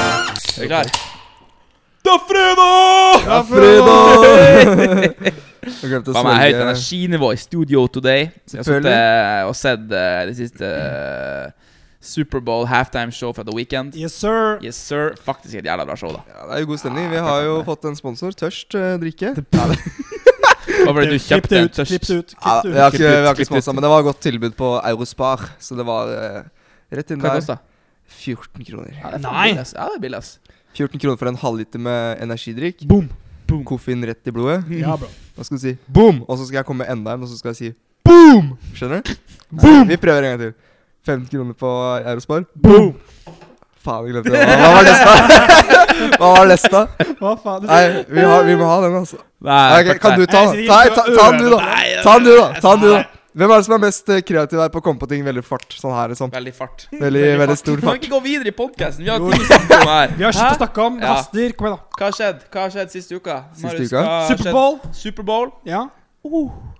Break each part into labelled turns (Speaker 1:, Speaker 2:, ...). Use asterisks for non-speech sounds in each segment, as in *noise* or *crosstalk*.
Speaker 1: er klar.
Speaker 2: Det er fredag!
Speaker 3: Ja, fredag! Jeg glemte å
Speaker 1: Hva med høyt
Speaker 3: svelge
Speaker 1: energinivå i studio today? Jeg har sittet eh, og sett eh, det siste eh, Superbowl halftime show fra The Weekend.
Speaker 2: Yes, sir.
Speaker 1: Yes, sir. Faktisk et jævla bra show, da.
Speaker 3: ja, Det er jo god stemning. Vi har jo fått en sponsor. Tørst eh, drikke.
Speaker 1: Hva var det du
Speaker 2: Klipp
Speaker 1: kjøpte?
Speaker 2: det Eh, ut. Klipp det ut.
Speaker 3: Ja,
Speaker 2: Klipp
Speaker 3: vi
Speaker 2: det
Speaker 3: har
Speaker 2: ut.
Speaker 3: ikke, vi har ikke sponsa, men det var et godt tilbud på Eurospar. Så det var eh, rett inn
Speaker 1: Hva
Speaker 3: der.
Speaker 1: kosta det?
Speaker 3: 14 kroner.
Speaker 1: Ja, det er faen
Speaker 2: Nei.
Speaker 1: billig, ass. Ja, det er billig, ass.
Speaker 3: 14 kroner for en halvliter med energidrikk.
Speaker 2: Boom.
Speaker 3: Koffein rett i blodet.
Speaker 2: Ja, bro.
Speaker 3: Hva skal du si? Boom! Og så skal jeg komme med enda en, og så skal jeg si boom! Skjønner du? Vi prøver en gang til. 15 kroner på Eurospar.
Speaker 2: Boom.
Speaker 3: Faen, jeg glemte det. Hva var lesta?
Speaker 2: *laughs*
Speaker 3: Hva var lesta?
Speaker 2: Hva faen?
Speaker 3: Nei, vi, har, vi må ha den, altså.
Speaker 1: Nei,
Speaker 3: Ok, kan du ta den?
Speaker 2: Jeg sier
Speaker 3: Ta,
Speaker 2: ikke
Speaker 3: ta,
Speaker 2: å
Speaker 3: ta den du, da.
Speaker 2: øve det.
Speaker 1: Nei,
Speaker 3: Ta den du, da.
Speaker 1: jeg
Speaker 3: Ta den du, da.
Speaker 1: tar
Speaker 3: Hvem er det som er mest eh, kreativ her på å komme på ting veldig fart? Sånn her, liksom.
Speaker 1: Veldig fart.
Speaker 3: Veldig, veldig stor
Speaker 1: Kan
Speaker 2: *laughs*
Speaker 1: vi
Speaker 3: fart.
Speaker 1: ikke gå videre i podkasten? Vi har ting å snakke om her.
Speaker 2: Vi har
Speaker 1: Hæ?
Speaker 2: skitt å snakke om. Det
Speaker 1: Ja.
Speaker 2: haster. Kom igjen, da.
Speaker 1: Hva har skjedd? Hva har skjedd siste uka?
Speaker 3: Siste
Speaker 1: Marius,
Speaker 3: uka?
Speaker 1: hva har skjedd?
Speaker 2: Superbowl.
Speaker 1: Superbowl.
Speaker 2: Ja. Oh,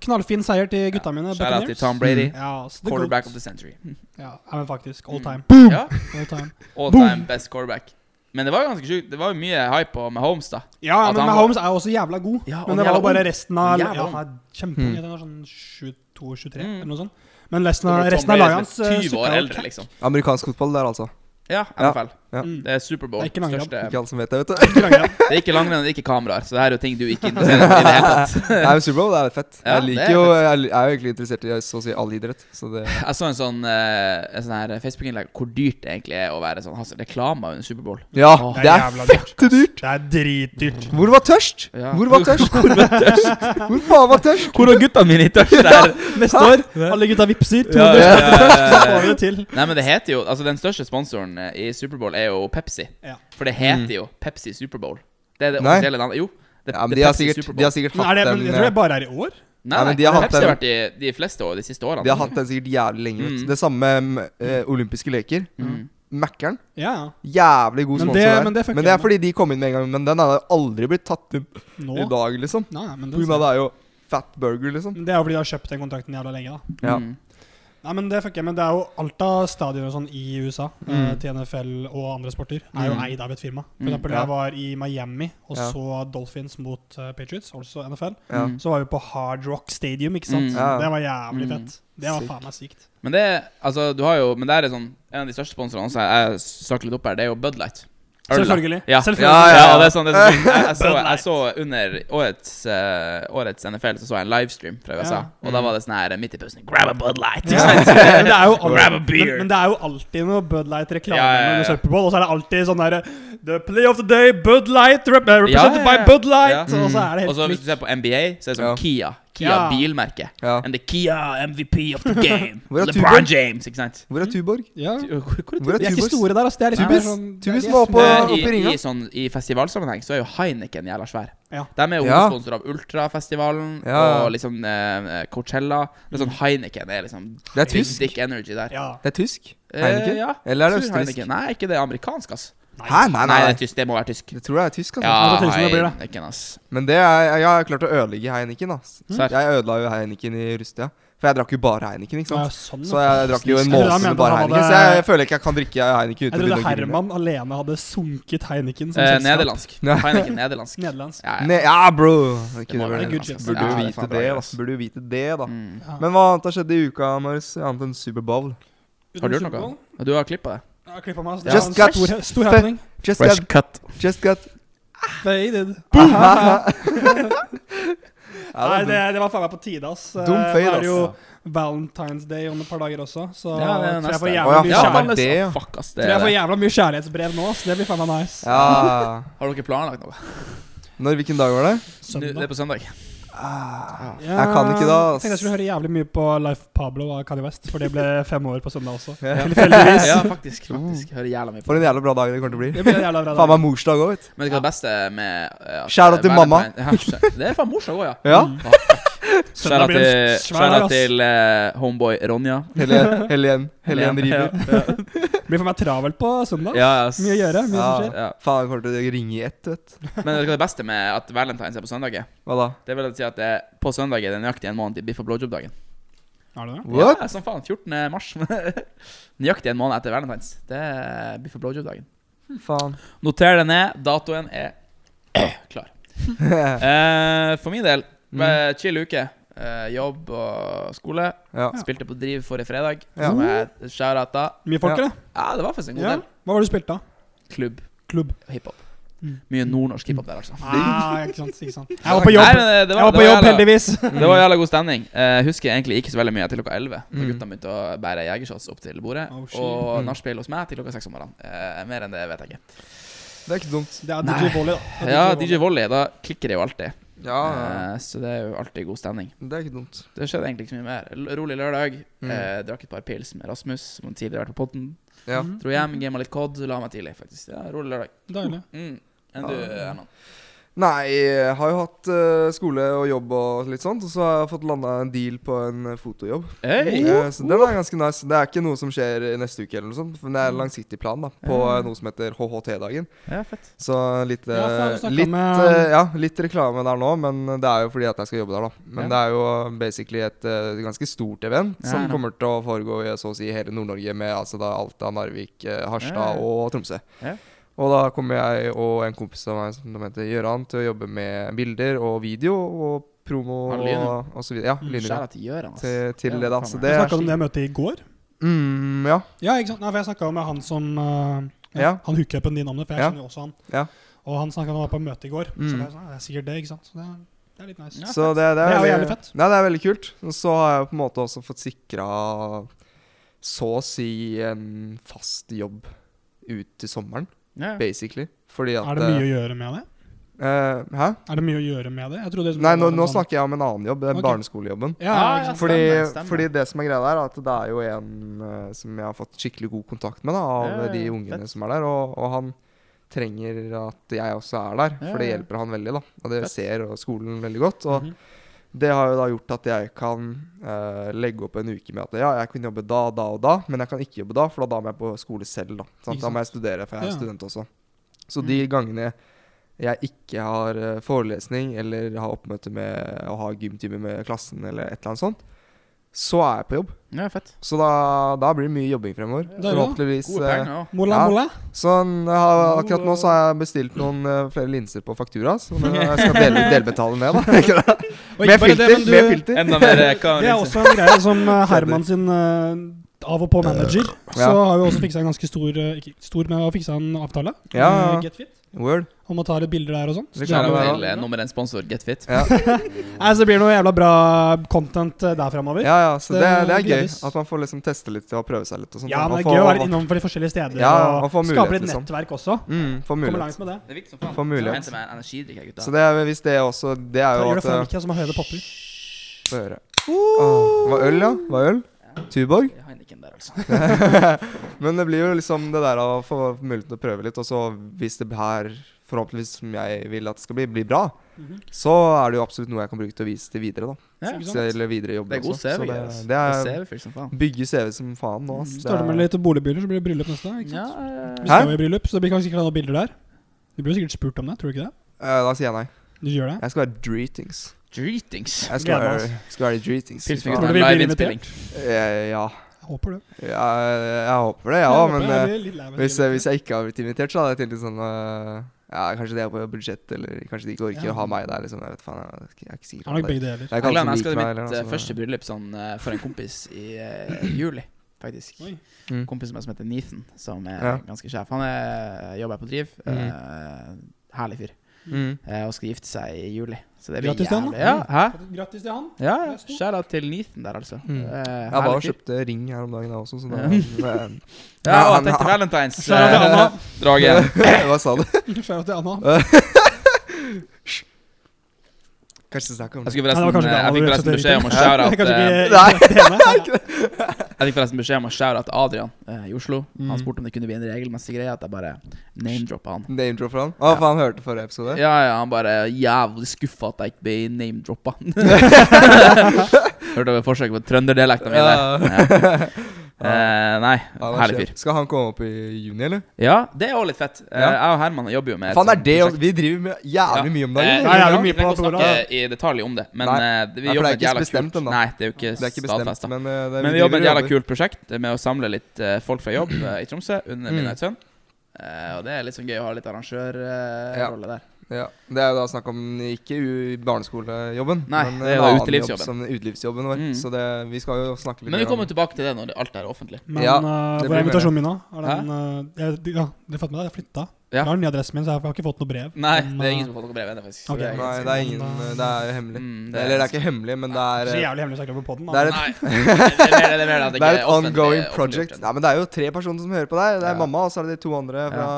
Speaker 2: Knallfin seier til gutta mine.
Speaker 1: Shout out til
Speaker 2: Buccaneers.
Speaker 1: Tom Brady.
Speaker 2: Ja, altså, the
Speaker 1: Quarterback of
Speaker 2: goat.
Speaker 1: the century.
Speaker 2: Ja, ja, men faktisk. All time.
Speaker 1: Ja,
Speaker 2: All time.
Speaker 1: All time best quarterback. Men det var jo ganske sjukt. Det var jo mye hype på Mahomes, da.
Speaker 2: Ja, ja,
Speaker 1: At
Speaker 2: men
Speaker 1: han
Speaker 2: Mahomes er jo også jævla god.
Speaker 1: Ja, og
Speaker 2: men det
Speaker 1: jævla
Speaker 2: var bare
Speaker 1: ung.
Speaker 2: resten av
Speaker 1: Jævla
Speaker 2: ja,
Speaker 1: ung.
Speaker 2: Han er kjempeung. Jeg tror Han er sånn 22-23
Speaker 1: Mm.
Speaker 2: eller noe sånt. Men resten av,
Speaker 1: Tom
Speaker 2: resten av
Speaker 1: Brady
Speaker 2: laget hans
Speaker 1: som er
Speaker 2: eh,
Speaker 1: 20
Speaker 2: sukker
Speaker 1: år
Speaker 2: jo
Speaker 1: eldre,
Speaker 2: crack.
Speaker 1: liksom.
Speaker 3: Amerikansk fotball der, altså.
Speaker 1: Ja,
Speaker 3: Ja,
Speaker 1: NFL.
Speaker 3: ja.
Speaker 2: Mm.
Speaker 1: Det er Superbowl.
Speaker 2: Det er ikke langrenn.
Speaker 1: Største
Speaker 3: Ikke alle som vet det, vet du.
Speaker 2: Ikke langrenn.
Speaker 1: Det er ikke langrenn, det er ikke kameraer, så det her er jo ting du
Speaker 2: *laughs*
Speaker 1: ikke interesserer deg i det hele tatt.
Speaker 3: Nei, men Superbowl det er litt fett.
Speaker 1: Ja,
Speaker 3: Jeg
Speaker 1: det er
Speaker 3: liker jo Jeg li- er jo egentlig interessert i så å si all idrett, så det
Speaker 1: *laughs* Jeg så en sånn, eh, en sånn her Facebook-innlegg hvor dyrt det egentlig er å være sånn ha reklame under Superbowl.
Speaker 3: Ja,
Speaker 2: Det er
Speaker 3: det er
Speaker 2: jævla dyrt.
Speaker 3: fette dyrt!
Speaker 2: Det er dritdyrt.
Speaker 3: Hvor var tørst?
Speaker 1: Ja.
Speaker 3: Hvor var
Speaker 1: *laughs*
Speaker 3: tørst? Hvor faen var tørst?
Speaker 1: Hvor er gutta mine i tørst *laughs* der?
Speaker 2: Neste år, alle gutta vippser. 200
Speaker 1: Ja, ja, ja, ja, ja.
Speaker 2: *laughs* Så får vi det til.
Speaker 1: Nei, men det heter jo Altså, den største sponsoren eh, i Superbowl er jo Pepsi.
Speaker 2: Ja.
Speaker 1: For det heter jo Pepsi Superbowl. Det er det
Speaker 3: Mm. Nei.
Speaker 1: offisielle navnet. Jo. Det,
Speaker 3: Ja, men
Speaker 1: det
Speaker 3: de
Speaker 1: er
Speaker 3: har
Speaker 1: Pepsi
Speaker 3: sikkert,
Speaker 1: Super
Speaker 3: de
Speaker 1: Bowl.
Speaker 3: har sikkert
Speaker 2: Men er
Speaker 3: hatt
Speaker 2: det, men,
Speaker 3: den
Speaker 2: jeg tror det
Speaker 3: eh,
Speaker 2: bare er i år.
Speaker 1: Nei,
Speaker 3: Ja,
Speaker 1: nei,
Speaker 3: men de har hatt
Speaker 1: Pepsi har
Speaker 3: den-
Speaker 1: vært i de fleste år, de siste årene.
Speaker 3: De har hatt den sikkert jævlig lenge. vet du.
Speaker 1: Mm.
Speaker 3: Det samme med eh, olympiske leker.
Speaker 1: Mm.
Speaker 3: Mækkern.
Speaker 2: Ja,
Speaker 3: Jævlig god
Speaker 2: Men
Speaker 3: sponsor
Speaker 2: det-
Speaker 3: der.
Speaker 2: men det fucker
Speaker 3: er
Speaker 2: jeg med.
Speaker 3: fordi de kom inn med en gang. Men den hadde aldri blitt tatt inn
Speaker 2: ja. Nå.
Speaker 3: i dag, liksom.
Speaker 2: Nei, nei,
Speaker 3: På
Speaker 2: men den,
Speaker 3: grunn av det er jo Fat Burger, liksom.
Speaker 2: Men det er jo fordi de har kjøpt den kontrakten jævla lenge, da.
Speaker 3: Ja.
Speaker 1: Mm.
Speaker 2: Nei, men det fucker jeg med. Det er jo alt av stadioner og sånn i USA, eh, til NFL og andre sporter, er jo
Speaker 1: Mm.
Speaker 2: eid av et firma.
Speaker 1: Mm,
Speaker 2: For eksempel
Speaker 3: ja.
Speaker 2: jeg var i Miami og
Speaker 3: Ja.
Speaker 2: så Dolphins mot eh, Patriots, også NFL.
Speaker 3: Ja.
Speaker 1: Mm.
Speaker 2: Så var vi på Hard Rock Stadium, ikke sant?
Speaker 1: Mm.
Speaker 3: Ja.
Speaker 2: Det var jævlig
Speaker 1: Mm.
Speaker 2: fett. Det var
Speaker 3: Sykt.
Speaker 2: faen meg sykt.
Speaker 1: Men det er- altså, du har jo Men det er sånn En av de største sponsorene som jeg jeg søker litt opp her, det er jo Budlight.
Speaker 2: Selvfølgelig.
Speaker 1: Ja.
Speaker 2: Selvfølgelig.
Speaker 1: Ja,
Speaker 3: ja, ja.
Speaker 1: det er sånn, det er sånn. Jeg, jeg, så,
Speaker 2: Bud
Speaker 1: jeg så under årets, eh, årets NFL Så så jeg en livestream fra USA,
Speaker 3: Ja.
Speaker 1: og da var det sånn her eh, midt i pausen Grab a Bud Light!
Speaker 2: Ja.
Speaker 1: Ikke sant?
Speaker 2: *laughs* Men, det er jo
Speaker 1: Grab a
Speaker 2: alltid, men,
Speaker 1: beer.
Speaker 2: men det er jo alltid noe Bud Light-reklame
Speaker 1: Ja, ja, ja, ja.
Speaker 2: under Super Bowl. Og så er det alltid sånn derre The play of the day, Bud Light, rep eh, represented
Speaker 1: Ja, ja, ja.
Speaker 2: by Bud Light.
Speaker 1: Ja. Mm.
Speaker 2: Og så er det
Speaker 1: Og
Speaker 2: helt
Speaker 1: så hvis du
Speaker 2: klikt.
Speaker 1: ser på NBA, så er det sånn
Speaker 3: Ja.
Speaker 1: Kia. Kia
Speaker 2: Ja.
Speaker 1: bilmerke.
Speaker 3: ja.
Speaker 1: And the Kia MVP of the
Speaker 3: *laughs*
Speaker 1: game.
Speaker 3: Hvor er
Speaker 1: LeBron
Speaker 3: tuben?
Speaker 1: James, ikke sant?
Speaker 3: Hvor er Tuborg?
Speaker 2: Ja.
Speaker 1: Hvor er tuben?
Speaker 3: Hvor er
Speaker 2: De Mm. er ikke
Speaker 3: Tuborg?
Speaker 2: store der, ass. Det er litt
Speaker 3: Tubis?
Speaker 2: mer sånn-
Speaker 3: Tubis
Speaker 2: de er
Speaker 3: var
Speaker 2: små.
Speaker 3: på-
Speaker 1: Eh,
Speaker 3: oppe i
Speaker 1: i,
Speaker 3: ringa.
Speaker 1: i, sånn, I festivalsammenheng så er jo Heineken jævla svær.
Speaker 2: Ja.
Speaker 1: De er jo
Speaker 3: Ja.
Speaker 1: hovedsponsor av Ultrafestivalen
Speaker 3: Ja.
Speaker 1: og liksom eh, Coachella. Det er sånn Heineken er liksom
Speaker 3: Det er
Speaker 1: Big
Speaker 3: tysk.
Speaker 1: Dick Energy der.
Speaker 2: Mm. Ja.
Speaker 3: Det er tysk?
Speaker 1: Eh,
Speaker 3: Heineken?
Speaker 1: ja.
Speaker 3: Eller er det
Speaker 1: Sur
Speaker 3: østerriksk?
Speaker 1: Heineken. Nei, ikke det. Amerikansk, ass.
Speaker 3: Hæ? Nei, nei.
Speaker 1: Nei, det, er
Speaker 3: nei.
Speaker 1: tysk, det må være tysk.
Speaker 3: Jeg tror det er tysk, altså.
Speaker 1: Ja,
Speaker 2: så tysk som det blir, da.
Speaker 1: Heineken, ass.
Speaker 3: Men det er, jeg har klart å ødelegge Heineken. ass
Speaker 2: Mm.
Speaker 1: Serr.
Speaker 3: Jeg ødela jo Heineken i Rustia. For jeg drakk jo bare Heineken. ikke
Speaker 2: Ja,
Speaker 3: sant?
Speaker 2: sånn,
Speaker 3: Så
Speaker 2: ja.
Speaker 3: jeg drakk jo en
Speaker 2: Jeg trodde
Speaker 3: måned
Speaker 2: han
Speaker 3: med
Speaker 2: mente
Speaker 3: bare
Speaker 2: han
Speaker 3: Heineken. Så
Speaker 2: hadde-
Speaker 3: jeg føler ikke jeg kan drikke Heineken
Speaker 2: Jeg
Speaker 3: uten å
Speaker 2: trodde
Speaker 3: begynne å grine.
Speaker 2: Herman alene hadde sunket Heineken som
Speaker 1: Eh,
Speaker 2: selskap.
Speaker 1: nederlandsk.
Speaker 3: Nei.
Speaker 1: Heineken nederlandsk.
Speaker 2: Nederlandsk.
Speaker 1: Ja, ja.
Speaker 3: Ne ja, bro. Ikke
Speaker 1: må
Speaker 3: det,
Speaker 1: være
Speaker 3: vel.
Speaker 2: good shit.
Speaker 3: Burde
Speaker 1: Ja,
Speaker 3: jo
Speaker 1: det er
Speaker 3: vite
Speaker 1: faen bra
Speaker 3: det,
Speaker 1: greier,
Speaker 3: da.
Speaker 1: ass.
Speaker 3: Burde jo vite det, da.
Speaker 1: Mm.
Speaker 2: Ja.
Speaker 3: Men hva annet har skjedd i uka, Marius? Annet enn Superbowl?
Speaker 1: Har du hørt noe? Og du har klippa det?
Speaker 2: Ja, klipp av meg. ass. Det
Speaker 3: Just
Speaker 2: var en
Speaker 3: got-
Speaker 2: stor, stor happening.
Speaker 3: Just got,
Speaker 1: cut.
Speaker 3: just got
Speaker 2: Faded. *laughs*
Speaker 3: *laughs*
Speaker 2: Nei, det, det var faen meg på tide, ass. Eh,
Speaker 3: Dum fade,
Speaker 2: Nå er
Speaker 3: ass.
Speaker 2: det jo Valentine's Day om et par dager også, så
Speaker 1: Ja, det er
Speaker 2: tror jeg
Speaker 1: neste.
Speaker 2: får
Speaker 3: Å, ja,
Speaker 2: jævla mye
Speaker 1: Ja,
Speaker 3: faen,
Speaker 2: kjærlighet.
Speaker 1: men
Speaker 3: det, ja.
Speaker 1: Fuck, ass. Det
Speaker 2: Tror jeg
Speaker 1: er
Speaker 2: får
Speaker 1: det.
Speaker 2: jævla mye kjærlighetsbrev nå, så det blir faen meg nice.
Speaker 3: Ja
Speaker 1: Har dere planlagt noe?
Speaker 3: Når, Hvilken dag var det?
Speaker 1: Du, det er på *laughs* søndag.
Speaker 3: Ah,
Speaker 2: Ja,
Speaker 3: jeg kan ikke da, ass.
Speaker 2: Tenkte jeg skulle høre jævlig mye på Life Pablo av Kanye West, for det ble fem år på søndag også.
Speaker 3: Ja.
Speaker 2: *laughs* Tilfeldigvis.
Speaker 1: Ja, faktisk. faktisk. Hører jævla mye på.
Speaker 3: For en jævla bra dag det kommer til å bli.
Speaker 2: Det blir en jævla bra
Speaker 3: Faen
Speaker 2: dag.
Speaker 3: meg morsdag òg, vet du.
Speaker 1: Men det er det beste med eh, at-
Speaker 3: Shout out til mamma.
Speaker 1: Ja, Det er faen morsomt òg, ja.
Speaker 3: Ja.
Speaker 1: Shout out
Speaker 2: Mm. blir
Speaker 1: til,
Speaker 2: en svær
Speaker 1: shout
Speaker 2: dag,
Speaker 1: out
Speaker 2: ass.
Speaker 1: til eh, homeboy Ronja.
Speaker 3: Hele, hele igjen. Hele igjen
Speaker 1: Ja,
Speaker 3: river.
Speaker 2: Det *laughs* blir for meg travelt på søndag.
Speaker 1: Ja, ass.
Speaker 2: Mye å gjøre, mye som
Speaker 3: Ja.
Speaker 2: skjer.
Speaker 1: Ja.
Speaker 3: Faen, jeg kommer til å ringe i ett, vet du.
Speaker 1: Men vet du hva det beste med at Valentine's er på søndag? er?
Speaker 3: Hva da?
Speaker 1: Det vil si at det, på søndag er det nøyaktig en måned til Biff og blowjob-dagen.
Speaker 2: Har du det?
Speaker 3: What?
Speaker 1: *laughs* Ja, som faen. 14. mars. nøyaktig en måned etter Valentine's. Det er Biff og blowjob-dagen.
Speaker 3: Faen. *laughs*
Speaker 1: Noter det ned. Datoen er *clears throat* klar. Eh, for min del,
Speaker 2: Mm.
Speaker 1: eh, chill uke. Eh, jobb og skole.
Speaker 3: ja.
Speaker 1: Spilte på Driv forrige fredag,
Speaker 3: Ja.
Speaker 1: som jeg shout-out da.
Speaker 2: Mye folk,
Speaker 3: Ja.
Speaker 2: eller?
Speaker 1: Ja, det var faktisk en god
Speaker 2: Ja.
Speaker 1: del.
Speaker 2: Hva var det du spilte, da?
Speaker 1: Klubb
Speaker 2: Klubb.
Speaker 1: og hiphop.
Speaker 2: Mm.
Speaker 1: Mye nordnorsk hiphop der, altså.
Speaker 2: Ah, ikke sant,
Speaker 1: *laughs*
Speaker 2: ikke sant. Jeg var på
Speaker 1: Nei,
Speaker 2: jobb,
Speaker 1: men det- det var-
Speaker 2: jeg var
Speaker 1: det var
Speaker 2: på jobb
Speaker 1: jævla-
Speaker 2: heldigvis.
Speaker 1: Det var jævla god stemning. Eh, husker egentlig ikke så veldig mye til klokka 11 Da
Speaker 3: Mm.
Speaker 1: gutta begynte å bære jegershots opp til bordet.
Speaker 2: Oh, shit.
Speaker 1: og
Speaker 3: Mm.
Speaker 1: nachspiel hos meg til klokka 6 om morgenen. Eh, mer enn det vet jeg ikke.
Speaker 3: Det er ikke dumt.
Speaker 2: Det er DJ Volley, da.
Speaker 1: Ja, DJ Volley, da klikker det jo alltid.
Speaker 3: Ja, ja.
Speaker 1: Eh, så det er jo alltid god stemning.
Speaker 3: det er ikke dumt.
Speaker 1: Det skjedde egentlig ikke så mye mer. L- Rolig lørdag.
Speaker 3: Mm.
Speaker 1: Eh, drakk et par pils med Rasmus, som tidligere har vært på podden.
Speaker 3: Ja.
Speaker 2: Mm.
Speaker 1: Dro hjem, gama litt COD, la meg tidlig, faktisk. Ja, Rolig lørdag.
Speaker 2: Deilig.
Speaker 1: Mm. Enn du,
Speaker 3: Ja.
Speaker 1: Herman?
Speaker 3: Nei, jeg har jo hatt eh, skole og jobb og litt sånt, og så har jeg fått landa en deal på en eh, fotojobb.
Speaker 1: Hei!
Speaker 3: Eh, så den er ganske nice. Det er ikke noe som skjer i neste uke, eller noe sånt, men det er
Speaker 2: Mm.
Speaker 3: en langsiktig plan da, på
Speaker 1: Ja.
Speaker 3: eh, noe som heter HHT-dagen.
Speaker 1: Ja, fett.
Speaker 3: Så litt,
Speaker 2: Ja, for jeg har
Speaker 3: eh,
Speaker 2: snakket
Speaker 3: litt,
Speaker 1: Um,
Speaker 2: med-
Speaker 3: eh, ja, litt reklame der nå, men det er jo fordi at jeg skal jobbe der, da. Men
Speaker 1: Ja.
Speaker 3: det er jo basically et eh, ganske stort event
Speaker 1: Ja,
Speaker 3: som
Speaker 1: ja.
Speaker 3: kommer til å foregå i så å si hele Nord-Norge, med altså da Alta, Narvik, eh,
Speaker 1: Ja,
Speaker 3: Harstad
Speaker 1: ja.
Speaker 3: og Tromsø.
Speaker 1: Ja.
Speaker 3: Og da kommer jeg og en kompis av meg som heter Gøran, til å jobbe med bilder og video og promo
Speaker 1: Ah,
Speaker 3: og,
Speaker 1: Lyne.
Speaker 3: og så videre. Ja, Lyne.
Speaker 1: Skjæra til Gjøran, ass.
Speaker 3: Til, til
Speaker 1: Mm, Ja,
Speaker 3: det, da.
Speaker 1: faen
Speaker 3: Så
Speaker 1: meg.
Speaker 2: Vi
Speaker 3: det
Speaker 2: snakka om det møtet i går.
Speaker 3: mm, Ja.
Speaker 2: Ja, ikke sant? Nei, for jeg snakka med han som eh,
Speaker 3: Ja.
Speaker 2: Han hookupen din om det, for jeg
Speaker 3: Ja.
Speaker 2: kjenner jo også han.
Speaker 3: Ja.
Speaker 2: Og han snakka om han var på møte i går. Så
Speaker 3: Mm.
Speaker 2: det er, sånn, ja, det er sikkert det, ikke sant. Så det er, det er litt nice.
Speaker 1: Ja.
Speaker 3: Så det, det,
Speaker 2: Det er jo
Speaker 3: veldig-
Speaker 2: jævlig fett.
Speaker 3: Nei, det er veldig kult. Og så har jeg på en måte også fått sikra så å si en fast jobb ut til sommeren,
Speaker 1: Ja, ja.
Speaker 3: basically. Fordi at
Speaker 2: Er det mye å gjøre med det?
Speaker 3: eh, Hæ?
Speaker 2: Er det mye å gjøre med det? Jeg trodde det
Speaker 3: Nei, nå, nå
Speaker 2: sånn-
Speaker 3: snakker jeg om en annen jobb, den
Speaker 2: Ok.
Speaker 3: barneskolejobben.
Speaker 2: Ja, ja,
Speaker 1: Ah, ja,
Speaker 2: ikke sant?
Speaker 3: Fordi,
Speaker 1: Stemmer, stemmer.
Speaker 3: fordi det som er greia der, er at det er jo en eh, som jeg har fått skikkelig god kontakt med, da, av
Speaker 1: Ja, ja,
Speaker 3: de
Speaker 1: ja,
Speaker 3: ungene
Speaker 1: fett.
Speaker 3: som er der. Og, og han trenger at jeg også er der,
Speaker 1: Ja,
Speaker 3: for det
Speaker 1: ja, ja.
Speaker 3: hjelper han veldig. da Og det
Speaker 1: Fett.
Speaker 3: ser og skolen veldig godt. Og
Speaker 2: Mhm.
Speaker 3: det har jo da gjort at jeg kan eh, legge opp en uke med at ja, jeg kan jobbe da, da og da, men jeg kan ikke jobbe da, for da, da må jeg på skole selv. da sant?
Speaker 2: Ikke
Speaker 3: Da må jeg studere, for jeg er
Speaker 2: Ja.
Speaker 3: student også. Så de
Speaker 2: Mm.
Speaker 3: gangene jeg ikke har eh, forelesning eller har oppmøte med å ha gymtime med klassen, eller et eller annet sånt, så er jeg på jobb.
Speaker 1: Ja, fett.
Speaker 3: Så da, da blir det mye jobbing fremover.
Speaker 2: er bra.
Speaker 3: Forhåpentligvis.
Speaker 1: Gode
Speaker 3: eh,
Speaker 1: penger òg.
Speaker 2: Mola,
Speaker 3: Ja.
Speaker 2: mola.
Speaker 3: Sånn, jeg har, akkurat nå så har jeg bestilt noen eh, flere linser på faktura, så jeg skal dele,
Speaker 2: *laughs*
Speaker 3: delbetale med, da. Ikke det?
Speaker 2: Og ikke
Speaker 3: Med
Speaker 2: bare det,
Speaker 3: filter.
Speaker 2: men du-
Speaker 3: Med filter.
Speaker 1: Enda mer eh, hva
Speaker 2: Det er også en greie som eh, Herman sin eh, av og på manager. Så
Speaker 3: Ja.
Speaker 2: har vi også fiksa en ganske stor eh, Ikke stor, men har fiksa en avtale
Speaker 3: Ja, ja.
Speaker 2: med Get Fit,
Speaker 3: Word.
Speaker 2: om å ta litt bilder der og sånn. Så det
Speaker 3: Reklame
Speaker 2: er jo-
Speaker 3: der
Speaker 1: Shout-out til eh, nummer én sponsor, GetFit.
Speaker 2: *laughs*
Speaker 3: Ja.
Speaker 2: Nei, så det blir noe jævla bra content eh, der framover.
Speaker 3: Ja,
Speaker 2: Ja,
Speaker 3: ja, så
Speaker 2: Det
Speaker 3: det, det er gøy.
Speaker 2: gledes.
Speaker 3: At man får liksom teste litt og prøve seg litt. og sånt.
Speaker 2: men
Speaker 3: sånn, Man
Speaker 2: det
Speaker 3: får-
Speaker 2: er gøy å være
Speaker 3: man-
Speaker 2: innom for de forskjellige steder
Speaker 3: Ja,
Speaker 2: og
Speaker 3: og få mulighet,
Speaker 2: skape litt
Speaker 3: liksom.
Speaker 2: nettverk også.
Speaker 3: Mm, får
Speaker 2: Kommer
Speaker 3: mulighet.
Speaker 2: langt med det.
Speaker 1: Det er viktig som faen.
Speaker 3: Får mulighet.
Speaker 1: Så henter meg en energidrikk her, gutta.
Speaker 3: Så det er hvis det er også Det er
Speaker 2: Da
Speaker 3: jo
Speaker 2: gjør det
Speaker 3: at eh,
Speaker 2: foran ikke, som har høyde popper.
Speaker 3: Få høre. Åh, var Ah, øl, ja. Var øl.
Speaker 2: *laughs*
Speaker 3: Tuborg. *laughs*
Speaker 1: Jeg har Heineken der, altså.
Speaker 3: Men det blir jo liksom det der å få muligheten til å prøve litt, og så hvis det her forhåpentligvis som jeg vil at det skal bli, blir bra,
Speaker 2: Mhm.
Speaker 3: så er det jo absolutt noe jeg kan bruke til å vise til videre, da.
Speaker 1: Ja.
Speaker 2: Ikke
Speaker 3: Så-
Speaker 2: sant?
Speaker 3: Eller videre i jobben
Speaker 1: Det er god
Speaker 3: også. Så det-
Speaker 1: CV,
Speaker 2: altså.
Speaker 1: ass.
Speaker 3: Det
Speaker 1: Det
Speaker 3: er
Speaker 1: ser vi fylt som faen.
Speaker 3: Bygge CV som faen nå, ass. Det
Speaker 2: Mm, Starter med
Speaker 3: er-
Speaker 2: litt boligbiler, så blir det bryllup neste. Ikke
Speaker 1: Ja, eh,
Speaker 2: sant? Vi
Speaker 1: ja,
Speaker 2: skal jo i bryllup, så det blir kanskje ikke noen bilder der. Du blir jo sikkert spurt om det, tror du ikke det?
Speaker 3: Eh, Da sier jeg nei.
Speaker 2: Du gjør det?
Speaker 3: Jeg skal være dreetings.
Speaker 1: Greetings.
Speaker 3: Jeg skal
Speaker 2: Gleder meg,
Speaker 3: være, skal være dreetings.
Speaker 1: Pilsfinger
Speaker 2: Tror
Speaker 1: til
Speaker 2: du vi
Speaker 1: en
Speaker 2: blir
Speaker 1: liveinnspilling.
Speaker 3: Eh, ja.
Speaker 2: Jeg håper det.
Speaker 3: Ja, jeg, jeg håper det, ja,
Speaker 2: Jeg håper
Speaker 3: men
Speaker 2: jeg
Speaker 3: eh,
Speaker 2: blir litt lei meg
Speaker 3: hvis,
Speaker 2: til det.
Speaker 3: hvis jeg ikke hadde blitt invitert, så hadde jeg tenkt litt sånn eh, Ja, kanskje det er på budsjett, eller kanskje de ikke orker
Speaker 2: Ja.
Speaker 3: å ha meg der, liksom. Jeg vet faen, jeg, er ikke- jeg er ikke
Speaker 2: Det
Speaker 3: sikker.
Speaker 2: er nok
Speaker 3: på det.
Speaker 2: begge deler.
Speaker 3: Jeg
Speaker 1: Jeg
Speaker 3: kan
Speaker 1: gleder meg. Jeg
Speaker 3: ikke
Speaker 1: skal
Speaker 3: like
Speaker 1: til
Speaker 3: meg altså.
Speaker 1: mitt
Speaker 3: eller
Speaker 1: eh,
Speaker 3: noe
Speaker 1: første
Speaker 3: sånt.
Speaker 1: bryllup sånn, eh, for en kompis i eh, juli, faktisk.
Speaker 2: Oi.
Speaker 3: Mm.
Speaker 1: En kompis som heter Nathan, som er
Speaker 3: Ja. Mhm.
Speaker 1: ganske sjef. Han er, jobber på Driv. eh, herlig fyr.
Speaker 3: Mm.
Speaker 1: Eh, og skal gifte seg i juli. Så det blir
Speaker 2: Grattis til han,
Speaker 1: jævlig-
Speaker 2: da.
Speaker 1: Ja, hæ?
Speaker 2: Grattis til han.
Speaker 1: Ja,
Speaker 2: Det er *laughs* stort.
Speaker 1: Shout-out til Nathan der, altså.
Speaker 3: Mm.
Speaker 1: Eh,
Speaker 3: Jeg var
Speaker 1: herlig
Speaker 3: og
Speaker 1: fyr.
Speaker 3: kjøpte ring her om dagen, jeg også, så da
Speaker 1: Ja. *laughs* Ja, og
Speaker 3: han-
Speaker 1: tenkte Valentines.
Speaker 2: Shout-out til Anna.
Speaker 1: eh,
Speaker 3: *laughs*
Speaker 1: Dragen.
Speaker 3: Hva sa du?
Speaker 2: Shout-out til Anna.
Speaker 3: Kanskje snakke om det.
Speaker 1: Jeg, skulle
Speaker 2: Nei, det var
Speaker 1: forresten,
Speaker 3: eh,
Speaker 1: eh,
Speaker 2: kanskje ikke
Speaker 1: jeg
Speaker 2: Anna
Speaker 1: fikk forresten beskjed om å
Speaker 2: du refererte til.
Speaker 3: *laughs*
Speaker 2: *laughs*
Speaker 1: shout-out
Speaker 2: Kanskje
Speaker 1: eh,
Speaker 2: ikke-
Speaker 3: Nei.
Speaker 2: ikke
Speaker 3: *laughs*
Speaker 2: det ene.
Speaker 1: Jeg fikk forresten beskjed om å shout-out Adrian eh, i Oslo. Han
Speaker 3: Mm.
Speaker 1: spurte om det kunne bli en regelmessig greie at jeg bare name-droppa han.
Speaker 3: Name-drop fra han? Å,
Speaker 1: Ja.
Speaker 3: faen, han hørte forrige episode?
Speaker 1: Ja, ja, han bare jævlig skuffa at jeg ikke ble
Speaker 3: *laughs*
Speaker 1: name-droppa. *laughs* Hørte over forsøket på trønderdialekta mi der.
Speaker 3: Ja.
Speaker 1: Ja.
Speaker 3: *laughs* Ja.
Speaker 1: Eh, nei,
Speaker 3: Han er
Speaker 1: herlig
Speaker 3: sjef.
Speaker 1: fyr.
Speaker 3: Skal han komme opp i juni, eller?
Speaker 1: Ja, det er òg litt fett. Eh,
Speaker 3: Ja.
Speaker 1: jeg og Herman jobber jo med et
Speaker 3: Faen, er
Speaker 1: sånt
Speaker 3: det
Speaker 1: prosjekt.
Speaker 3: Vi driver med jævlig mye om dagen.
Speaker 1: Eh,
Speaker 2: Nei, jævlig
Speaker 1: ja,
Speaker 2: mye
Speaker 1: vi trenger ikke
Speaker 2: på
Speaker 1: å
Speaker 2: Adora.
Speaker 1: snakke i detalj om det, men
Speaker 3: Nei.
Speaker 1: eh, det- vi
Speaker 3: Nei, for
Speaker 1: jobber med
Speaker 3: det
Speaker 1: et
Speaker 3: er
Speaker 1: jævla
Speaker 3: ikke bestemt
Speaker 1: kult
Speaker 3: ennå.
Speaker 1: Nei, det er jo ikke,
Speaker 3: Det er ikke bestemt,
Speaker 1: stadfesta.
Speaker 3: men, eh, det er
Speaker 1: Men vi jobber med et jævla
Speaker 3: jobber.
Speaker 1: kult prosjekt med å samle litt eh, folk fra jobb eh, i Tromsø under
Speaker 3: Mm.
Speaker 1: Midnight Sun. Eh, og det er litt sånn gøy å ha litt arrangørrolle der.
Speaker 3: Ja, Det er jo da snakk om ikke u- barneskolejobben,
Speaker 1: Nei,
Speaker 3: men
Speaker 1: det er
Speaker 3: en
Speaker 1: da
Speaker 3: annen
Speaker 1: utelivsjobben.
Speaker 3: jobb som utelivsjobben vår.
Speaker 1: Mm.
Speaker 3: Så det, vi skal jo snakke litt
Speaker 1: Men
Speaker 3: mer
Speaker 1: vi kommer
Speaker 3: om
Speaker 1: tilbake til det når det- alt er offentlig.
Speaker 2: Men
Speaker 3: Ja,
Speaker 2: eh,
Speaker 3: det
Speaker 2: hvor
Speaker 3: blir
Speaker 2: er invitasjonen min, da? Er den, eh, jeg, ja, dere fått med det? Jeg flytta.
Speaker 1: Ja.
Speaker 2: Jeg har den nye adressen min, så jeg har ikke fått noe brev.
Speaker 1: Nei,
Speaker 2: Men,
Speaker 1: det er
Speaker 2: eh,
Speaker 1: ingen som har fått noe brev ennå, faktisk.
Speaker 2: Ok.
Speaker 1: Så det er
Speaker 3: Nei,
Speaker 1: greit.
Speaker 3: det er ingen Det er jo hemmelig.
Speaker 1: Mm,
Speaker 3: Eller det er ikke hemmelig, men det er
Speaker 2: Så jævlig hemmelig så jeg ikke på podden.
Speaker 3: Det er et-
Speaker 1: Nei, *laughs* det er mer det, det er mer det at
Speaker 3: Det
Speaker 1: det
Speaker 3: er
Speaker 1: ikke
Speaker 3: et
Speaker 1: offentlig-
Speaker 3: ongoing
Speaker 1: offentliggjort
Speaker 3: project.
Speaker 1: ennå.
Speaker 3: Nei, men det er jo tre personer som hører på deg. Det er
Speaker 1: Ja.
Speaker 3: mamma, og så er det de to andre fra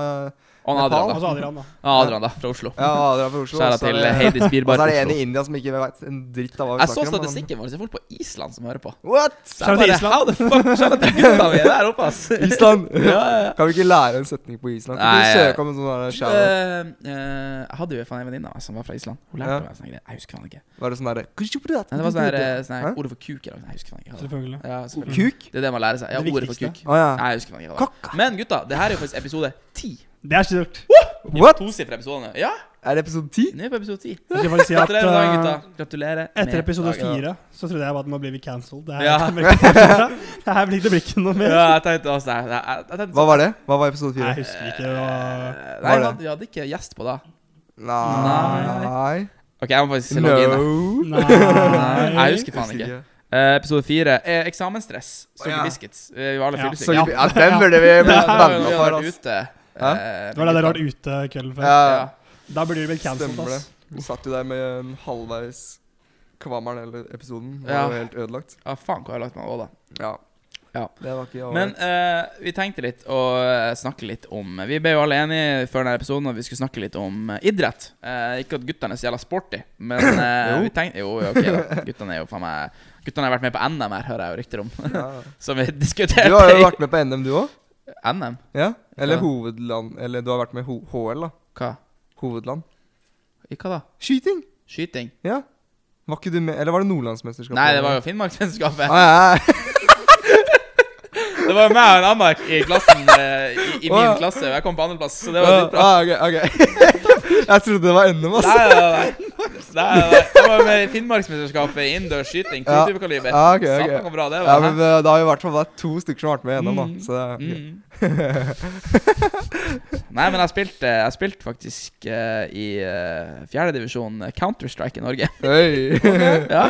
Speaker 1: Og han Adrian,
Speaker 2: Og
Speaker 1: da.
Speaker 2: så Altså, Adrian, da.
Speaker 1: Ja, Adrian, da, fra Oslo.
Speaker 3: Ja, Adrian altså. fra Oslo.
Speaker 1: Skjæra
Speaker 3: og så er
Speaker 1: til
Speaker 3: det-
Speaker 1: Heidis
Speaker 3: *laughs* Og
Speaker 1: Bilbar
Speaker 3: så er det en
Speaker 1: Oslo.
Speaker 3: i India som ikke vet en dritt av hva vi
Speaker 1: Jeg så
Speaker 3: snakker om. men-
Speaker 1: statistikken vår, så er det folk på Island som hører på.
Speaker 3: What?!
Speaker 1: Så jeg
Speaker 2: Shout out til
Speaker 1: bare,
Speaker 2: Island.
Speaker 1: How the fuck Shout out til gutta vi er der oppe, ass.
Speaker 3: Island!
Speaker 1: *laughs* ja, ja, ja.
Speaker 3: *laughs* Kan vi ikke lære en setning på Island? Kan
Speaker 1: Nei,
Speaker 3: du
Speaker 1: jeg-
Speaker 3: søke om en sånn der
Speaker 1: Eh,
Speaker 3: shower?
Speaker 1: eh, jeg hadde jo faen en venninne av meg som var fra Island. Hun lærte
Speaker 3: Ja.
Speaker 1: meg sånne greier. Jeg husker faen ikke.
Speaker 3: Var det sånn derre
Speaker 1: Nei, det var sånn her, eh, sånn her
Speaker 3: Hæ?
Speaker 1: ordet for kuk eller noe. Jeg husker faen ikke. hva det var.
Speaker 2: Selvfølgelig.
Speaker 1: Ja, selvfølgelig.
Speaker 3: Kuk?
Speaker 1: Det er det man lærer seg. Ja,
Speaker 2: Det
Speaker 1: ordet for
Speaker 2: viktigste.
Speaker 1: kuk.
Speaker 3: Å ja.
Speaker 1: Nei, jeg husker faen ikke. hva det var.
Speaker 3: Kakka.
Speaker 1: Men gutta, det her er jo faktisk episode ti.
Speaker 2: Det er stort.
Speaker 3: What?!
Speaker 1: Tosifra episode nå. Ja,
Speaker 3: Er det episode ti?
Speaker 1: nå er vi på episode ti.
Speaker 2: Jeg skal faktisk si at
Speaker 1: Gratulerer med dagen,
Speaker 2: eh,
Speaker 1: gutta. Gratulerer.
Speaker 2: etter
Speaker 1: med
Speaker 2: episode
Speaker 1: dagen.
Speaker 2: fire så trodde jeg bare at nå blir vi cancelled. Det, her
Speaker 1: Ja.
Speaker 2: kommer ikke til å fortsette. *laughs* det her blir det blir ikke noe mer.
Speaker 1: Ja, jeg tenkte også jeg- jeg- jeg- jeg tenkte
Speaker 3: Hva var det? Hva var episode
Speaker 2: Nei,
Speaker 3: fire?
Speaker 2: Jeg husker ikke. Det var
Speaker 1: Eh,
Speaker 3: Hva
Speaker 1: Nei,
Speaker 3: er
Speaker 1: vi
Speaker 3: det?
Speaker 1: hadde, vi hadde ikke gjest på da.
Speaker 3: Nei
Speaker 1: Ok, jeg må faktisk logge inn. da.
Speaker 3: No
Speaker 1: Nei,
Speaker 2: Nei.
Speaker 1: jeg husker faen ikke. Eh, episode fire er eksamensstress. Sugar
Speaker 3: Ja.
Speaker 1: biscuits. Eh, Vi var alle
Speaker 2: Ja,
Speaker 3: Så,
Speaker 1: fyllesyke.
Speaker 2: Ja.
Speaker 3: ja, den burde vi
Speaker 1: Det her var jo
Speaker 3: banna
Speaker 1: når vi
Speaker 3: for,
Speaker 1: hadde vært
Speaker 3: ass.
Speaker 1: ute.
Speaker 3: Hæ?
Speaker 1: eh,
Speaker 2: Det var det der
Speaker 1: med
Speaker 2: var
Speaker 1: gutta.
Speaker 2: ute kvelden før.
Speaker 3: Ja,
Speaker 1: Ja.
Speaker 2: Da blir det vel cancelled,
Speaker 3: stemmer det.
Speaker 2: ass.
Speaker 3: Du satt jo der med en halvveis kvammeren eller episoden. Det
Speaker 1: Ja.
Speaker 3: var jo helt ødelagt.
Speaker 1: Ja, faen hvor jeg har lagt meg òg, da.
Speaker 3: Ja.
Speaker 1: Ja.
Speaker 3: Det var ikke
Speaker 1: Men eh, vi tenkte litt å eh, snakke litt om Vi ble jo alle enige før denne episoden at vi skulle snakke litt om eh, idrett. Eh, ikke at guttene er så jævla sporty,
Speaker 3: *coughs*
Speaker 1: men eh,
Speaker 3: Jo.
Speaker 1: vi tenkte Jo, ok, da. Guttene er jo faen meg Guttene har vært med på NM her, hører jeg jo rykter om. *laughs*
Speaker 3: ja.
Speaker 1: Som vi diskuterte
Speaker 3: Du har jo
Speaker 1: i
Speaker 3: vært med på NM, du òg.
Speaker 1: NM?
Speaker 3: Ja. Eller
Speaker 1: Ja.
Speaker 3: hovedland Eller du har vært med i ho HL, da.
Speaker 1: Hva?
Speaker 3: Hovedland.
Speaker 1: I hva da?
Speaker 3: Skyting!
Speaker 1: Skyting?
Speaker 3: Ja. Var ikke du med Eller var det Nordlandsmesterskapet?
Speaker 1: Nei, det var jo Finnmarksmesterskapet.
Speaker 3: ah, ja, ja.
Speaker 1: Det var jo meg og en annen i klassen eh, i, i min
Speaker 3: Å, ja.
Speaker 1: klasse, og jeg kom på andreplass, så det var litt bra.
Speaker 3: Ah, ok, *laughs* ok. Jeg trodde det var NM, ass.
Speaker 1: Nei, nei, nei. nei, nei. Jeg var med i Finnmarksmesterskapet i innendørs skyting.
Speaker 3: Ja.
Speaker 1: Totuberkaliber.
Speaker 3: Ja, ok, ok.
Speaker 1: Satan, så bra det
Speaker 3: Ja,
Speaker 1: var.
Speaker 3: men
Speaker 1: hæ?
Speaker 3: det det har jo i hvert fall vært to stykker som har vært med i NM, da. Så det er ok. *laughs*
Speaker 1: Mm. Nei, men jeg spilte, jeg spilte faktisk eh, i eh, fjerde divisjon eh, Counter-Strike i
Speaker 3: *laughs*
Speaker 1: Norge.
Speaker 3: Hei!
Speaker 1: Ja,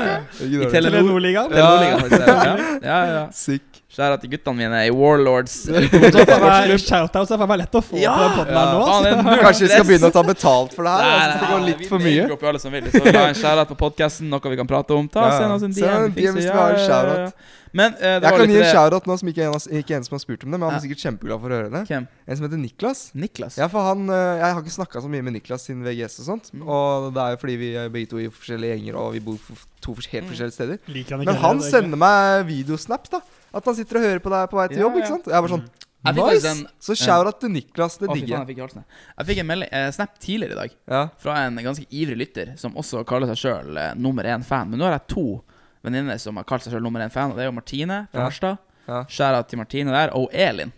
Speaker 3: Ikke
Speaker 1: I
Speaker 3: dårlig.
Speaker 1: Telenor.
Speaker 2: Telenor-ligaen.
Speaker 1: Telenor-ligaen, faktisk, ja. ja, ja.
Speaker 3: Sick.
Speaker 1: Skjæra til guttene mine i Warlords.
Speaker 2: Shoutouts er faen meg lett å få
Speaker 1: Ja!
Speaker 2: på den podden her
Speaker 1: Faen,
Speaker 2: nå. ass.
Speaker 1: det er null
Speaker 3: Kanskje vi skal
Speaker 1: stress.
Speaker 3: begynne å ta betalt for det her?
Speaker 1: Nei,
Speaker 3: Jeg synes det går
Speaker 1: nei,
Speaker 3: litt for
Speaker 1: Vi
Speaker 3: mye.
Speaker 1: legger opp jo alle som vil, så la en shout-out på podcasten noe vi kan prate om. Ta,
Speaker 3: Ja.
Speaker 1: Send oss en
Speaker 3: Send
Speaker 1: DM.
Speaker 3: en
Speaker 1: vi
Speaker 3: DM hvis
Speaker 1: fikser-
Speaker 3: du har en shout-out.
Speaker 1: Men eh,
Speaker 3: Jeg
Speaker 1: det var
Speaker 3: kan
Speaker 1: litt
Speaker 3: gi en
Speaker 1: det-
Speaker 3: shout-out nå som ikke en, av- ikke en som har spurt om det, men han er
Speaker 1: Ja.
Speaker 3: sikkert kjempeglad for å høre det.
Speaker 1: Hvem?
Speaker 3: En som heter Niklas.
Speaker 1: Niklas.
Speaker 3: Ja, for han, eh, Jeg har ikke snakka så mye med Niklas siden VGS og sånt.
Speaker 1: Mm.
Speaker 3: Og det er jo fordi vi er begge to i forskjellige gjenger, og vi bor på to fors- helt
Speaker 1: Mm.
Speaker 3: forskjellige steder.
Speaker 2: *laughs* Liker han ikke
Speaker 3: Men
Speaker 2: heller,
Speaker 3: han
Speaker 2: det er ikke-
Speaker 3: sender meg videosnaps, da. At han sitter og hører på deg på vei til
Speaker 1: Ja,
Speaker 3: jobb.
Speaker 1: ja.
Speaker 3: ikke sant? Og jeg er bare sånn
Speaker 1: Jeg fikk
Speaker 3: Nice!
Speaker 1: faktisk en-
Speaker 3: Så shout-out til Niklas. Det
Speaker 1: Å, fy
Speaker 3: digger
Speaker 1: faen,
Speaker 3: jeg.
Speaker 1: jeg fikk halsen. Jeg fikk en melding, eh, snap tidligere i dag
Speaker 3: Ja.
Speaker 1: fra en ganske ivrig lytter, som også kaller seg sjøl eh, nummer én-fan. Men nå har jeg to venninner som har kalt seg sjøl nummer én-fan, og det er jo Martine fra
Speaker 3: Ja.
Speaker 1: Harstad.
Speaker 3: Ja.
Speaker 1: Skjæra til Martine der, og Elin.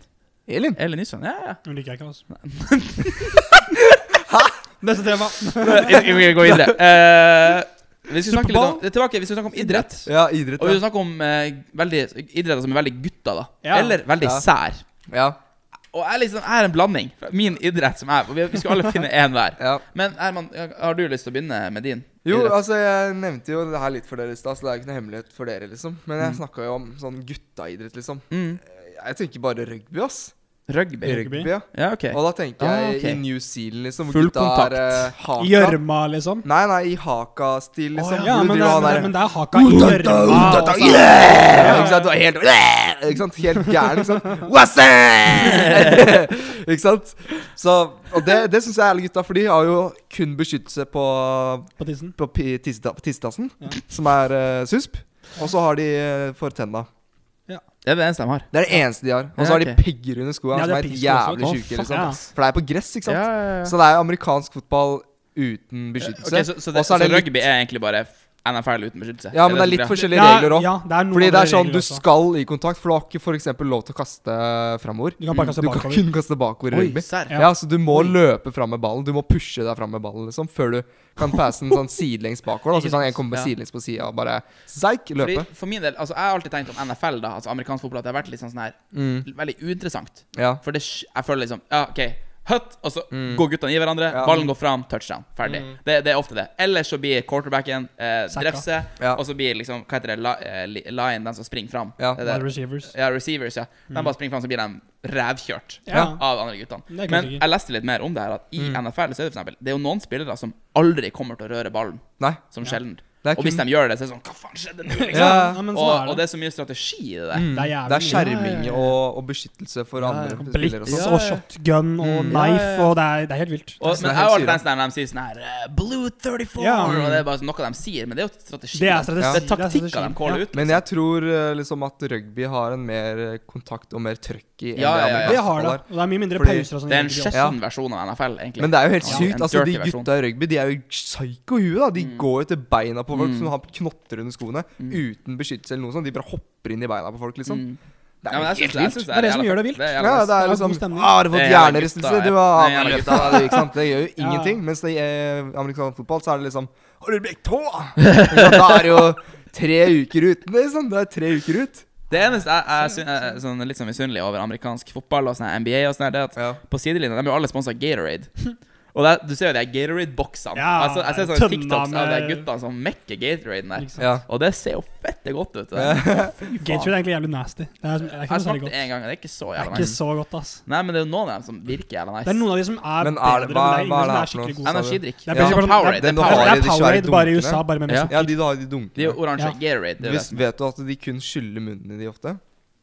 Speaker 3: Elin.
Speaker 1: Elin Nysson, ja, ja.
Speaker 2: Hun liker jeg ikke, altså. Neste tema.
Speaker 1: Vi vi går
Speaker 3: *laughs*
Speaker 1: videre. Eh, vi skal snakke litt om,
Speaker 2: Superbowl?
Speaker 1: tilbake, vi skal snakke om idrett.
Speaker 3: Ja, idrett.
Speaker 1: Og vi
Speaker 3: Ja.
Speaker 1: skal snakke om eh, veldig, idretter som er veldig gutta, da.
Speaker 2: Ja.
Speaker 1: Eller veldig
Speaker 3: Ja.
Speaker 1: sær.
Speaker 3: ja,
Speaker 1: Og jeg liksom jeg er en blanding. Min idrett som er Vi vi skal alle finne én hver.
Speaker 3: ja.
Speaker 1: Men Herman, har du lyst til å begynne med din?
Speaker 3: Jo,
Speaker 1: idrett?
Speaker 3: altså, jeg nevnte jo det her litt for dere i stad, så det er jo ikke noe hemmelighet for dere, liksom. Men jeg snakka jo om sånn guttaidrett, liksom.
Speaker 1: mm.
Speaker 3: Jeg tenker bare rugby, ass.
Speaker 1: Rugby.
Speaker 2: Rugby.
Speaker 3: ja.
Speaker 1: Ja, OK.
Speaker 3: Og da tenker
Speaker 1: Ah,
Speaker 3: jeg
Speaker 1: ok.
Speaker 3: i New Zealand, liksom. hvor
Speaker 1: Full
Speaker 3: gutta
Speaker 1: kontakt.
Speaker 3: Er, eh, haka.
Speaker 2: Gjørma, liksom.
Speaker 3: Nei, nei, i haka-stil, liksom.
Speaker 2: Å, ja,
Speaker 3: hvor du
Speaker 2: men, det,
Speaker 3: driver og han
Speaker 2: men, det,
Speaker 3: der
Speaker 2: men det er haka i gjørma.
Speaker 3: Utata,
Speaker 2: altså.
Speaker 3: yeah! Ikke sant? Du er helt Ikke sant? Helt gæren, ikke sant? What's up? Ikke sant? Så, og det, det syns jeg er alle gutta, for de har jo kun beskyttelse på,
Speaker 2: På tissen.
Speaker 3: på pi- tisseta- tissetassen, som er eh, susp. Og så har de eh, for tenna.
Speaker 1: Det er det eneste de har.
Speaker 3: Det er det eneste de har. Og
Speaker 1: Ja,
Speaker 3: så har de
Speaker 1: ok.
Speaker 3: pegger under skoa,
Speaker 2: Ja,
Speaker 3: som
Speaker 2: det er
Speaker 3: er helt
Speaker 2: piggsko også.
Speaker 3: jævlig
Speaker 1: Å,
Speaker 3: sjuke.
Speaker 1: fuck,
Speaker 3: Liksom.
Speaker 2: ja.
Speaker 3: For det er på gress, ikke sant?
Speaker 1: Ja, ja, ja.
Speaker 3: Så det er amerikansk fotball uten
Speaker 1: Ok,
Speaker 3: beskyttelse.
Speaker 1: så, så,
Speaker 3: Og
Speaker 1: det,
Speaker 3: så
Speaker 1: så
Speaker 3: er det litt
Speaker 1: rugby er egentlig bare NFL uten beskyttelse.
Speaker 3: Ja, men det er litt
Speaker 1: som greia?
Speaker 3: forskjellige regler òg.
Speaker 2: Ja, det er noen
Speaker 3: Fordi det
Speaker 2: andre
Speaker 3: er sånn,
Speaker 2: regler
Speaker 3: du
Speaker 2: også.
Speaker 3: skal i kontakt, for du har ikke for eksempel lov til å kaste framover.
Speaker 2: Du kan bare kaste
Speaker 3: Du kan
Speaker 2: bakover.
Speaker 3: kun kaste bakover i
Speaker 1: Oi,
Speaker 3: rugby.
Speaker 1: serr.
Speaker 3: Ja,
Speaker 2: Ja.
Speaker 3: så du må løpe fram med ballen. Du må pushe deg fram med ballen liksom før du kan passe
Speaker 2: *laughs*
Speaker 3: den sånn sidelengs bakover. Da. Så
Speaker 1: Ikke
Speaker 3: kan
Speaker 1: sant?
Speaker 3: en komme
Speaker 1: Ja.
Speaker 3: sidelengs på sida og bare zeik,
Speaker 1: Fordi,
Speaker 3: løpe.
Speaker 1: for min del, altså Jeg har alltid tenkt om NFL, da altså amerikansk fotball, at det har vært litt sånn sånn her
Speaker 3: Mm,
Speaker 1: veldig uinteressant.
Speaker 3: ja.
Speaker 1: For det, sk- jeg føler liksom Ja, OK. Hutt, og så
Speaker 3: Mm.
Speaker 1: går guttene i hverandre.
Speaker 3: Ja.
Speaker 1: Ballen går fram, touchdown. Ferdig.
Speaker 2: Mm.
Speaker 1: Det, det er ofte det. Ellers så blir quarterbacken eh,
Speaker 2: Sacka.
Speaker 1: drefse,
Speaker 3: Ja.
Speaker 1: og så blir liksom Hva heter det? La, eh, li- line, den som springer fram.
Speaker 3: Ja.
Speaker 1: Det er
Speaker 2: Wide
Speaker 1: det.
Speaker 2: receivers.
Speaker 1: ja receivers, ja. De bare springer fram, så blir de rævkjørt
Speaker 2: Ja.
Speaker 1: av andre guttene.
Speaker 2: Det er
Speaker 1: Men
Speaker 2: kanskje ikke.
Speaker 1: jeg leste litt mer om det her, at
Speaker 3: Mm.
Speaker 1: i NFL så er det for eksempel Det er jo noen spillere som aldri kommer til å røre ballen,
Speaker 3: Nei.
Speaker 1: som
Speaker 2: Ja.
Speaker 1: sjelden.
Speaker 3: Det er
Speaker 1: Og hvis
Speaker 3: kun
Speaker 1: de gjør det, så er det sånn Hva faen skjedde nå? Liksom?
Speaker 3: Ja.
Speaker 2: Ja, *laughs*
Speaker 1: og,
Speaker 2: men sånn
Speaker 1: og
Speaker 2: er
Speaker 1: det
Speaker 2: det.
Speaker 1: er så mye strategi i det der.
Speaker 3: mm,
Speaker 2: Det er jævlig
Speaker 3: Det er
Speaker 2: mye.
Speaker 3: skjerming
Speaker 2: Ja, ja, ja.
Speaker 3: og, og beskyttelse for andre spillere. og
Speaker 2: Blitz
Speaker 3: sånn.
Speaker 2: og shotgun og
Speaker 3: Mm.
Speaker 1: Ja,
Speaker 2: knife,
Speaker 1: ja, ja.
Speaker 2: og det er, det er helt vilt.
Speaker 1: Og,
Speaker 3: Så det er
Speaker 1: men jeg har
Speaker 3: helt
Speaker 1: alltid tenkt når de sier sånn her eh, Blue 34
Speaker 2: Ja.
Speaker 1: Og det er bare sånn noe de sier, men det er jo strategi.
Speaker 2: Det er
Speaker 3: Ja.
Speaker 1: Det er
Speaker 2: strategi. Det er
Speaker 1: taktikker
Speaker 2: strategi.
Speaker 1: de caller ut.
Speaker 3: Men jeg tror eh, liksom at rugby har en mer eh, kontakt og mer trøkk i enn det
Speaker 1: Ja, ja, ja.
Speaker 2: Det
Speaker 3: amerikansk
Speaker 2: har det.
Speaker 3: fotball har.
Speaker 2: Og det er mye mindre
Speaker 3: Fordi
Speaker 2: pauser og sånn.
Speaker 1: Det er en
Speaker 2: egentlig også.
Speaker 1: skjessen versjon av NFL, egentlig.
Speaker 3: Men det er jo helt
Speaker 1: Ja,
Speaker 3: sykt.
Speaker 1: en
Speaker 3: altså De
Speaker 1: dirty versjon.
Speaker 3: gutta i rugby de er jo psycho i huet. da. De
Speaker 1: Mm.
Speaker 3: går jo til beina på folk
Speaker 1: Mm.
Speaker 3: som har knotter under skoene
Speaker 1: Mm.
Speaker 3: uten beskyttelse eller noe sånt. De bare hopper inn i beina på folk, liksom.
Speaker 1: Mm.
Speaker 3: Det
Speaker 1: Ja,
Speaker 3: er
Speaker 1: men jeg
Speaker 3: jo
Speaker 1: synes-
Speaker 3: helt
Speaker 1: jeg
Speaker 3: vilt.
Speaker 1: synes
Speaker 2: Det er det som
Speaker 1: jævla
Speaker 2: gjør det
Speaker 1: fett.
Speaker 2: vilt.
Speaker 1: er jævla
Speaker 3: Ja,
Speaker 1: fett.
Speaker 3: det er
Speaker 2: god
Speaker 3: liksom
Speaker 2: stemning.
Speaker 3: ah, Har du
Speaker 1: Det
Speaker 3: fått
Speaker 1: er jævla
Speaker 3: hjernerystelse?
Speaker 1: gutta,
Speaker 3: Du
Speaker 1: ja.
Speaker 3: var
Speaker 1: Det er jævla
Speaker 3: jævla
Speaker 1: gutta.
Speaker 3: gutta, ikke sant? Det
Speaker 1: *laughs*
Speaker 3: gjør jo ingenting. Mens i eh, amerikansk fotball så er det liksom Har du
Speaker 1: *laughs*
Speaker 3: brekt tå? Ikke sant? Da er det jo tre uker uten, liksom. Det er tre uker ut.
Speaker 1: Det eneste jeg, jeg, syn- jeg er sånn, litt sånn misunnelig over amerikansk fotball og sånn her NBA, og sånn her, det er at
Speaker 3: Ja.
Speaker 1: på sidelinja de er jo alle sponsa Gatorade.
Speaker 2: *laughs*
Speaker 1: Og det, er- du ser jo de her Gatorade-boksene.
Speaker 2: Ja,
Speaker 1: altså, jeg ser
Speaker 2: det er
Speaker 1: sånne
Speaker 2: tønna
Speaker 1: TikToks av de
Speaker 2: med-
Speaker 1: guttene som mekker Gateraden der.
Speaker 2: Liksom.
Speaker 3: ja.
Speaker 1: Og det ser jo fette godt ut. Det. Fy
Speaker 2: Gatorade
Speaker 1: faen.
Speaker 2: er egentlig jævlig nasty. Det er, det er
Speaker 1: Jeg
Speaker 2: ikke noe særlig
Speaker 1: smakte
Speaker 2: godt.
Speaker 1: en gang, og det er ikke så
Speaker 2: Det er
Speaker 1: jævla
Speaker 2: ikke
Speaker 1: nice.
Speaker 2: så godt, ass.
Speaker 1: Nei, men det er jo noen av dem som virker jævla
Speaker 2: Det er
Speaker 1: nice.
Speaker 2: noen av de som er
Speaker 3: Men er det- hva-
Speaker 2: bedre, men
Speaker 3: hva er det her for
Speaker 2: det er ingen som er skikkelig
Speaker 3: noe?
Speaker 2: gode.
Speaker 1: Energidrikk.
Speaker 2: Det er
Speaker 1: Ja,
Speaker 2: bare sånn-
Speaker 3: den
Speaker 1: Powerade. Det
Speaker 3: du
Speaker 1: er
Speaker 3: har
Speaker 1: Powerade.
Speaker 2: Det er
Speaker 3: de svære
Speaker 2: Powerade bare i
Speaker 3: dunkene.
Speaker 2: USA, bare med
Speaker 1: Ja.
Speaker 2: mest
Speaker 3: ja, de du har i de
Speaker 1: Det er jo
Speaker 3: dunkene.
Speaker 1: oransje
Speaker 2: Ja.
Speaker 1: Gatorade. Det er det
Speaker 3: Hvis,
Speaker 1: som
Speaker 3: vet du at de kun skyller munnen din i de ofte?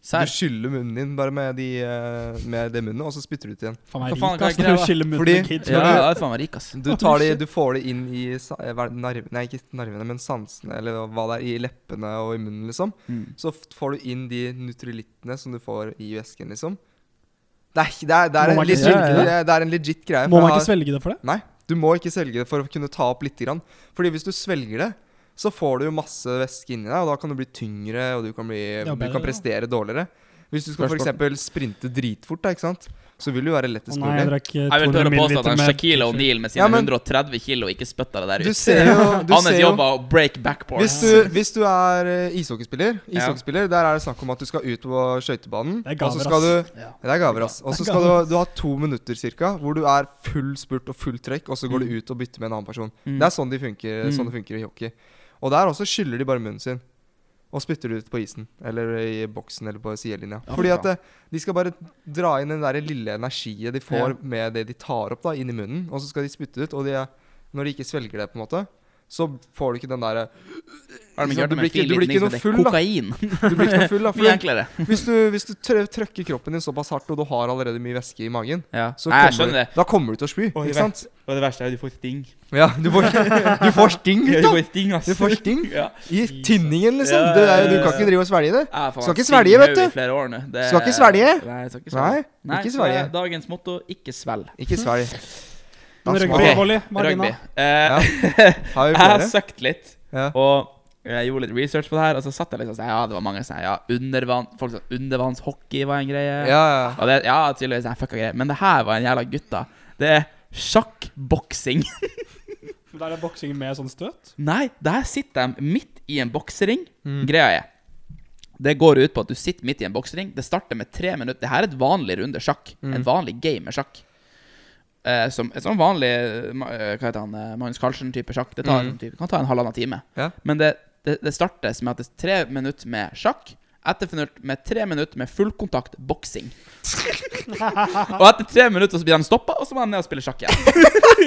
Speaker 3: Du
Speaker 1: Serr?
Speaker 3: skyller munnen din bare med, de, eh, med det munnet, og så spytter du ut igjen.
Speaker 2: Faen meg
Speaker 1: Hva faen,
Speaker 2: rik,
Speaker 1: hva er
Speaker 2: ass. Når
Speaker 1: greia?
Speaker 2: du skiller munnen
Speaker 3: Fordi-
Speaker 2: med kids.
Speaker 1: Ja,
Speaker 2: når
Speaker 1: jeg
Speaker 2: du-
Speaker 1: er faen meg rik, ass.
Speaker 2: *laughs*
Speaker 3: Du, tar de, du får det inn i sa- eh, hva er det, narv, Nei, ikke narvene, men sansene, eller hva det er, i leppene og i munnen, liksom.
Speaker 1: Mm.
Speaker 3: Så f- får du inn de nutrilittene som du får i væsken, liksom. Det er, ikke- det er, det er,
Speaker 2: Må
Speaker 3: en,
Speaker 2: man ikke
Speaker 3: legit,
Speaker 2: svelge det?
Speaker 3: det er- det er en legit greie. for
Speaker 2: Må man
Speaker 3: jeg
Speaker 2: ikke
Speaker 3: har-
Speaker 2: svelge det for det?
Speaker 3: Nei, du må ikke svelge det for å kunne ta opp lite grann. Fordi hvis du svelger det, så får du jo masse væske inni deg, og da kan du bli tyngre, og du kan, bli,
Speaker 2: Det er jo
Speaker 3: du
Speaker 2: bedre,
Speaker 3: kan
Speaker 2: da.
Speaker 3: prestere dårligere. Hvis du skal
Speaker 1: Spørs
Speaker 3: f.eks. sprinte dritfort, da, ikke sant, så vil du være
Speaker 2: Å
Speaker 3: lettest
Speaker 2: nei, jeg
Speaker 3: mulig.
Speaker 2: drakk eh,
Speaker 1: Jeg vil tørre
Speaker 2: 200
Speaker 1: å påstå at
Speaker 2: milliliter
Speaker 1: han
Speaker 2: med
Speaker 1: Shaquille O'Neal med sine
Speaker 3: Ja, men-
Speaker 1: 130 kilo ikke spytta det der
Speaker 3: Du
Speaker 1: ut.
Speaker 3: ser
Speaker 1: *laughs*
Speaker 3: jo, du
Speaker 1: Hans
Speaker 3: ser
Speaker 1: jobb
Speaker 3: jo
Speaker 1: var å break backboard.
Speaker 3: hvis du, hvis du er eh, ishockeyspiller,
Speaker 1: Ja.
Speaker 3: ishockeyspiller der er det snakk om at du skal ut på skøytebanen.
Speaker 2: Det er
Speaker 3: og så
Speaker 2: gaver,
Speaker 3: skal
Speaker 2: ass.
Speaker 3: du
Speaker 1: Ja.
Speaker 3: Det er gaver, ass. Og så skal du, du ha to minutter cirka, hvor du er full spurt og full trekk, og så går
Speaker 1: Mm.
Speaker 3: du ut og bytter med en annen person.
Speaker 1: Mm.
Speaker 3: Det er sånn, de funker,
Speaker 1: Mm.
Speaker 3: sånn det funker i hockey. Og der også skyller de bare munnen sin. Og spytter det ut på isen, eller i boksen, eller på sidelinja.
Speaker 1: Ja,
Speaker 3: Fordi
Speaker 1: fy
Speaker 3: at eh, de skal bare dra inn den der lille energien de får med det de tar opp, da, inn i munnen. Og så skal de spytte det ut. Og de, er- når de ikke svelger det, på en måte, så får du ikke den derre
Speaker 1: Har de
Speaker 3: ikke
Speaker 1: ikke
Speaker 3: sant,
Speaker 1: hørt
Speaker 3: du blir
Speaker 1: om en
Speaker 3: ikke-
Speaker 1: fin
Speaker 3: du blir
Speaker 1: liten
Speaker 3: ikke
Speaker 1: ting som
Speaker 3: noe
Speaker 1: heter
Speaker 3: full, da.
Speaker 1: kokain?
Speaker 3: Du blir ikke noe
Speaker 1: *laughs*
Speaker 3: full, da.
Speaker 1: Mye
Speaker 3: For
Speaker 1: enklere.
Speaker 3: hvis du, hvis du trø trøkker kroppen din såpass hardt, og du har allerede mye væske i magen,
Speaker 1: Ja.
Speaker 3: så
Speaker 1: Nei, jeg
Speaker 3: kommer
Speaker 1: skjønner det.
Speaker 3: du, da kommer du til å spy.
Speaker 1: Å, jeg
Speaker 3: Ikke sant?
Speaker 1: Og det verste er jo du får *laughs* sting.
Speaker 3: Ja, du får, *laughs* du får sting,
Speaker 1: *laughs* Ja, Du
Speaker 3: gutta!
Speaker 1: får sting, ass.
Speaker 3: Du får *laughs* sting
Speaker 1: Ja.
Speaker 3: i tynningen, liksom.
Speaker 1: Ja,
Speaker 3: Det er, jo-
Speaker 1: ja,
Speaker 3: du kan
Speaker 1: ja.
Speaker 3: ikke drive og svelge det.
Speaker 1: Jeg har faen
Speaker 3: Skal ikke
Speaker 1: sting
Speaker 3: svelge, vet
Speaker 1: nå i
Speaker 3: du.
Speaker 1: Flere år nå. Det-
Speaker 3: Skal ikke svelge.
Speaker 1: Nei, skal ikke svelge.
Speaker 3: Nei,
Speaker 1: Nei,
Speaker 3: ikke
Speaker 1: så det er
Speaker 3: svelge.
Speaker 1: Dagens motto ikke svelg.
Speaker 3: Ikke svelg.
Speaker 2: Men
Speaker 3: Da
Speaker 2: Rugby,
Speaker 1: Ok.
Speaker 3: smaker-
Speaker 2: volley,
Speaker 1: Rugby.
Speaker 2: margina.
Speaker 1: Eh, *laughs*
Speaker 3: Ja. Har vi
Speaker 1: Jeg har
Speaker 3: flere?
Speaker 1: søkt litt,
Speaker 3: Ja.
Speaker 1: og jeg gjorde litt research på det her. Og så satt jeg liksom og sa, ja, det var mange som sa, ja, undervann, folk sa undervannshockey var en greie.
Speaker 3: Ja, ja.
Speaker 1: Og det, ja, tydeligvis jeg fucka greier. Men det her var en jævla gutta. Det er sjakkboksing.
Speaker 2: Men Der er boksing med sånn støt?
Speaker 1: Nei, der sitter de midt i en boksering.
Speaker 3: Mm.
Speaker 1: Greia er Det går ut på at du sitter midt i en boksering. Det starter med tre minutter. Det her er et vanlig runde sjakk.
Speaker 3: Mm.
Speaker 1: En vanlig game med sjakk. Eh, som et sånn vanlig eh, ma- eh, Hva heter han eh, Magnus Carlsen-type sjakk. Det tar,
Speaker 3: Mm.
Speaker 1: en type, kan ta en halvannen time.
Speaker 3: Ja.
Speaker 1: Men det, det, det startes med at det er tre minutter med sjakk. Etterfulgt med tre minutter med fullkontakt
Speaker 3: *laughs*
Speaker 1: boksing. og etter tre minutter så blir de stoppa, og så må de ned og spille sjakk igjen.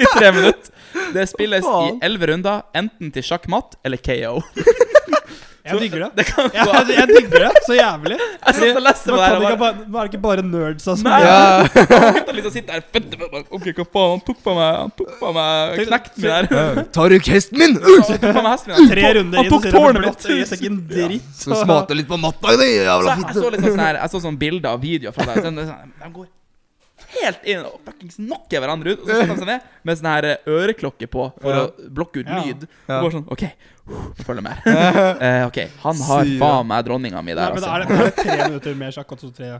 Speaker 3: *laughs*
Speaker 1: I tre minutter. Det spilles i
Speaker 3: faen?
Speaker 1: elleve runder, enten til sjakk-matt eller KO.
Speaker 2: *laughs* Jeg digger det.
Speaker 1: *laughs* Det kan
Speaker 2: Jeg,
Speaker 1: gå.
Speaker 2: jeg digger det
Speaker 1: *laughs*
Speaker 2: så jævlig.
Speaker 1: Jeg satt og leste
Speaker 2: Nå
Speaker 1: på det
Speaker 2: kan
Speaker 1: her.
Speaker 2: det
Speaker 1: og
Speaker 2: ikke
Speaker 1: bare-
Speaker 2: bare, nå er det ikke bare nerds altså.
Speaker 1: Nei.
Speaker 3: Ja.
Speaker 1: Gutta liksom sitter her fødte på bare, Ok, hva faen? Han tok på meg Han tok på meg knekten min her.
Speaker 3: Ja. Tar du hesten min?
Speaker 1: Han tok på meg hesten
Speaker 2: *laughs*
Speaker 1: min her.
Speaker 2: Tre runder
Speaker 1: Han
Speaker 2: inn,
Speaker 1: tok
Speaker 2: så er det
Speaker 1: tårnet
Speaker 2: blått.
Speaker 1: mitt.
Speaker 2: Det gis ikke en dritt.
Speaker 3: Så smater litt på matta di,
Speaker 1: Så
Speaker 3: jævla
Speaker 1: jeg, jeg
Speaker 3: fitte.
Speaker 1: så liksom sånn her Jeg så sånn bilder av videoer fra deg. Sånn, det er sånn, de går helt inn og fuckings knocker hverandre ut. Og så setter de seg ned med sånn her eh, øreklokke på for
Speaker 3: Ja.
Speaker 1: å blokke ut
Speaker 2: Ja.
Speaker 1: lyd.
Speaker 3: Ja.
Speaker 1: Og bare sånn OK, følg med. *laughs* Eh, OK, han har
Speaker 3: Syre.
Speaker 1: faen meg dronninga mi
Speaker 2: Nei,
Speaker 1: der,
Speaker 2: men
Speaker 1: altså.
Speaker 2: er det, er det tre minutter med sjakk og så tre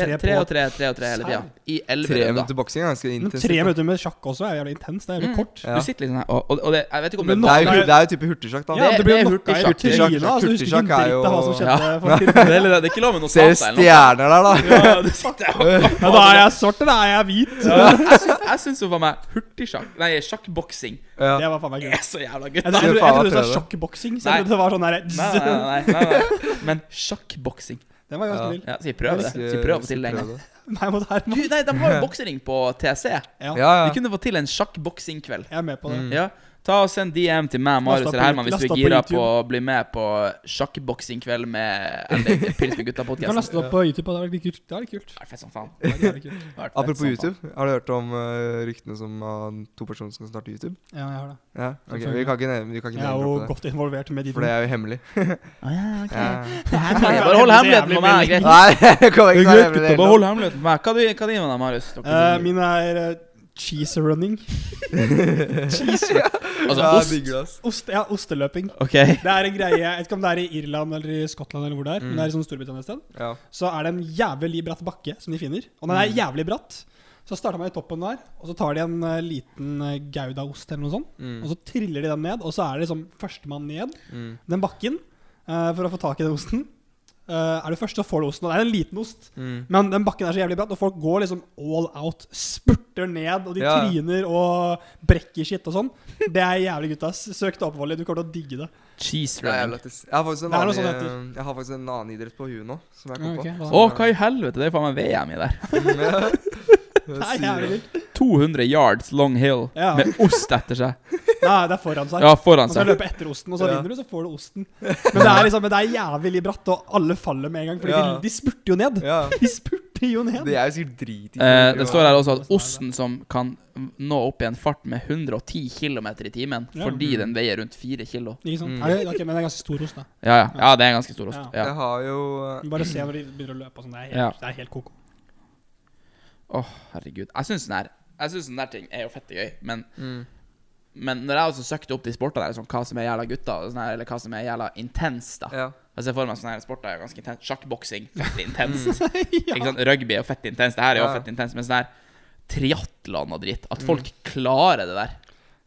Speaker 1: Tre,
Speaker 2: er
Speaker 1: tre
Speaker 2: på-
Speaker 1: og tre, tre og tre hele tida. I elleve
Speaker 3: Tre
Speaker 1: runder.
Speaker 3: minutter boksing er ganske
Speaker 2: Men
Speaker 3: intensivt.
Speaker 2: tre minutter med sjakk også er jævlig intenst. Det er jævlig
Speaker 1: Mm.
Speaker 2: kort.
Speaker 3: Ja.
Speaker 1: Du sitter litt sånn her, og, og, og det, jeg vet ikke om det er
Speaker 2: Men
Speaker 3: Det er jo,
Speaker 2: Nei.
Speaker 3: det er jo type hurtigsjakk, da.
Speaker 2: Ja,
Speaker 1: det-
Speaker 2: det blir
Speaker 1: det er
Speaker 2: knocka i
Speaker 1: hurtigsjakk.
Speaker 2: trynet. Altså, du husker
Speaker 3: Hurtigsjakk
Speaker 2: ikke
Speaker 3: er
Speaker 2: en dritt av hva
Speaker 3: jo-
Speaker 2: som
Speaker 1: Ja.
Speaker 2: skjedde. faktisk. *laughs*
Speaker 1: det, er- det er ikke lov med noe
Speaker 3: Ser
Speaker 1: notat eller noe.
Speaker 3: stjerner der, da.
Speaker 1: Ja, du sitter
Speaker 2: *laughs*
Speaker 1: her og
Speaker 2: Ja, da er jeg svart, eller er jeg hvit?
Speaker 1: Jeg syns- Jeg syns jo faen meg hurtigsjakk Nei, sjakkboksing
Speaker 3: Ja.
Speaker 2: *laughs* Det var faen meg gøy.
Speaker 1: er så jævla gøy.
Speaker 2: Jeg
Speaker 1: Nei,
Speaker 2: trodde jeg
Speaker 3: faen
Speaker 2: trodde du
Speaker 3: meg
Speaker 2: sa
Speaker 3: prøve.
Speaker 2: sjakkboksing.
Speaker 1: Nei.
Speaker 2: Selv om det var sånn
Speaker 1: nei,
Speaker 2: *laughs* derre
Speaker 1: nei, nei, nei, nei. Men sjakkboksing
Speaker 2: Den var ganske
Speaker 3: Ja.
Speaker 2: vill.
Speaker 1: Ja, så vi prøver det. Så vi prøver å få til det en gang.
Speaker 2: Meg mot Herman.
Speaker 1: Du, nei, de har jo boksering på TC.
Speaker 3: Ja, ja. Mm.
Speaker 1: Vi kunne få til en sjakkboksingkveld.
Speaker 2: Jeg er med på det.
Speaker 1: Ja. Ta og Send DM til meg, Marius
Speaker 2: Last opp
Speaker 1: eller
Speaker 2: på
Speaker 1: Herman hvis
Speaker 2: YouTube.
Speaker 1: du er
Speaker 2: Last opp på
Speaker 1: gira
Speaker 2: YouTube.
Speaker 1: på å bli med på sjakkboksingkveld med LD Pils med
Speaker 2: Du kan
Speaker 1: gutta-podkasten.
Speaker 2: laste det opp på YouTube. og Det er veldig kult. Det er litt kult.
Speaker 1: Det er fett som faen.
Speaker 2: Det er jævlig kult.
Speaker 1: Det er fett
Speaker 3: Apropos
Speaker 1: som
Speaker 3: YouTube, har du hørt om eh, ryktene som uh, to personer som skal starte YouTube?
Speaker 2: Ja, jeg har det.
Speaker 3: Ja, ok,
Speaker 2: Selvfølgelig.
Speaker 3: Vi kan ikke nevne vi kan ikke
Speaker 2: Jeg er
Speaker 3: nevne
Speaker 2: jo
Speaker 3: det,
Speaker 2: godt involvert med de
Speaker 3: for det er jo hemmelig.
Speaker 1: faen. Å, ja, ok.
Speaker 3: Ja.
Speaker 1: *laughs* Det her kan jeg- Bare hold hemmeligheten for meg. Greit.
Speaker 3: Nei, jeg kommer ikke
Speaker 1: Det er
Speaker 3: til å
Speaker 1: greit,
Speaker 3: nevne det. hele
Speaker 1: gutta. Bare hold
Speaker 3: tatt.
Speaker 1: hemmeligheten for meg. Hva driver hva driver du med, Marius? Dere
Speaker 2: Eh,
Speaker 1: driver-
Speaker 2: Min er eh, cheese running. *laughs*
Speaker 1: Cheese Altså
Speaker 3: Ja, jeg
Speaker 1: ost.
Speaker 3: digger det, ass.
Speaker 2: Ost, ja, osteløping.
Speaker 1: Ok.
Speaker 2: Det er en greie, Jeg vet ikke om det er i Irland eller i Skottland, eller hvor det er,
Speaker 1: Mm.
Speaker 2: men det er i sånn Storbritannia et sted.
Speaker 3: Ja.
Speaker 2: Så er det en jævlig bratt bakke som de finner. Og den
Speaker 3: Mm.
Speaker 2: er jævlig bratt. Så starter man i toppen der, og så tar de en eh, liten eh, goudaost eller noe sånt.
Speaker 3: Mm.
Speaker 1: Altså,
Speaker 2: Og så triller de den ned, og så er det liksom førstemann ned
Speaker 3: Mm.
Speaker 2: den bakken eh, for å få tak i den osten. Eh, er du først, så får du osten. Og det er en liten ost.
Speaker 3: Mm.
Speaker 2: Men den bakken er så jævlig bratt, og folk går liksom all out. Spurter ned, og de
Speaker 3: Ja, ja.
Speaker 2: tryner og brekker skitt og sånn. Det er jævlig, gutta. S- Søk det opp, Wally. Du kommer til å digge det.
Speaker 1: Cheese
Speaker 3: Det er jævlig
Speaker 1: running.
Speaker 3: lættis. Jeg har faktisk en
Speaker 2: Det er noe
Speaker 3: annen,
Speaker 2: sånn det heter.
Speaker 3: eh, jeg har faktisk en annen idrett på huet nå, som jeg kom
Speaker 2: Ja,
Speaker 3: *laughs*
Speaker 2: ok,
Speaker 3: på.
Speaker 1: Å, hva i helvete? Det er faen meg VM i der.
Speaker 2: *laughs* Det er jævlig vilt.
Speaker 1: 200 yards long hill
Speaker 2: Ja.
Speaker 1: med ost etter seg.
Speaker 2: Nei, det er foran seg.
Speaker 1: Ja, foran
Speaker 2: Man skal
Speaker 1: seg.
Speaker 2: løpe etter osten, og så
Speaker 3: Ja.
Speaker 2: vinner du, så får du osten. Men det er liksom, men det er jævlig bratt, og alle faller med en gang. Fordi
Speaker 3: Ja.
Speaker 2: de, de spurter jo ned.
Speaker 3: Ja.
Speaker 2: De spurter jo ned.
Speaker 3: Det er jo sikkert drit
Speaker 1: Eh, det står her også at osten som kan nå opp i en fart med 110 km i timen
Speaker 2: Ja.
Speaker 1: fordi den veier rundt 4 kilo.
Speaker 2: Ikke sant?
Speaker 3: Mm.
Speaker 2: Er det, ok, men det er ganske stor ost, da.
Speaker 1: Ja, ja. ja det er en ganske stor ost.
Speaker 3: Jeg
Speaker 1: Ja.
Speaker 3: har jo eh,
Speaker 2: Men Bare se når de begynner å løpe og sånn. Det er helt,
Speaker 1: Ja.
Speaker 2: det er helt
Speaker 3: *laughs*
Speaker 2: koko.
Speaker 1: Herregud. Jeg syns den her Jeg synes den der ting er jo fette gøy, men,
Speaker 3: mm.
Speaker 1: men når jeg også søkte opp de sportene der, sånn hva som er jævla gutta, og sånn her, eller hva som er jævla intens, da
Speaker 3: Ja.
Speaker 1: Altså, Jeg ser for meg sånne her sporter er jo ganske intenst. Sjakkboksing,
Speaker 3: *laughs*
Speaker 1: fett intenst.
Speaker 2: ja.
Speaker 1: Ikke sant? Rugby er jo fett intenst. Det her er jo
Speaker 3: Ja. Mm.
Speaker 1: fett intenst. Men sånn her triatlon og dritt. At folk klarer det der.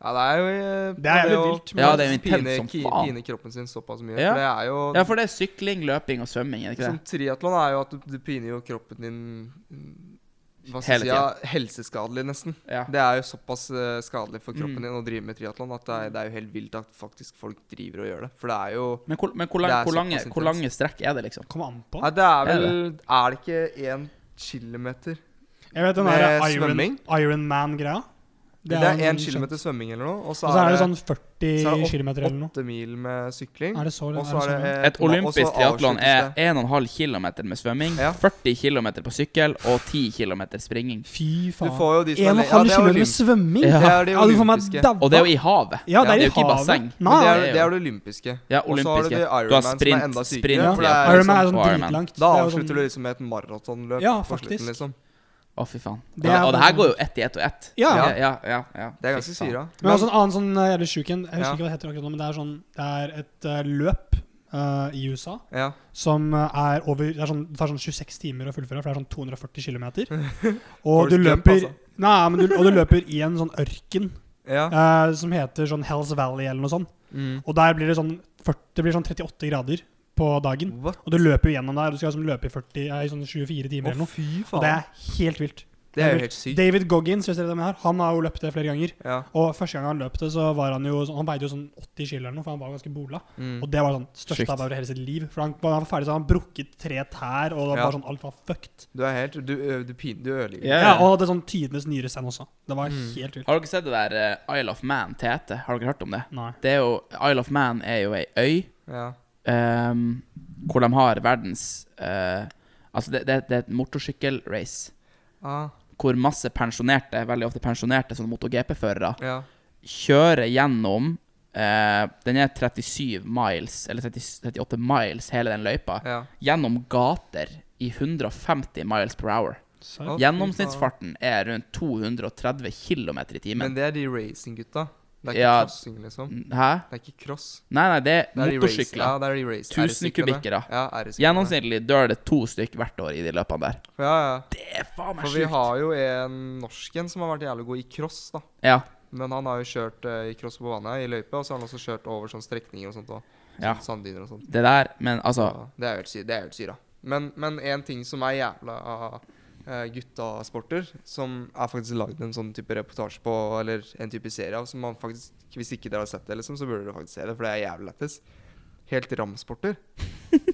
Speaker 3: ja, det er jo eh,
Speaker 2: Det er jævlig
Speaker 3: å
Speaker 2: vilt, men
Speaker 1: Ja, det er jo
Speaker 3: pine-
Speaker 1: intenst som
Speaker 3: ki-
Speaker 1: faen.
Speaker 3: Pine kroppen sin såpass mye.
Speaker 1: Ja.
Speaker 3: For det er jo
Speaker 1: Ja, for det er sykling, løping og svømming, er det ikke
Speaker 3: Som
Speaker 1: det?
Speaker 3: triatlon er jo at du, du piner jo kroppen din mm, Hva skal
Speaker 1: Hele
Speaker 3: jeg si? Ja, helseskadelig, nesten.
Speaker 1: Ja.
Speaker 3: Det er jo såpass eh, skadelig for kroppen
Speaker 1: Mm.
Speaker 3: din å drive med triatlon at det er, det er jo helt vilt at faktisk folk driver og gjør det. For det er jo
Speaker 1: Men hvor, men hvor, lang,
Speaker 3: Det er
Speaker 1: hvor, lange,
Speaker 3: såpass
Speaker 1: hvor lange strekk er det, liksom?
Speaker 2: Kommer an på.
Speaker 3: Nei, det er
Speaker 1: Er
Speaker 3: vel
Speaker 1: det?
Speaker 3: Er det ikke én kilometer?
Speaker 2: Jeg vet den
Speaker 3: Med
Speaker 2: der Iron,
Speaker 3: svømming?
Speaker 2: Iron Man-greia.
Speaker 3: Det er
Speaker 2: jo
Speaker 3: én
Speaker 2: sånn-
Speaker 3: kilometer svømming eller noe, og
Speaker 2: Og
Speaker 3: så
Speaker 2: så er det sånn
Speaker 3: så er
Speaker 2: 40
Speaker 3: det åt-
Speaker 2: km eller noe.
Speaker 3: åtte mil med sykling.
Speaker 2: Er det så, er
Speaker 3: Og
Speaker 2: det sånn?
Speaker 3: så er
Speaker 2: så
Speaker 3: det
Speaker 2: langt?
Speaker 3: eh,
Speaker 1: Et
Speaker 3: og så
Speaker 1: olympisk triatlon er
Speaker 3: avsluttes det.
Speaker 1: 1,5 km med svømming,
Speaker 3: Ja.
Speaker 1: 40 km på sykkel og 10 km springing.
Speaker 2: Fy
Speaker 3: Du
Speaker 2: faen.
Speaker 3: får jo de som er
Speaker 2: En og
Speaker 3: le-
Speaker 2: en
Speaker 3: ja, det
Speaker 2: halv
Speaker 3: er
Speaker 2: kilometer med
Speaker 3: olymp-
Speaker 2: svømming?
Speaker 1: Ja.
Speaker 3: Det er de
Speaker 2: Ja, du får meg
Speaker 3: olympiske.
Speaker 2: daua.
Speaker 1: Og det er jo i havet.
Speaker 2: Ja, det
Speaker 1: det er
Speaker 2: er
Speaker 1: jo
Speaker 2: i
Speaker 1: ikke i
Speaker 2: havet.
Speaker 1: basseng.
Speaker 3: Men
Speaker 2: Nei.
Speaker 3: det er, det
Speaker 1: det er jo-
Speaker 3: er det olympiske.
Speaker 1: Ja,
Speaker 3: Og så har du
Speaker 1: olympiske.
Speaker 3: det
Speaker 1: Du har
Speaker 3: Ironman som er
Speaker 1: sprint,
Speaker 3: enda
Speaker 1: sprint,
Speaker 3: sykere.
Speaker 2: Ja.
Speaker 3: for det er
Speaker 2: Iron Man er
Speaker 3: liksom-
Speaker 2: sånn
Speaker 1: Iron Man.
Speaker 2: dritlangt.
Speaker 3: Da
Speaker 2: Det er jo
Speaker 3: avslutter du
Speaker 2: sånn-
Speaker 3: liksom med et maratonløp.
Speaker 2: Ja,
Speaker 3: på slutten,
Speaker 2: faktisk.
Speaker 3: Liksom.
Speaker 1: Å, fy faen.
Speaker 2: Det er
Speaker 1: og det her
Speaker 2: faktisk-
Speaker 1: går jo ett i ett og ett.
Speaker 2: Ja.
Speaker 1: ja, ja, ja, ja.
Speaker 3: Det er
Speaker 1: Fy
Speaker 3: ganske
Speaker 1: faen.
Speaker 3: syra.
Speaker 2: Men også en annen sånn eh, jævlig sjuk en. Jeg husker
Speaker 3: Ja.
Speaker 2: ikke hva det heter akkurat nå, men det er sånn Det er et eh, løp eh, i USA
Speaker 3: Ja.
Speaker 2: som eh, er over Det, er sånn, det tar sånn 26 timer å fullføre, for det er sånn
Speaker 3: *laughs*
Speaker 2: 240 km. Og
Speaker 3: Forrest
Speaker 2: du
Speaker 3: Gump,
Speaker 2: løper
Speaker 3: altså.
Speaker 2: Nei, men du, og du løper i en sånn ørken
Speaker 3: Ja.
Speaker 2: eh, som heter sånn Hells Valley eller noe sånt.
Speaker 3: Mm.
Speaker 2: Og der blir det sånn 40, det blir sånn 38 grader på dagen.
Speaker 3: What?
Speaker 2: Og du løper jo gjennom der. Du skal liksom løpe i 40, eh, i sånn 24 timer
Speaker 3: Å,
Speaker 2: eller noe.
Speaker 3: fy
Speaker 2: Og det
Speaker 3: faen.
Speaker 2: er helt vilt.
Speaker 3: Det er jo helt sykt.
Speaker 2: David Goggins, hvis dere vet hvem det er, han har jo løpt det flere ganger.
Speaker 3: Ja.
Speaker 2: Og første gang han løp det, så var han jo sånn- Han veide jo sånn 80 kilo eller noe, for han var ganske bola.
Speaker 3: Mm.
Speaker 2: Og det var sånn største
Speaker 1: Sjukt.
Speaker 2: han var over hele sitt liv. For han, da han var ferdig, så hadde han brukket tre tær, og det var
Speaker 3: Ja.
Speaker 2: bare sånn alt var fucked.
Speaker 3: Du er helt Du, ø, du, pin, du ødelegger.
Speaker 1: Ja,
Speaker 2: Ja, og han hadde sånn tidenes nyrestenn også. Det var
Speaker 3: Mm.
Speaker 2: helt vilt.
Speaker 1: Har dere sett det der eh, Isle of Man Tete? Har dere hørt om det?
Speaker 2: Nei.
Speaker 1: det er jo, Isle of Man er jo ei øy
Speaker 3: Ja.
Speaker 1: ehm, hvor de har verdens eh, Altså, det, det, det er et motorsykkelrace
Speaker 3: Ah,
Speaker 1: hvor masse pensjonerte, veldig ofte pensjonerte sånn MotoGP-førere,
Speaker 3: ja.
Speaker 1: kjører gjennom eh, Den er 37 miles, eller 30, 38 miles, hele den løypa,
Speaker 3: ja.
Speaker 1: gjennom gater i 150 miles per hour.
Speaker 2: Serr?
Speaker 1: Gjennomsnittsfarten er rundt 230 km i
Speaker 3: Men
Speaker 1: timen.
Speaker 3: det er de racing-gutta. Det er ikke
Speaker 1: Ja.
Speaker 3: crossing, liksom.
Speaker 1: Hæ?
Speaker 3: Det er ikke cross.
Speaker 1: Nei, nei, det er
Speaker 3: Det er de race- Ja,
Speaker 1: motorsykler.
Speaker 3: det er de race.
Speaker 1: 1000
Speaker 3: R-syklene.
Speaker 1: kubikkere.
Speaker 3: Ja, R-syklene.
Speaker 1: Gjennomsnittlig dør det to stykk hvert år i de løpene der.
Speaker 3: Ja, ja.
Speaker 1: Det er faen meg
Speaker 3: For vi
Speaker 1: sjukt.
Speaker 3: har jo en norsk en som har vært jævlig god i cross, da.
Speaker 1: Ja.
Speaker 3: Men han har jo kjørt eh, i cross på vannet, i løype, og så har han også kjørt over sånne strekninger og sånt òg.
Speaker 1: Ja.
Speaker 3: Sanddyner og sånt.
Speaker 1: Det der, men altså
Speaker 3: Ja, det er jo helt sy- det er jo helt syra. Men, men en ting som er jævla eh, guttasporter, som er faktisk lagd en sånn type reportasje på, eller en type serie av, som man faktisk Hvis ikke dere har sett det, liksom, så burde dere faktisk se det, for det er jævlig lættis. Helt ramsporter.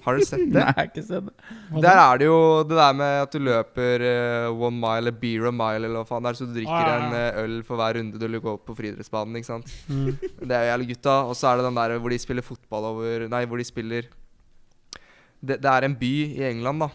Speaker 3: Har dere sett det?
Speaker 1: *laughs* Nei,
Speaker 2: *laughs*
Speaker 1: jeg har ikke sett det.
Speaker 2: Hva
Speaker 3: Der
Speaker 2: da?
Speaker 3: er det jo det der med at du løper eh, one mile eller beer a mile eller hva faen det er, så du drikker
Speaker 2: Ah, ja,
Speaker 3: en
Speaker 2: ja.
Speaker 3: eh, øl for hver runde du går opp på friidrettsbanen, ikke sant.
Speaker 2: Mm.
Speaker 3: Det er jo jævlig gutta. Og så er det den der hvor de spiller fotball over Nei, hvor de spiller det, det er en by i England, da,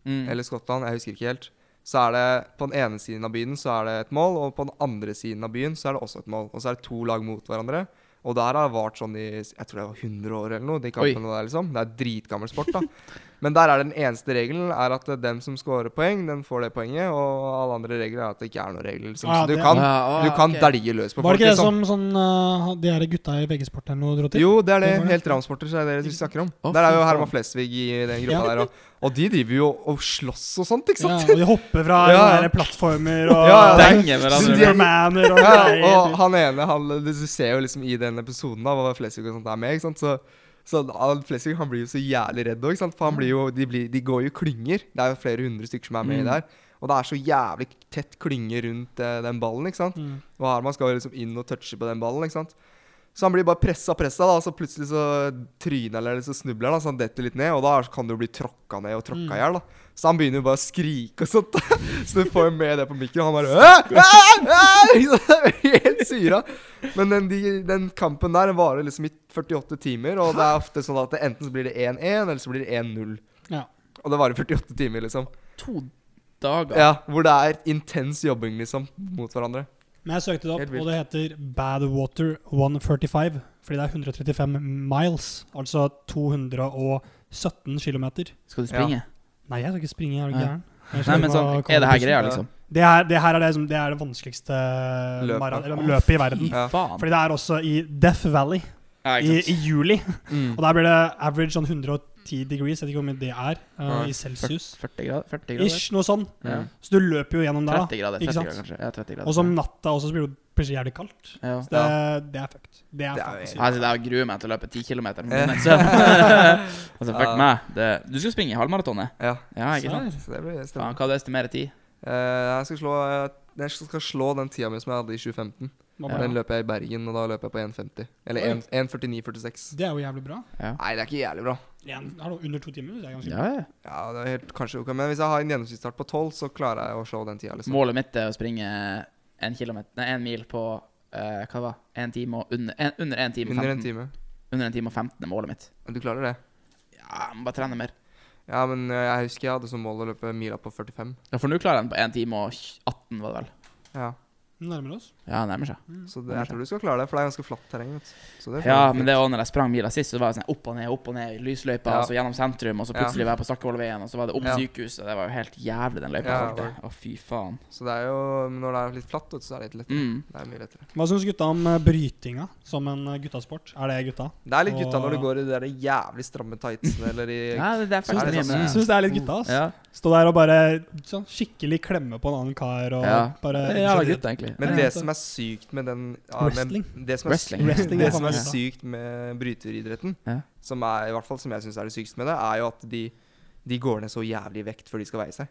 Speaker 1: Mm.
Speaker 3: eller Skottland, jeg husker ikke helt. Så er det på den ene siden av byen så er det et mål, og på den andre siden av byen så er det også et mål. Og så er det to lag mot hverandre. Og der har det vart sånn i jeg tror det var 100 år eller noe. de
Speaker 1: Oi.
Speaker 3: kampene der liksom. Det er dritgammel sport, da. Men der er den eneste regelen er at den som scorer poeng, den får det poenget. Og alle andre regler er at det ikke er noen regler. Liksom.
Speaker 2: Ah,
Speaker 3: så du
Speaker 2: det-
Speaker 3: kan,
Speaker 1: Ah, ah,
Speaker 3: du kan
Speaker 1: ok.
Speaker 3: dælje løs på
Speaker 2: Var det
Speaker 3: folk.
Speaker 2: ikke det
Speaker 3: Liksom.
Speaker 2: som sånn, eh, de her gutta i VG-sport eller noe dro til?
Speaker 3: Jo, det er det.
Speaker 2: Det var det.
Speaker 3: Helt Ramsporter, så er det det vi snakker om.
Speaker 1: Å,
Speaker 3: Der er
Speaker 1: fy
Speaker 3: jo
Speaker 1: faen.
Speaker 3: Herman Flesvig i den gruppa
Speaker 2: Ja.
Speaker 3: der. Og, og de driver jo og slåss og sånt, ikke
Speaker 2: Ja,
Speaker 3: sant?
Speaker 2: og de hopper fra
Speaker 3: *laughs* Ja, ja.
Speaker 2: sånne der plattformer
Speaker 3: Ja,
Speaker 2: og
Speaker 3: ja, det er-
Speaker 2: *laughs*
Speaker 1: Denger hverandre.
Speaker 2: Supermaner og
Speaker 3: Ja,
Speaker 2: greier.
Speaker 3: og han ene, han, du ser jo liksom i den episoden da, hva Flesvig og sånt er med, ikke sant? Så, så han- Flesvig han blir jo så jævlig redd også, ikke sant? For han blir jo, de, blir, de går jo klynger. Det er jo flere hundre stykker som er med
Speaker 1: Mm.
Speaker 3: der. Og det er så jævlig tett klynge rundt eh, den ballen, ikke sant?
Speaker 2: Mm.
Speaker 3: Og Herman skal jo liksom inn og touche på den ballen, ikke sant? Så han blir bare pressa, pressa, da, og så plutselig så tryner han, eller så snubler han, da, så han detter litt ned, og da kan du jo bli tråkka ned og tråkka i hjel, da. Så han begynner jo bare å skrike og sånt, *laughs* da. Så du får jo med det på mikken, og han bare «Æ! Æ! Æ!» Helt syra. Men den, de, den kampen der varer liksom i 48 timer, og det er ofte sånn at det enten så blir det 1-1, eller så blir det 1-0.
Speaker 2: Ja.
Speaker 3: Og det varer 48 timer, liksom.
Speaker 1: To dager.
Speaker 3: Ja, Hvor det er intens jobbing, liksom, mot hverandre.
Speaker 2: Men jeg søkte det
Speaker 3: Helt
Speaker 2: opp,
Speaker 3: vilt.
Speaker 2: og det heter Badwater 135. Fordi det er 135 miles, altså 217 km.
Speaker 1: Skal du springe?
Speaker 2: Nei, jeg skal ikke springe, er du
Speaker 1: Nei.
Speaker 2: gæren? Jeg
Speaker 1: Nei,
Speaker 2: skal
Speaker 1: men
Speaker 2: bare
Speaker 1: sånn,
Speaker 2: komme
Speaker 1: er det her
Speaker 2: på
Speaker 1: greia,
Speaker 3: ja.
Speaker 1: liksom?
Speaker 2: bussen. Det, her, det her er det, som, det, er det vanskeligste
Speaker 3: Løpet.
Speaker 2: mara- eller løpet i verden.
Speaker 1: Fy
Speaker 3: Ja.
Speaker 1: faen.
Speaker 2: Fordi det er også i Death Valley
Speaker 1: Ja,
Speaker 2: i,
Speaker 1: ikke sant.
Speaker 2: i juli.
Speaker 3: Mm.
Speaker 2: Og der blir det average sånn 110 degrees, jeg vet ikke hvor mye det er, eh,
Speaker 3: Nei.
Speaker 2: i celsius.
Speaker 1: 40 grader? 40 grader?
Speaker 2: Ish, noe sånn.
Speaker 1: Ja.
Speaker 2: Så du løper jo gjennom der,
Speaker 1: 30
Speaker 2: da.
Speaker 1: grader,
Speaker 2: Ikke
Speaker 1: 30
Speaker 2: sant?
Speaker 1: grader kanskje. Ja, 30 grader.
Speaker 2: Og så om natta også, så blir det plutselig jævlig kaldt.
Speaker 1: ja.
Speaker 2: Så det, det er fucked. Det er,
Speaker 3: Det er
Speaker 2: faen
Speaker 3: jo-
Speaker 2: sykt.
Speaker 1: Altså, det er å grue meg til å løpe 10 km.
Speaker 3: Eh.
Speaker 1: *laughs* altså, fuck
Speaker 3: Ja. Sånn,
Speaker 1: meg. Det, du skal springe halvmaratonet?
Speaker 3: Ja.
Speaker 1: Ja, ikke sant?
Speaker 3: Så det blir
Speaker 1: Faen,
Speaker 3: stemmer.
Speaker 1: hva er det estimerer tid?
Speaker 3: Eh, jeg, skal slå, jeg skal skal slå den tida mi som jeg hadde i 2015.
Speaker 2: Hva
Speaker 1: Ja.
Speaker 2: bra.
Speaker 3: Den løper jeg i Bergen, og da løper jeg på 1,50. Eller
Speaker 2: Oi.
Speaker 3: 1 1,49,46.
Speaker 2: Det er jo jævlig bra.
Speaker 3: Nei, det er ikke jævlig bra.
Speaker 2: En, hallo, under to timer. Det er ganske
Speaker 1: Ja, ja.
Speaker 3: Ja, det er helt, kanskje ok, Men hvis jeg har en gjennomsnittsstart på 12, så klarer jeg å slå den tida. Liksom.
Speaker 1: Målet mitt er å springe en, kilometer, nei, en mil på eh, hva det var En time og under en, under en time og
Speaker 3: Under en
Speaker 1: 15.
Speaker 3: time.
Speaker 1: Under en time og 15 er målet mitt.
Speaker 3: Men Du klarer det?
Speaker 1: Ja, jeg må bare trene mer.
Speaker 3: Ja, men eh, jeg husker jeg hadde som mål å løpe mila på 45.
Speaker 1: Ja, For nå klarer jeg den på 1 time og 18, var det vel.
Speaker 3: Ja,
Speaker 2: nærmere oss.
Speaker 1: Ja, det nærmer seg.
Speaker 3: Så det, jeg tror du skal klare det, for det er ganske flatt terreng. vet du. Så det får
Speaker 1: Ja,
Speaker 3: du fint.
Speaker 1: men det var når jeg sprang mila sist, så var det sånn opp og ned, opp og ned, i lysløypa,
Speaker 3: Ja.
Speaker 1: og så gjennom sentrum, og så
Speaker 3: Ja.
Speaker 1: plutselig var jeg på Stakkevollveien, og så var det opp
Speaker 3: Ja.
Speaker 1: sykehuset. Det var jo helt jævlig, den løypa.
Speaker 3: Ja,
Speaker 1: holdt jeg. Å, fy faen.
Speaker 3: Så det er jo, når det er litt flatt, vet du, så er det litt lettere.
Speaker 1: Mm.
Speaker 3: Det er mye lettere.
Speaker 2: Hva syns gutta om eh, brytinga som en eh, guttasport? Er det gutta?
Speaker 3: Det er litt gutta når du
Speaker 2: Og-
Speaker 3: går i de der jævlig stramme tightsene eller i
Speaker 1: Ja, det, det er
Speaker 3: Synes det
Speaker 1: faktisk mye
Speaker 3: er
Speaker 1: med
Speaker 2: Jeg
Speaker 1: det.
Speaker 2: syns det er litt gutta. ass
Speaker 1: Ja.
Speaker 2: Stå der og bare sånn, skikkelig klemme på en annen kar og
Speaker 1: Ja.
Speaker 2: bare
Speaker 1: Det er jævla gutt, egentlig.
Speaker 3: Men
Speaker 2: Ja,
Speaker 3: det
Speaker 2: altså.
Speaker 3: som er sykt med den ja,
Speaker 2: Wrestling.
Speaker 3: Men det som er,
Speaker 1: Wrestling.
Speaker 2: Wrestling
Speaker 3: det
Speaker 2: er
Speaker 3: som er
Speaker 2: faen meg
Speaker 3: sykt med bryteridretten,
Speaker 1: Ja.
Speaker 3: som er i hvert fall som jeg syns er det sykeste med det, er jo at de, de går ned så jævlig i vekt før de skal veie seg.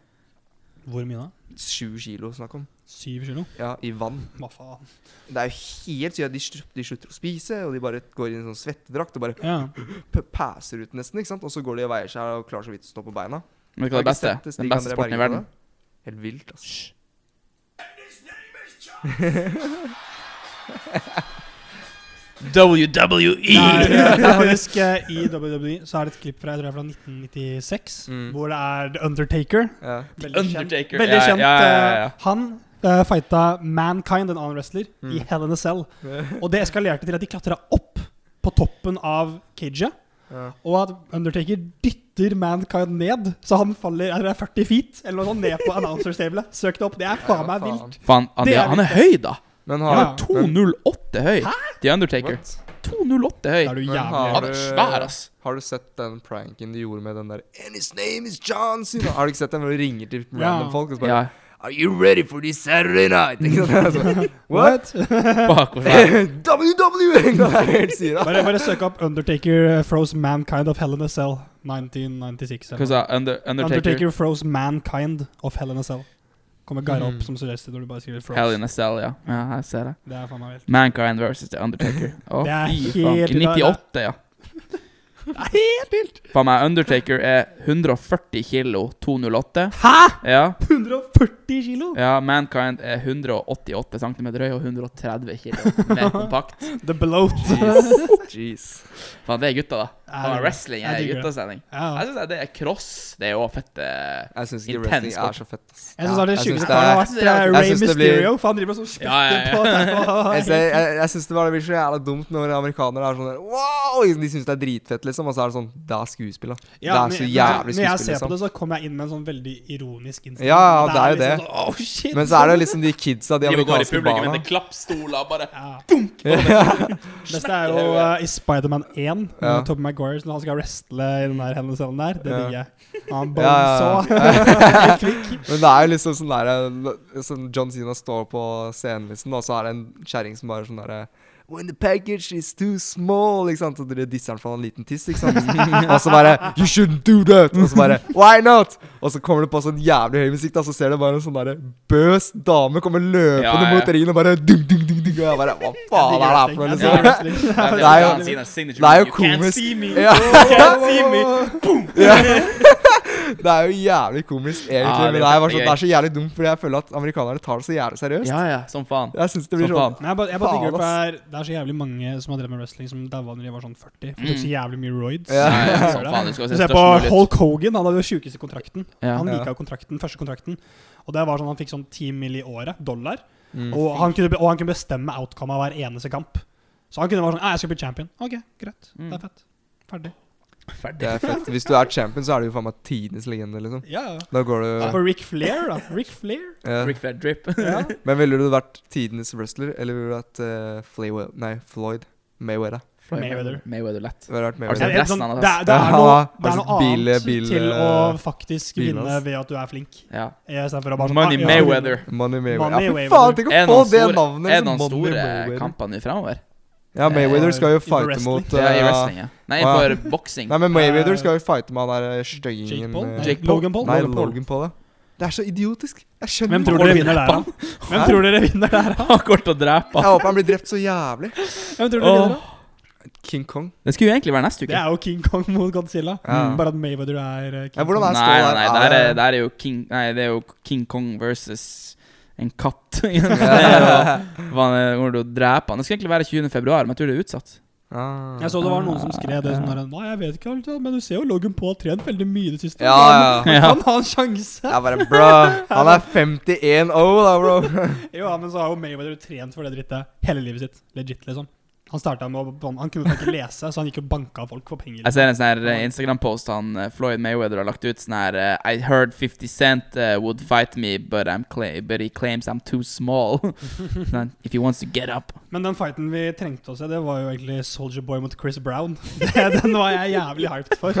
Speaker 2: Hvor mye da?
Speaker 3: Sju kilo, snakk om.
Speaker 2: Syv kilo?
Speaker 3: Ja, I vann.
Speaker 2: Hva faen?
Speaker 3: Det er jo helt sykt at de, slutt- de slutter å spise, og de bare går inn i en sånn svettedrakt og bare
Speaker 2: Ja.
Speaker 3: p passer ut nesten, ikke sant. Og så går de og veier seg og klarer så vidt å stå på beina.
Speaker 1: Men vet du hva er det beste?
Speaker 3: Har du ikke sett det
Speaker 1: Den
Speaker 3: Stig
Speaker 1: beste
Speaker 3: André
Speaker 1: sporten
Speaker 3: Berge
Speaker 1: i
Speaker 3: på
Speaker 1: verden?
Speaker 3: det? Helt vilt, altså.
Speaker 1: WWE!
Speaker 2: Det er, *laughs* eh, det er faktisk eh, I WWE så er det et klipp fra jeg tror det er fra 1996,
Speaker 3: Mm.
Speaker 2: hvor det er The Undertaker.
Speaker 3: Ja.
Speaker 2: Veldig kjent.
Speaker 1: Undertaker.
Speaker 2: Veldig
Speaker 1: Ja,
Speaker 2: kjent.
Speaker 1: Ja, ja, ja,
Speaker 2: eh, Han eh, fighta Mankind, en annen wrestler, i
Speaker 3: Mm.
Speaker 2: Hell in a
Speaker 1: *laughs*
Speaker 2: Cell. Og det eskalerte til at de klatra opp på toppen av caget,
Speaker 3: ja.
Speaker 2: og at Undertaker dytter dytter Mankind ned, så han faller er det 40 feet eller noe sånt ned på announcerstabelet. Søk det opp. Det er faen meg vilt.
Speaker 1: Faen, han,
Speaker 2: Det
Speaker 1: ja,
Speaker 2: er
Speaker 1: han er høy, da!
Speaker 3: Men
Speaker 1: Han
Speaker 3: har
Speaker 1: er
Speaker 2: Ja.
Speaker 1: 2,08 høy. The Undertaker.
Speaker 3: What?
Speaker 1: 2,08
Speaker 2: Da er
Speaker 1: høy.
Speaker 2: du
Speaker 3: Men
Speaker 2: jævlig
Speaker 3: har
Speaker 1: Han er
Speaker 3: du-
Speaker 1: svær, ass.
Speaker 3: Har du sett den pranken de gjorde med den der And his name is John Cena? Har du ikke sett den hvor du ringer til random folk og så bare
Speaker 1: Ja,
Speaker 3: Are you ready for this Saturday night? *laughs* Ikke sant? Så, What? *laughs*
Speaker 1: *laughs*
Speaker 2: What?
Speaker 1: bak hvor svær.
Speaker 3: WWE! Ikke sant? Det er helt syra.
Speaker 2: Bare, bare søk opp Undertaker eh, froze Mankind of Hell in a Cell 1996.
Speaker 1: Hva
Speaker 2: eller noe.
Speaker 1: sa jeg? Under, Undertaker?
Speaker 2: Undertaker froze Mankind of Hell in a Cell. Kommer Geir opp som suggested når du bare skriver
Speaker 1: Mm. Hell
Speaker 2: froze.
Speaker 1: in a cell, ja. ja. Jeg ser det.
Speaker 2: Det er faen meg vilt.
Speaker 1: Mankind versus The
Speaker 2: *laughs*
Speaker 1: Undertaker. Å,
Speaker 2: Det er
Speaker 1: fy
Speaker 2: helt
Speaker 1: faen. I
Speaker 2: ute av-
Speaker 1: 98, ja.
Speaker 2: Det er helt vilt!
Speaker 1: Faen meg, Undertaker er 140 kilo, 208.
Speaker 2: Hæ?!
Speaker 1: Ja.
Speaker 2: 140 kilo!
Speaker 1: ja, Mankind er 188 cm høy og 130
Speaker 2: *laughs*
Speaker 1: kilo mer kompakt.
Speaker 2: The *laughs* bloat.
Speaker 3: Jeez. Jeez.
Speaker 1: Faen, det er gutta, da. Faen,
Speaker 2: Ja,
Speaker 1: wrestling er
Speaker 2: jeg digger det.
Speaker 1: guttasending.
Speaker 2: Ja.
Speaker 1: Jeg synes det er cross. Det er jo fett eh,
Speaker 3: Jeg syns ikke
Speaker 1: Intens
Speaker 3: wrestling
Speaker 1: sport.
Speaker 3: er så fett. ass.
Speaker 2: Jeg syns det er det
Speaker 3: Jeg synes
Speaker 2: sjukeste
Speaker 3: det
Speaker 2: karen har
Speaker 3: er-
Speaker 2: vært. Det er
Speaker 3: jeg
Speaker 2: Ray
Speaker 3: synes det blir-
Speaker 2: Mysterio. For han driver og sånn splitter
Speaker 1: Ja, ja, ja.
Speaker 2: *laughs*
Speaker 3: Jeg,
Speaker 2: på
Speaker 3: ser- jeg, jeg syns det bare blir så jævla dumt når amerikanere er sånn der Wow! De syns det er dritfett, liksom. Og så er det sånn Det er skuespill, da. Det er så jævlig
Speaker 2: Når
Speaker 3: skuespill,
Speaker 2: jeg ser på
Speaker 3: liksom.
Speaker 2: det, så kommer jeg inn med en sånn veldig ironisk innstilling.
Speaker 3: Ja, ja, det er jo
Speaker 2: liksom
Speaker 3: det.
Speaker 2: sånn, «Åh, shit,
Speaker 3: Men så er det liksom de kidsa, de
Speaker 1: De går i
Speaker 3: amerikanske
Speaker 1: publikum
Speaker 3: barna.
Speaker 1: etter klappstoler og bare
Speaker 2: *laughs* ja.
Speaker 3: Ja.
Speaker 2: Beste er jo eh, i Spiderman 1, ja.
Speaker 3: Ja.
Speaker 2: Tobey Maguire, når han skal wrestle i den der hendelsescellen der. Det
Speaker 3: Ja.
Speaker 2: digger jeg. Han
Speaker 3: Ja, *laughs* ja,
Speaker 2: bonesaw.
Speaker 3: Men det er jo liksom sånn der sånn John Cena står på scenen, liksom, og så er det en kjerring som bare sånn derre When the package is too small, ikke sant. Og dere disser han for en liten tiss, ikke sant. og så bare You shouldn't do that! Og så bare Why not? Og så kommer det på sånn jævlig høy musikk, da, så ser du bare en sånn derre bøs dame komme løpende
Speaker 1: Ja, ja.
Speaker 3: mot ringen og bare dung, dung, dung, dung, Og jeg bare Hva faen er det her for noe,
Speaker 2: Jeg digger
Speaker 3: liksom?
Speaker 2: wrestling.
Speaker 1: Ja,
Speaker 3: Det er jo-
Speaker 1: han sier signature
Speaker 3: det er jo
Speaker 1: move. You
Speaker 3: komisk.
Speaker 1: Can't see me.
Speaker 3: Ja.
Speaker 1: Can't see me.
Speaker 3: Ja. Det er jo jævlig komisk, egentlig.
Speaker 1: Ja, det
Speaker 3: men
Speaker 1: er
Speaker 3: det er, bare
Speaker 1: gøy.
Speaker 3: sånn, det er så jævlig dumt, fordi jeg føler at amerikanerne tar det så jævlig seriøst.
Speaker 1: Ja, ja, som faen.
Speaker 3: Jeg synes det
Speaker 1: Som
Speaker 3: blir sånn
Speaker 1: faen.
Speaker 2: Nei, jeg bare, jeg bare digger det,
Speaker 3: Faen,
Speaker 2: for det er- det er så jævlig mange som har drevet med wrestling, som daua når de var sånn 40. For de tok så jævlig mye roids.
Speaker 1: Ja,
Speaker 3: Ja.
Speaker 1: ja, som Mm. faen. Du skal
Speaker 2: Du
Speaker 1: se
Speaker 2: ser
Speaker 1: størst
Speaker 2: på
Speaker 1: mulig ut.
Speaker 2: Hulk Hogan, han hadde jo sjukeste kontrakten.
Speaker 1: Ja.
Speaker 2: Han
Speaker 3: Ja.
Speaker 2: liket jo kontrakten, første kontrakten. Og det var sånn Han fikk sånn 10 mill. i året, dollar.
Speaker 3: Mm.
Speaker 1: Mm.
Speaker 2: Og, han kunne, be- og han kunne bestemme outcome av hver eneste kamp. Så han kunne være sånn «Nei, Jeg skal bli champion. Ok, greit.
Speaker 1: Mm.
Speaker 2: Det er fett. Ferdig.
Speaker 3: Det er fett. Hvis du er champion, så er du jo faen meg tidenes legende,
Speaker 1: Mm.
Speaker 3: liksom.
Speaker 2: Ja, ja.
Speaker 3: Da går du
Speaker 2: På Ric Flair, da. Ric Flair.
Speaker 3: ja.
Speaker 1: Rick Flair drip.
Speaker 2: Ja.
Speaker 3: Men ville du vært tidenes wrestler, eller ville du vært eh, Flaywell- Nei, Floyd Mayweather?
Speaker 2: Mayweather.
Speaker 1: Mayweather lett.
Speaker 3: Ville du vært
Speaker 1: Har du
Speaker 3: Mayweather?
Speaker 1: sett
Speaker 2: Det er,
Speaker 1: resten
Speaker 2: sånn,
Speaker 1: av det,
Speaker 2: det
Speaker 1: ass.
Speaker 2: er, det er noe,
Speaker 3: Ja,
Speaker 2: det er
Speaker 3: altså,
Speaker 2: noe
Speaker 3: bil-
Speaker 2: annet
Speaker 3: bil-
Speaker 2: til å faktisk
Speaker 3: bil,
Speaker 2: vinne
Speaker 3: ass.
Speaker 2: ved at du er flink.
Speaker 1: Ja.
Speaker 2: I stedet for å bare sånn
Speaker 1: Money
Speaker 2: «Ah, ja,
Speaker 1: Mayweather.
Speaker 3: Money Mayweather.
Speaker 2: Money
Speaker 3: Ja, fy
Speaker 2: Mayweather.
Speaker 3: faen, tenk å
Speaker 1: Er det
Speaker 3: få
Speaker 1: noen
Speaker 3: det
Speaker 1: store,
Speaker 3: navnet!
Speaker 1: er det
Speaker 3: liksom.
Speaker 1: noen
Speaker 3: Money
Speaker 1: store
Speaker 3: Mayweather.
Speaker 1: kamper nå framover?
Speaker 3: Ja, Mayweather skal jo
Speaker 2: I
Speaker 3: fighte
Speaker 2: wrestling.
Speaker 3: mot
Speaker 1: Ja, I
Speaker 3: eh,
Speaker 1: wrestling, ja. Nei,
Speaker 3: Wow.
Speaker 1: for boksing.
Speaker 3: Nei, men Mayweather
Speaker 2: Eh,
Speaker 3: skal jo fighte med han der
Speaker 2: Jake
Speaker 3: støyingen
Speaker 2: Paul?
Speaker 3: eh,
Speaker 2: Nei,
Speaker 1: Jake Paul.
Speaker 2: Logan Paul?
Speaker 3: Nei,
Speaker 2: Logan Paul.
Speaker 3: Logan Paul, ja. Det er så idiotisk. Jeg skjønner
Speaker 2: Hvem
Speaker 3: ikke
Speaker 2: tror
Speaker 1: Paul
Speaker 2: dere vinner der,
Speaker 1: dreper
Speaker 2: da? Hvem tror dere vinner
Speaker 1: *laughs*
Speaker 2: der, da?
Speaker 1: Han går til å drepe
Speaker 3: Jeg
Speaker 1: han.
Speaker 3: håper han blir drept så jævlig.
Speaker 2: Hvem tror dere vinner da?
Speaker 3: King
Speaker 1: *laughs*
Speaker 3: Kong.
Speaker 1: Det skulle jo egentlig være neste
Speaker 2: Det
Speaker 1: uke.
Speaker 2: er jo King Kong mot Godzilla. Mm,
Speaker 3: Ja.
Speaker 2: Bare at Mayweather er eh, King
Speaker 3: Ja, hvordan
Speaker 2: Kong.
Speaker 1: Nei,
Speaker 3: er
Speaker 1: nei, nei,
Speaker 3: stål
Speaker 1: der
Speaker 3: her?
Speaker 1: er, der er jo King Nei, det er jo King Kong versus en katt. *laughs* Det er jo- Hva han kommer til å drepe han. Det skulle egentlig være 20. februar, men jeg tror det er utsatt.
Speaker 3: Ah.
Speaker 2: Jeg så det var noen som skrev det sånn der Nei, jeg vet ikke, altså, men du ser jo Logan Paul har trent veldig mye i det siste.
Speaker 3: Ja, ja,
Speaker 2: Han
Speaker 1: ja.
Speaker 2: kan ha en sjanse.
Speaker 3: Jeg bare Bruh, han er 51 0 da,
Speaker 2: *laughs*
Speaker 3: bro.
Speaker 2: Jo, ja, men så har jo Mayweather trent for det drittet hele livet sitt. Legit, liksom. Han starta med å ban- Han kunne faktisk ikke lese, så han gikk og banka folk for penger.
Speaker 1: Jeg ser en sånn her eh, Instagram-post han eh, Floyd Mayweather har lagt ut sånn her eh, I heard 50 Cent eh, would fight me, but, I'm cla but he claims I'm too small. *laughs* Sånn, If he wants to get up.
Speaker 2: Men den fighten vi trengte å se, det var jo egentlig Soldier Boy mot Chris Brown. *laughs* Det, den var jeg jævlig hyped for.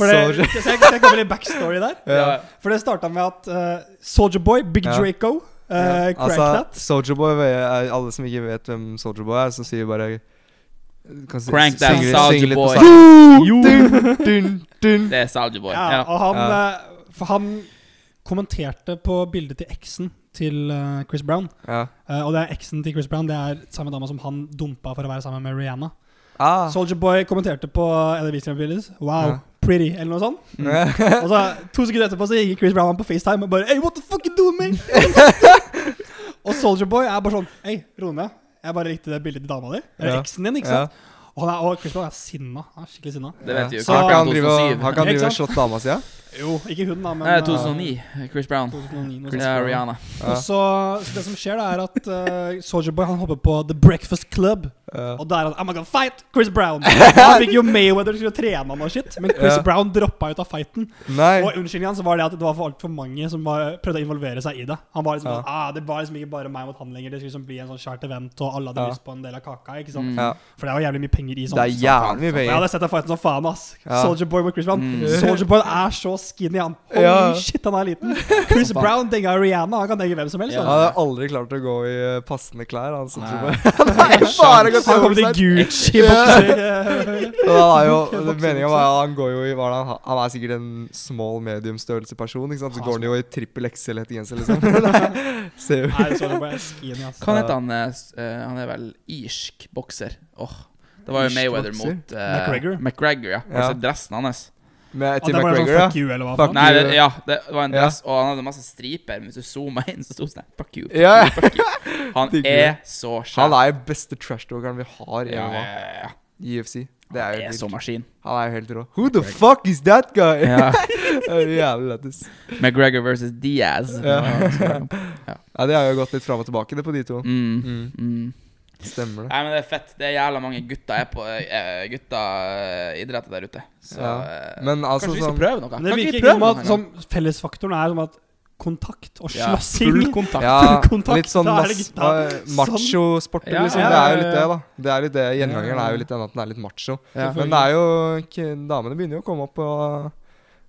Speaker 2: for det,
Speaker 3: Soulja-
Speaker 2: *laughs* så jeg, så jeg kommer litt backstory der.
Speaker 3: Ja.
Speaker 2: For det starta med at eh, Soldier Boy, Big
Speaker 3: Ja.
Speaker 2: Draco, eh, Crack
Speaker 3: Altså,
Speaker 2: That
Speaker 3: Soldier Boy eh, Alle som ikke vet hvem Soldier Boy er, så sier vi bare kan si-
Speaker 1: Crank that
Speaker 3: synge-
Speaker 1: Soulja
Speaker 3: synge litt på
Speaker 1: Boy.
Speaker 3: sangen. Dun, dun, dun.
Speaker 1: Det er Soldier Boy.
Speaker 2: Ja,
Speaker 1: Ja.
Speaker 2: og han,
Speaker 3: Ja.
Speaker 2: eh, for han kommenterte på bildet til eksen til eh, Chris Brown.
Speaker 3: Ja.
Speaker 2: Eh, og det er eksen til Chris Brown Det er samme dama som han dumpa for å være sammen med Rihanna.
Speaker 3: Ah. *laughs*
Speaker 2: Soldier Boy kommenterte på Elvis Wow,
Speaker 3: Ja.
Speaker 2: pretty, eller noe sånt. Og så To sekunder etterpå så gikk Chris Brown på FaceTime og bare Hey, what the fuck you doing,
Speaker 3: *laughs*
Speaker 2: man? og Soldier Boy er bare sånn Hei, ro ned. Jeg bare likte det bildet til dama di. Eller
Speaker 3: Ja.
Speaker 2: eksen din, ikke
Speaker 3: Ja.
Speaker 2: sant? Og, han er, og Chris Brown er sinna. Han er skikkelig sinna.
Speaker 1: Det vet vi jo
Speaker 2: Så
Speaker 1: ikke.
Speaker 3: Har ikke han drive og-
Speaker 1: 2007.
Speaker 3: har ikke han
Speaker 2: Ikke
Speaker 3: drive og
Speaker 2: sant?
Speaker 3: slått dama si, ja?
Speaker 2: Jo, ikke hun, da, men
Speaker 1: Nei,
Speaker 2: eh,
Speaker 1: 2009. Chris Brown.
Speaker 2: 2009 noe sånt.
Speaker 1: Ja, Rihanna.
Speaker 3: Ja.
Speaker 2: eh, Og så, så Det som skjer, da er at uh, Soldier Boy han hopper på The Breakfast Club
Speaker 3: Ja.
Speaker 2: Og der er han I'm gonna fight Chris
Speaker 3: *laughs*
Speaker 2: Brown. Han fikk jo Mayweather til å trene han og shit, men Chris
Speaker 3: Ja.
Speaker 2: Brown droppa ut av fighten.
Speaker 3: Nei.
Speaker 2: Og unnskyldningen hans var det at det var for altfor mange som var, prøvde å involvere seg i det. Han var liksom
Speaker 3: Ja.
Speaker 2: sånn, ah, Det var liksom ikke bare meg mot han lenger. Det skulle liksom bli en sånn kjært event, og alle hadde
Speaker 3: Ja.
Speaker 2: lyst på en del av kaka. ikke sant?
Speaker 1: Mm.
Speaker 3: Ja.
Speaker 2: For det var jævlig mye penger i sånn.
Speaker 3: Det er jævlig mye
Speaker 2: Jeg
Speaker 3: penger.
Speaker 2: hadde sett den fighten som faen, ass.
Speaker 3: Ja.
Speaker 2: Soldier Boy mot Chris Brown.
Speaker 1: Mm.
Speaker 2: Soldier Boy er så skinny, han. Holy
Speaker 3: Ja.
Speaker 2: shit, han er liten. Chris
Speaker 3: faen.
Speaker 2: Brown denga Rihanna. Han kan denge hvem som helst.
Speaker 1: Ja.
Speaker 3: Han
Speaker 2: han.
Speaker 3: hadde aldri klart å gå i eh, passende klær. *laughs* Han som
Speaker 1: Nei.
Speaker 3: tror på Nei, bare gått
Speaker 2: Han kommer til
Speaker 3: oversize.
Speaker 2: Gucci. bokser.
Speaker 3: Men Han er jo,
Speaker 2: Bokser,
Speaker 3: meningen var at han går jo i hva er det han, han er sikkert en small medium størrelse person. Ikke sant? Så
Speaker 2: Han er
Speaker 3: går han jo i trippel XL-hettegenser,
Speaker 2: *laughs*
Speaker 3: liksom. *laughs* Ser jo
Speaker 2: *laughs* Nei, Soldier Boy er skinny, ass.
Speaker 1: Hva heter han? eh, s- eh, han er vel irsk bokser. Åh, Det var jo
Speaker 3: Irsk
Speaker 1: Mayweather
Speaker 3: bokser?
Speaker 1: mot eh,
Speaker 2: McGregor?
Speaker 1: McGregor, ja.
Speaker 3: Ja.
Speaker 1: Altså dressen hans.
Speaker 3: Med
Speaker 2: At
Speaker 3: Tim
Speaker 2: det var sånn
Speaker 3: McGregor, ja.
Speaker 2: fuck you, eller hva
Speaker 3: Fuck
Speaker 2: faen.
Speaker 1: Nei,
Speaker 3: you.
Speaker 1: det, ja, det var en
Speaker 3: Ja.
Speaker 1: dress, og han hadde masse striper. Men hvis du zooma inn, så sto det sånn Fuck you. Fuck
Speaker 3: Ja.
Speaker 1: you, fuck you. Han
Speaker 3: Digger
Speaker 1: er så skjær.
Speaker 3: Han er jo beste trash-talkeren vi har i
Speaker 1: ja,
Speaker 3: MMA.
Speaker 1: ja, ja.
Speaker 3: i UFC. Det er
Speaker 1: Han
Speaker 3: jo
Speaker 1: er så
Speaker 3: helt, *laughs*
Speaker 1: maskin.
Speaker 3: han er jo helt rå. Who the fuck is that guy? *laughs*
Speaker 1: Ja.
Speaker 3: Det er jo Jævlig lættis.
Speaker 1: McGregor versus Diaz.
Speaker 3: Ja. *laughs*
Speaker 1: Ja.
Speaker 3: Ja, det har jo gått litt fram og tilbake, det, på de to.
Speaker 1: Mm.
Speaker 3: Mm.
Speaker 1: Mm.
Speaker 3: Stemmer det.
Speaker 1: Nei, men det er fett. Det er jævla mange gutter er på eh, gutta eh, idretter der ute. Så
Speaker 3: Ja.
Speaker 1: eh,
Speaker 3: Men altså
Speaker 1: kanskje vi skal
Speaker 3: sånn
Speaker 1: prøve noe?
Speaker 2: Men
Speaker 1: Kan
Speaker 2: det
Speaker 1: ikke
Speaker 2: virker
Speaker 1: vi
Speaker 2: ikke
Speaker 1: prøve
Speaker 2: som
Speaker 1: noe?
Speaker 2: at sånn-
Speaker 1: en gang?
Speaker 2: som fellesfaktoren er som at kontakt og
Speaker 1: Ja,
Speaker 2: slåssing
Speaker 1: Full
Speaker 2: *laughs*
Speaker 1: kontakt.
Speaker 3: ja,
Speaker 2: kontakt,
Speaker 3: litt sånn
Speaker 2: da er
Speaker 3: mas,
Speaker 2: det gutta.
Speaker 3: eh, macho-sporter,
Speaker 1: Sånn.
Speaker 3: liksom.
Speaker 1: Ja,
Speaker 3: Det er
Speaker 2: ja,
Speaker 3: jo
Speaker 2: ja,
Speaker 3: litt det, da. Det er litt det. Gjengangeren
Speaker 2: Ja, ja,
Speaker 3: er jo
Speaker 2: ja.
Speaker 3: litt den at den er litt macho.
Speaker 1: Ja.
Speaker 3: Men det er jo ikke- Damene begynner jo å komme opp på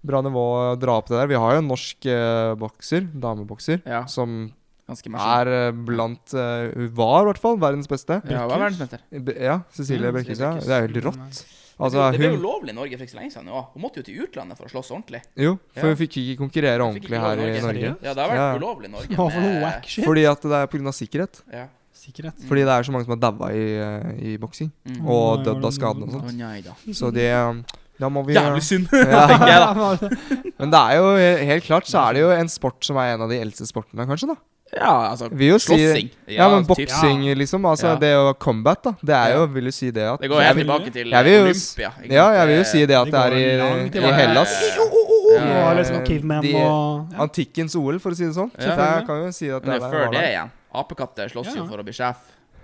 Speaker 3: bra nivå og dra opp det der. Vi har jo en norsk eh, bokser, damebokser,
Speaker 1: Ja,
Speaker 3: som
Speaker 1: ganske maskin.
Speaker 3: er eh, blant eh, Hun var i hvert fall verdens beste.
Speaker 1: Ja, hva er verdensmester?
Speaker 3: B- Ja, Cecilie
Speaker 2: Mm,
Speaker 3: Brekkhus.
Speaker 1: Cecilie
Speaker 3: Ja.
Speaker 1: Brækhus.
Speaker 3: Det er jo helt rått. Altså,
Speaker 1: det ble jo
Speaker 3: hun,
Speaker 1: lovlig i Norge for ikke så lenge siden. og Hun måtte jo til utlandet for å slåss ordentlig.
Speaker 3: jo, for
Speaker 1: Ja.
Speaker 3: hun fikk ikke konkurrere
Speaker 1: Hun fikk
Speaker 3: ordentlig
Speaker 1: ikke
Speaker 3: her i
Speaker 1: lov i
Speaker 3: Norge.
Speaker 2: Seriøst?
Speaker 1: Ja, det har vært
Speaker 3: Ja.
Speaker 1: ulovlig i Norge.
Speaker 2: Hva for noe
Speaker 1: med-
Speaker 2: whack shit?
Speaker 3: Fordi at det er pga. sikkerhet.
Speaker 1: Ja.
Speaker 2: Sikkerhet.
Speaker 1: Mm.
Speaker 3: Fordi det er så mange som har daua i, eh, i boksing.
Speaker 1: Mm.
Speaker 2: Å,
Speaker 3: Og
Speaker 2: nei,
Speaker 3: dødd
Speaker 2: var
Speaker 3: av
Speaker 2: det
Speaker 3: skadene og
Speaker 2: noe-
Speaker 1: Å
Speaker 3: sånt.
Speaker 1: nei da.
Speaker 3: Så det eh, Da må sånn. vi
Speaker 1: Jævlig synd!
Speaker 3: *laughs* ja.
Speaker 1: tenker jeg da.
Speaker 3: Men det er jo he- helt klart så er det jo en sport som er en av de eldste sportene, kanskje. da
Speaker 1: *laughs* Ja, altså
Speaker 3: Vil jo si
Speaker 1: Slåssing. altså,
Speaker 3: Ja, men
Speaker 1: typ.
Speaker 3: boksing, liksom. Altså
Speaker 1: Ja.
Speaker 3: det å combat, da. Det er jo,
Speaker 1: Ja.
Speaker 3: vil jo si det at
Speaker 1: Det går
Speaker 3: jeg
Speaker 1: helt
Speaker 3: vil,
Speaker 1: tilbake til
Speaker 3: jeg vil jo s-
Speaker 1: Olympia. ikke
Speaker 3: Ja,
Speaker 1: sant?
Speaker 3: jeg vil jo si det at
Speaker 2: Det
Speaker 3: det er
Speaker 2: går
Speaker 3: i,
Speaker 2: langt
Speaker 3: i
Speaker 2: tilbake.
Speaker 3: Hellas.
Speaker 1: Eh,
Speaker 2: Det
Speaker 1: Ja,
Speaker 2: var liksom caveman
Speaker 3: de-
Speaker 2: og ja.
Speaker 3: Antikkens OL, for å si det sånn.
Speaker 1: Ja.
Speaker 3: Der kan vi jo si at
Speaker 1: Men det er
Speaker 3: der
Speaker 1: før
Speaker 3: var
Speaker 1: det
Speaker 3: der.
Speaker 1: igjen. Apekatter slåss
Speaker 2: Ja,
Speaker 1: jo
Speaker 2: ja.
Speaker 1: for å bli sjef.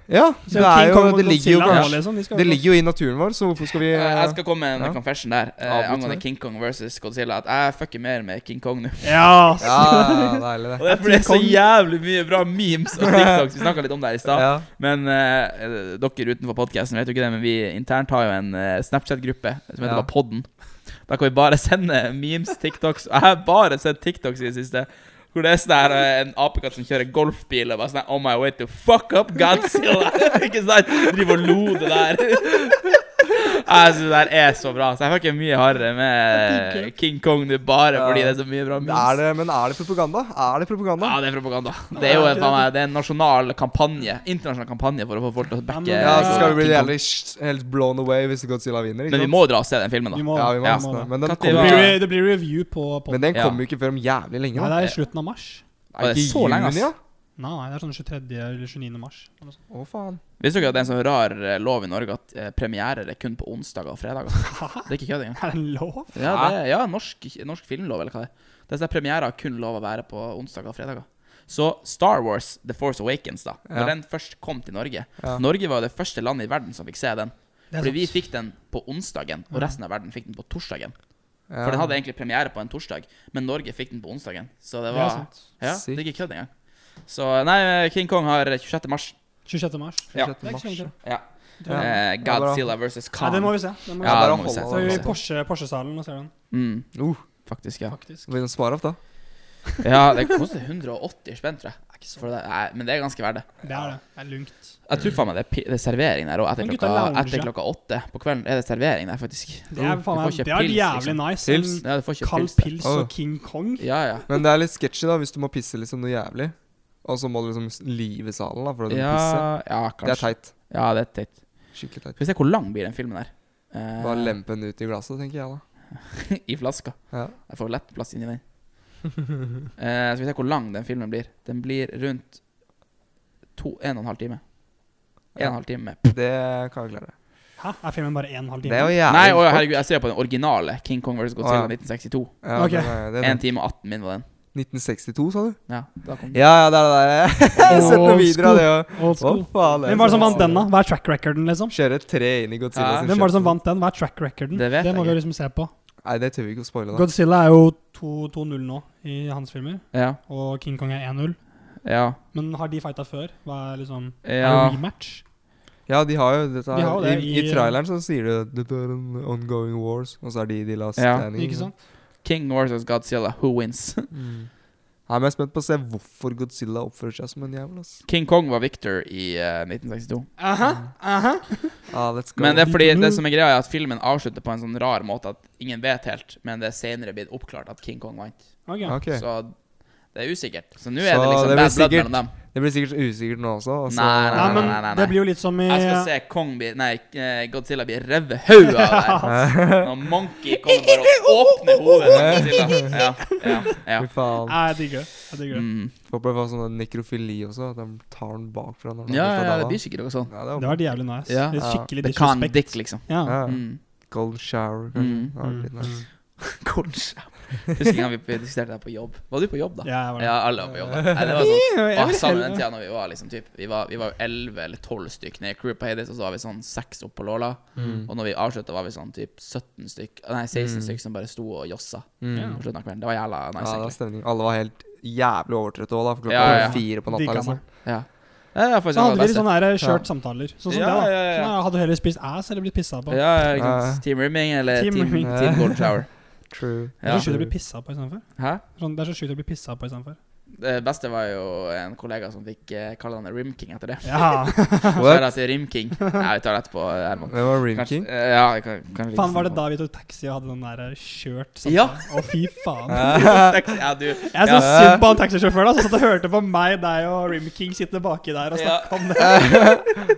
Speaker 3: Ja,
Speaker 2: Så
Speaker 3: det, er
Speaker 2: King
Speaker 3: jo,
Speaker 2: Kong
Speaker 3: det,
Speaker 2: mot
Speaker 3: ligger jo
Speaker 2: Godzilla nå,
Speaker 3: kanskje,
Speaker 2: liksom, de skal
Speaker 3: det
Speaker 2: jo-
Speaker 3: ligger jo i naturen vår, så hvorfor skal vi
Speaker 1: Eh, Jeg skal komme med en
Speaker 3: ja.
Speaker 1: confession der eh,
Speaker 3: Avbryter
Speaker 1: angående
Speaker 3: det.
Speaker 1: King Kong versus Godzilla. At jeg fucker mer med King Kong nå.
Speaker 2: Ja,
Speaker 3: Ja,
Speaker 2: ass.
Speaker 3: ja, ja, deilig det.
Speaker 1: Og *laughs* det er fordi det er så jævlig mye bra memes
Speaker 3: *laughs*
Speaker 1: og TikToks. Vi snakka litt om det her i stad.
Speaker 3: Ja.
Speaker 1: Men eh, dere utenfor podkasten vet jo ikke det, men vi internt har jo en eh, Snapchat-gruppe som heter
Speaker 3: Ja.
Speaker 1: bare Podden. Da kan vi bare sende memes, TikToks. Jeg har bare sett TikToks i det siste. Hvor det er sånn her eh, en apekatt som kjører golfbil og bare sånn her, On my way to fuck up Godzilla. *laughs* ikke sant? Driver og lo det der. *laughs* Jeg synes det der er så bra. Så jeg får ikke mye hardere med King Kong nå bare
Speaker 3: Ja.
Speaker 1: fordi det er så mye bra memes.
Speaker 3: Er det, men er det propaganda? Er det propaganda?
Speaker 1: Ja, det er propaganda. Det er jo en, faen meg- det er en nasjonal kampanje internasjonal kampanje for å få folk til å backe
Speaker 2: Ja,
Speaker 3: Ja, så skal
Speaker 1: eh,
Speaker 3: vi bli
Speaker 1: King Kong.
Speaker 3: jævlig sj- helt blown away hvis Godzilla vinner. Ikke
Speaker 1: Men vi
Speaker 3: sant?
Speaker 1: må dra og se den filmen,
Speaker 2: Vi
Speaker 1: da.
Speaker 2: må,
Speaker 3: ja, vi må
Speaker 1: Ja.
Speaker 3: nesten det. Men den
Speaker 1: Kan
Speaker 2: Det,
Speaker 1: vi-
Speaker 3: kommer
Speaker 2: blir,
Speaker 3: jo,
Speaker 2: det blir review på
Speaker 3: men
Speaker 2: podden.
Speaker 3: den
Speaker 1: Ja.
Speaker 3: kommer jo ikke før om jævlig lenge.
Speaker 2: Nei,
Speaker 3: Da.
Speaker 2: det er i slutten av mars.
Speaker 1: Å, det er så lenge, ass.
Speaker 3: ja?
Speaker 2: Nei, nei, det er sånn 23. eller 29. mars. eller noe sånt. *laughs*
Speaker 3: Å, faen.
Speaker 1: Visste dere at det er en sånn rar eh, lov i Norge at eh, premierer er kun på onsdager og
Speaker 2: *laughs*
Speaker 1: fredager? Det er ikke kødd engang.
Speaker 2: Er det en lov?
Speaker 1: Ja, det er, ja norsk, norsk filmlov, eller hva det er. Det er sånn at premierer har kun lov å være på onsdager og fredager. Så Star Wars The Force Awakens, da. Når
Speaker 3: Ja.
Speaker 1: den først kom til Norge
Speaker 3: Ja.
Speaker 1: Norge var jo det første landet i verden som fikk se den.
Speaker 2: Det er sånn
Speaker 1: Fordi vi
Speaker 2: sant.
Speaker 1: fikk den på onsdagen, og resten av verden fikk den på torsdagen.
Speaker 3: Ja.
Speaker 1: For den hadde egentlig premiere på en torsdag, men Norge fikk den på onsdagen. Så det
Speaker 2: Det er
Speaker 1: var
Speaker 2: sant.
Speaker 1: Ja, det
Speaker 3: Sykt.
Speaker 1: er ikke kødd engang. Så nei, King Kong har 26. mars.
Speaker 2: 26. mars.
Speaker 1: Ja.
Speaker 2: Det er ikke så lenge til.
Speaker 1: Ja.
Speaker 3: Ja.
Speaker 1: Eh,
Speaker 3: Ja, bra.
Speaker 1: Godzilla versus
Speaker 2: Nei,
Speaker 1: Khan.
Speaker 2: den må vi se. Den må
Speaker 1: Ja,
Speaker 2: vi se.
Speaker 3: bare
Speaker 1: det må vi se.
Speaker 3: holde
Speaker 2: Så er vi
Speaker 1: det
Speaker 2: i
Speaker 1: må vi se.
Speaker 2: Porsche- Porsche-salen og ser den,
Speaker 1: Mm,
Speaker 3: Uh,
Speaker 1: faktisk, ja.
Speaker 2: faktisk.
Speaker 3: vi må spare opp, da.
Speaker 1: Ja, Det koster 180 spenn, tror jeg.
Speaker 2: Det er ikke så
Speaker 1: For det, nei, men det er ganske verdt det.
Speaker 2: Det er det. Det er lungt.
Speaker 1: Jeg tror faen meg det er, pi- det er servering der òg. Etter,
Speaker 2: Men gutta
Speaker 1: klokka-
Speaker 2: lounger.
Speaker 1: etter klokka åtte på kvelden er det servering der, faktisk.
Speaker 2: Det er,
Speaker 1: Du
Speaker 2: faen,
Speaker 1: får
Speaker 2: meg-
Speaker 1: ikke
Speaker 2: det er
Speaker 1: pils, liksom.
Speaker 2: jævlig nice.
Speaker 3: Pils?
Speaker 2: En
Speaker 1: Ja, du får ikke
Speaker 2: Kald
Speaker 1: pils. der.
Speaker 2: pils
Speaker 3: Åh.
Speaker 2: og King Kong.
Speaker 1: Ja, ja.
Speaker 3: Men det er litt sketchy da hvis du må pisse liksom noe jævlig, og så må du liksom s- live salen da for at du må
Speaker 1: Ja,
Speaker 3: pisse.
Speaker 1: ja,
Speaker 3: Det er
Speaker 1: kanskje.
Speaker 3: teit.
Speaker 1: Ja, det er teit.
Speaker 3: Skikkelig teit.
Speaker 1: Skal vi se hvor lang blir den filmen her. Eh,
Speaker 3: Bare lempe den ut i glasset, tenker
Speaker 1: *laughs*
Speaker 3: jeg da.
Speaker 1: I flaska.
Speaker 3: Ja.
Speaker 1: Jeg får lett plass inni den. *laughs* Eh, skal vi se hvor lang den filmen blir. Den blir rundt to, en og en halv time. En og en halv time.
Speaker 3: Det kan vi klare.
Speaker 2: Hæ? Er filmen bare en halv
Speaker 3: Det er
Speaker 2: time?
Speaker 3: jo jævlig
Speaker 1: Nei, å,
Speaker 3: kort.
Speaker 1: herregud, jeg ser på den originale King Kong vs. Godzilla
Speaker 3: Å, ja.
Speaker 1: 1962.
Speaker 3: Ja,
Speaker 2: Ok.
Speaker 3: det er- det er
Speaker 1: 1 time og 18 min var den.
Speaker 3: 1962, sa du?
Speaker 1: Ja, da kom den.
Speaker 3: Ja, ja, det er det der. *laughs* Jeg har sett noen
Speaker 2: Old
Speaker 3: videoer av det òg.
Speaker 2: Old school. Hvem var det som vant den, da? Hva er track recorden, liksom?
Speaker 3: Kjøre altså? tre inn i Godzilla.
Speaker 1: Ja.
Speaker 3: sin
Speaker 2: Hvem var det som
Speaker 3: kjøpte-
Speaker 2: vant den? Hva er track recorden?
Speaker 1: Det vet jeg
Speaker 2: må vi liksom se på.
Speaker 3: Nei, det tør vi ikke å spoile. da.
Speaker 2: Godzilla er jo 2 2-0 nå i hans filmer,
Speaker 1: Ja,
Speaker 2: og King Kong er 1-0.
Speaker 1: ja,
Speaker 2: Men har de fighta før? Hva er liksom Er
Speaker 1: ja.
Speaker 2: det rematch?
Speaker 3: Ja, de har jo dette
Speaker 2: De
Speaker 3: her.
Speaker 2: har jo det
Speaker 3: I, I
Speaker 2: i-
Speaker 3: traileren så sier de Dette er en ongoing wars, og så er de de last
Speaker 1: Ja.
Speaker 3: standing. *laughs*
Speaker 2: Ikke sant?
Speaker 1: King versus Godzilla, who wins? *laughs*
Speaker 3: Mm. Jeg er mest spent på å se hvorfor Godzilla oppfører seg som en jævel. ass.
Speaker 1: King Kong var victor i eh, 1962.
Speaker 2: Aha, aha.
Speaker 3: Ah, let's go.
Speaker 1: Men det er fordi
Speaker 2: Likevel.
Speaker 1: det som er greia, er at filmen avslutter på en sånn rar måte at ingen vet helt, men det er senere blitt oppklart at King Kong vant.
Speaker 2: Ok.
Speaker 3: Ok.
Speaker 1: Så det er usikkert. Så nå er
Speaker 3: Så
Speaker 1: det liksom
Speaker 3: det blir
Speaker 1: bad blood
Speaker 3: sikkert-
Speaker 1: mellom dem.
Speaker 3: Det blir sikkert usikkert nå også. og så-
Speaker 1: Nei,
Speaker 2: Nei, men
Speaker 3: *laughs*
Speaker 1: nei, nei, nei.
Speaker 2: det blir jo litt som i
Speaker 1: Jeg skal se Kong bli Nei, eh, Godzilla bli revet hodet av der.
Speaker 3: *laughs*
Speaker 1: Når Monkey kommer bare og åpner hodet til Godzilla. Ja, ja,
Speaker 3: Fy
Speaker 1: ja.
Speaker 3: faen.
Speaker 2: Nei, Jeg digger det. Jeg digger det.
Speaker 1: Mm.
Speaker 3: Håper jeg får sånn nekrofili også, at de tar den bakfra. når den
Speaker 1: Ja,
Speaker 3: er
Speaker 1: ja,
Speaker 3: fra
Speaker 1: ja,
Speaker 3: der,
Speaker 1: det
Speaker 3: da.
Speaker 1: blir sikkert noe sånn.
Speaker 3: Ja, det
Speaker 2: Det
Speaker 3: var
Speaker 2: var jævlig nice.
Speaker 1: Ja.
Speaker 2: Litt
Speaker 3: Ja.
Speaker 2: skikkelig
Speaker 1: Det kan
Speaker 2: disrespect.
Speaker 1: dick, liksom.
Speaker 2: Ja.
Speaker 3: ja.
Speaker 1: Mm.
Speaker 3: Golden shower, kanskje.
Speaker 1: Mm.
Speaker 3: Ja, det var litt nice.
Speaker 1: Kanskje. Husker en gang vi diskuterte det her på jobb. Var du på jobb, da?
Speaker 2: Ja, jeg var det.
Speaker 1: Ja, alle var på jobb. da. Nei, det var sånn
Speaker 2: *laughs* Jeg
Speaker 1: Og
Speaker 2: vil
Speaker 1: sammen
Speaker 2: heller-
Speaker 1: den tida når vi var liksom typ Vi var vi var jo 11 eller 12 stykk ned i crew på Hades, og så var vi sånn 6 opp på Låla.
Speaker 3: Mm.
Speaker 1: Og når vi avslutta, var vi sånn typ 17 stykk eh, Nei, 16
Speaker 3: Mm.
Speaker 1: stykk som bare sto og jossa
Speaker 3: Mm.
Speaker 1: på slutten av kvelden. Det var jævla
Speaker 3: Ja,
Speaker 1: nice,
Speaker 3: det var
Speaker 1: egentlig.
Speaker 3: stemning. Alle var helt jævlig overtrøtte òg, da. For klokka
Speaker 1: Ja, ja, ja.
Speaker 3: var fire på natta.
Speaker 2: Digga
Speaker 3: liksom.
Speaker 2: meg.
Speaker 1: Ja. Ja, ja, faktisk,
Speaker 2: Så hadde vi litt
Speaker 1: sånn
Speaker 2: sånne her skjørt samtaler. Sånn som
Speaker 1: Ja,
Speaker 2: det, da.
Speaker 1: ja, ja, ja.
Speaker 2: Sånn her, hadde du heller spist ass eller blitt pissa på?
Speaker 1: ja, ja, ikke
Speaker 3: Ja, ja.
Speaker 1: sant. Team Rimming eller
Speaker 2: Team
Speaker 1: Team, team,
Speaker 2: Rimming.
Speaker 1: Golden
Speaker 2: *laughs*
Speaker 1: Shower.
Speaker 3: True.
Speaker 2: Det er
Speaker 1: Ja.
Speaker 2: så sjukt å bli pissa på istedenfor.
Speaker 1: Hæ?
Speaker 2: Sånn, det er så sjukt å bli pissa på istedenfor.
Speaker 1: Det beste var jo en kollega som fikk eh, kalle han Rim King etter det. *laughs*
Speaker 2: Ja.
Speaker 1: Shout
Speaker 3: What?
Speaker 1: out til Rim King. Nei, vi tar det etterpå, Herman.
Speaker 3: Hvem var Rim
Speaker 1: Kanskje-
Speaker 3: King?
Speaker 1: eh, Ja, jeg kan, kan vi liksom-
Speaker 2: *laughs* Faen, var
Speaker 1: snakke
Speaker 2: det
Speaker 1: om
Speaker 2: da vi tok taxi og hadde den der eh, skjørt samtalen?
Speaker 1: Ja.
Speaker 2: Å, fy faen.
Speaker 1: Taxi- *laughs* Ja, du.
Speaker 2: Jeg så
Speaker 1: Ja.
Speaker 2: synd på han taxisjåføren da, som satt og hørte på meg, deg og Rim King sitte baki der og
Speaker 1: Ja.
Speaker 2: snakke om det.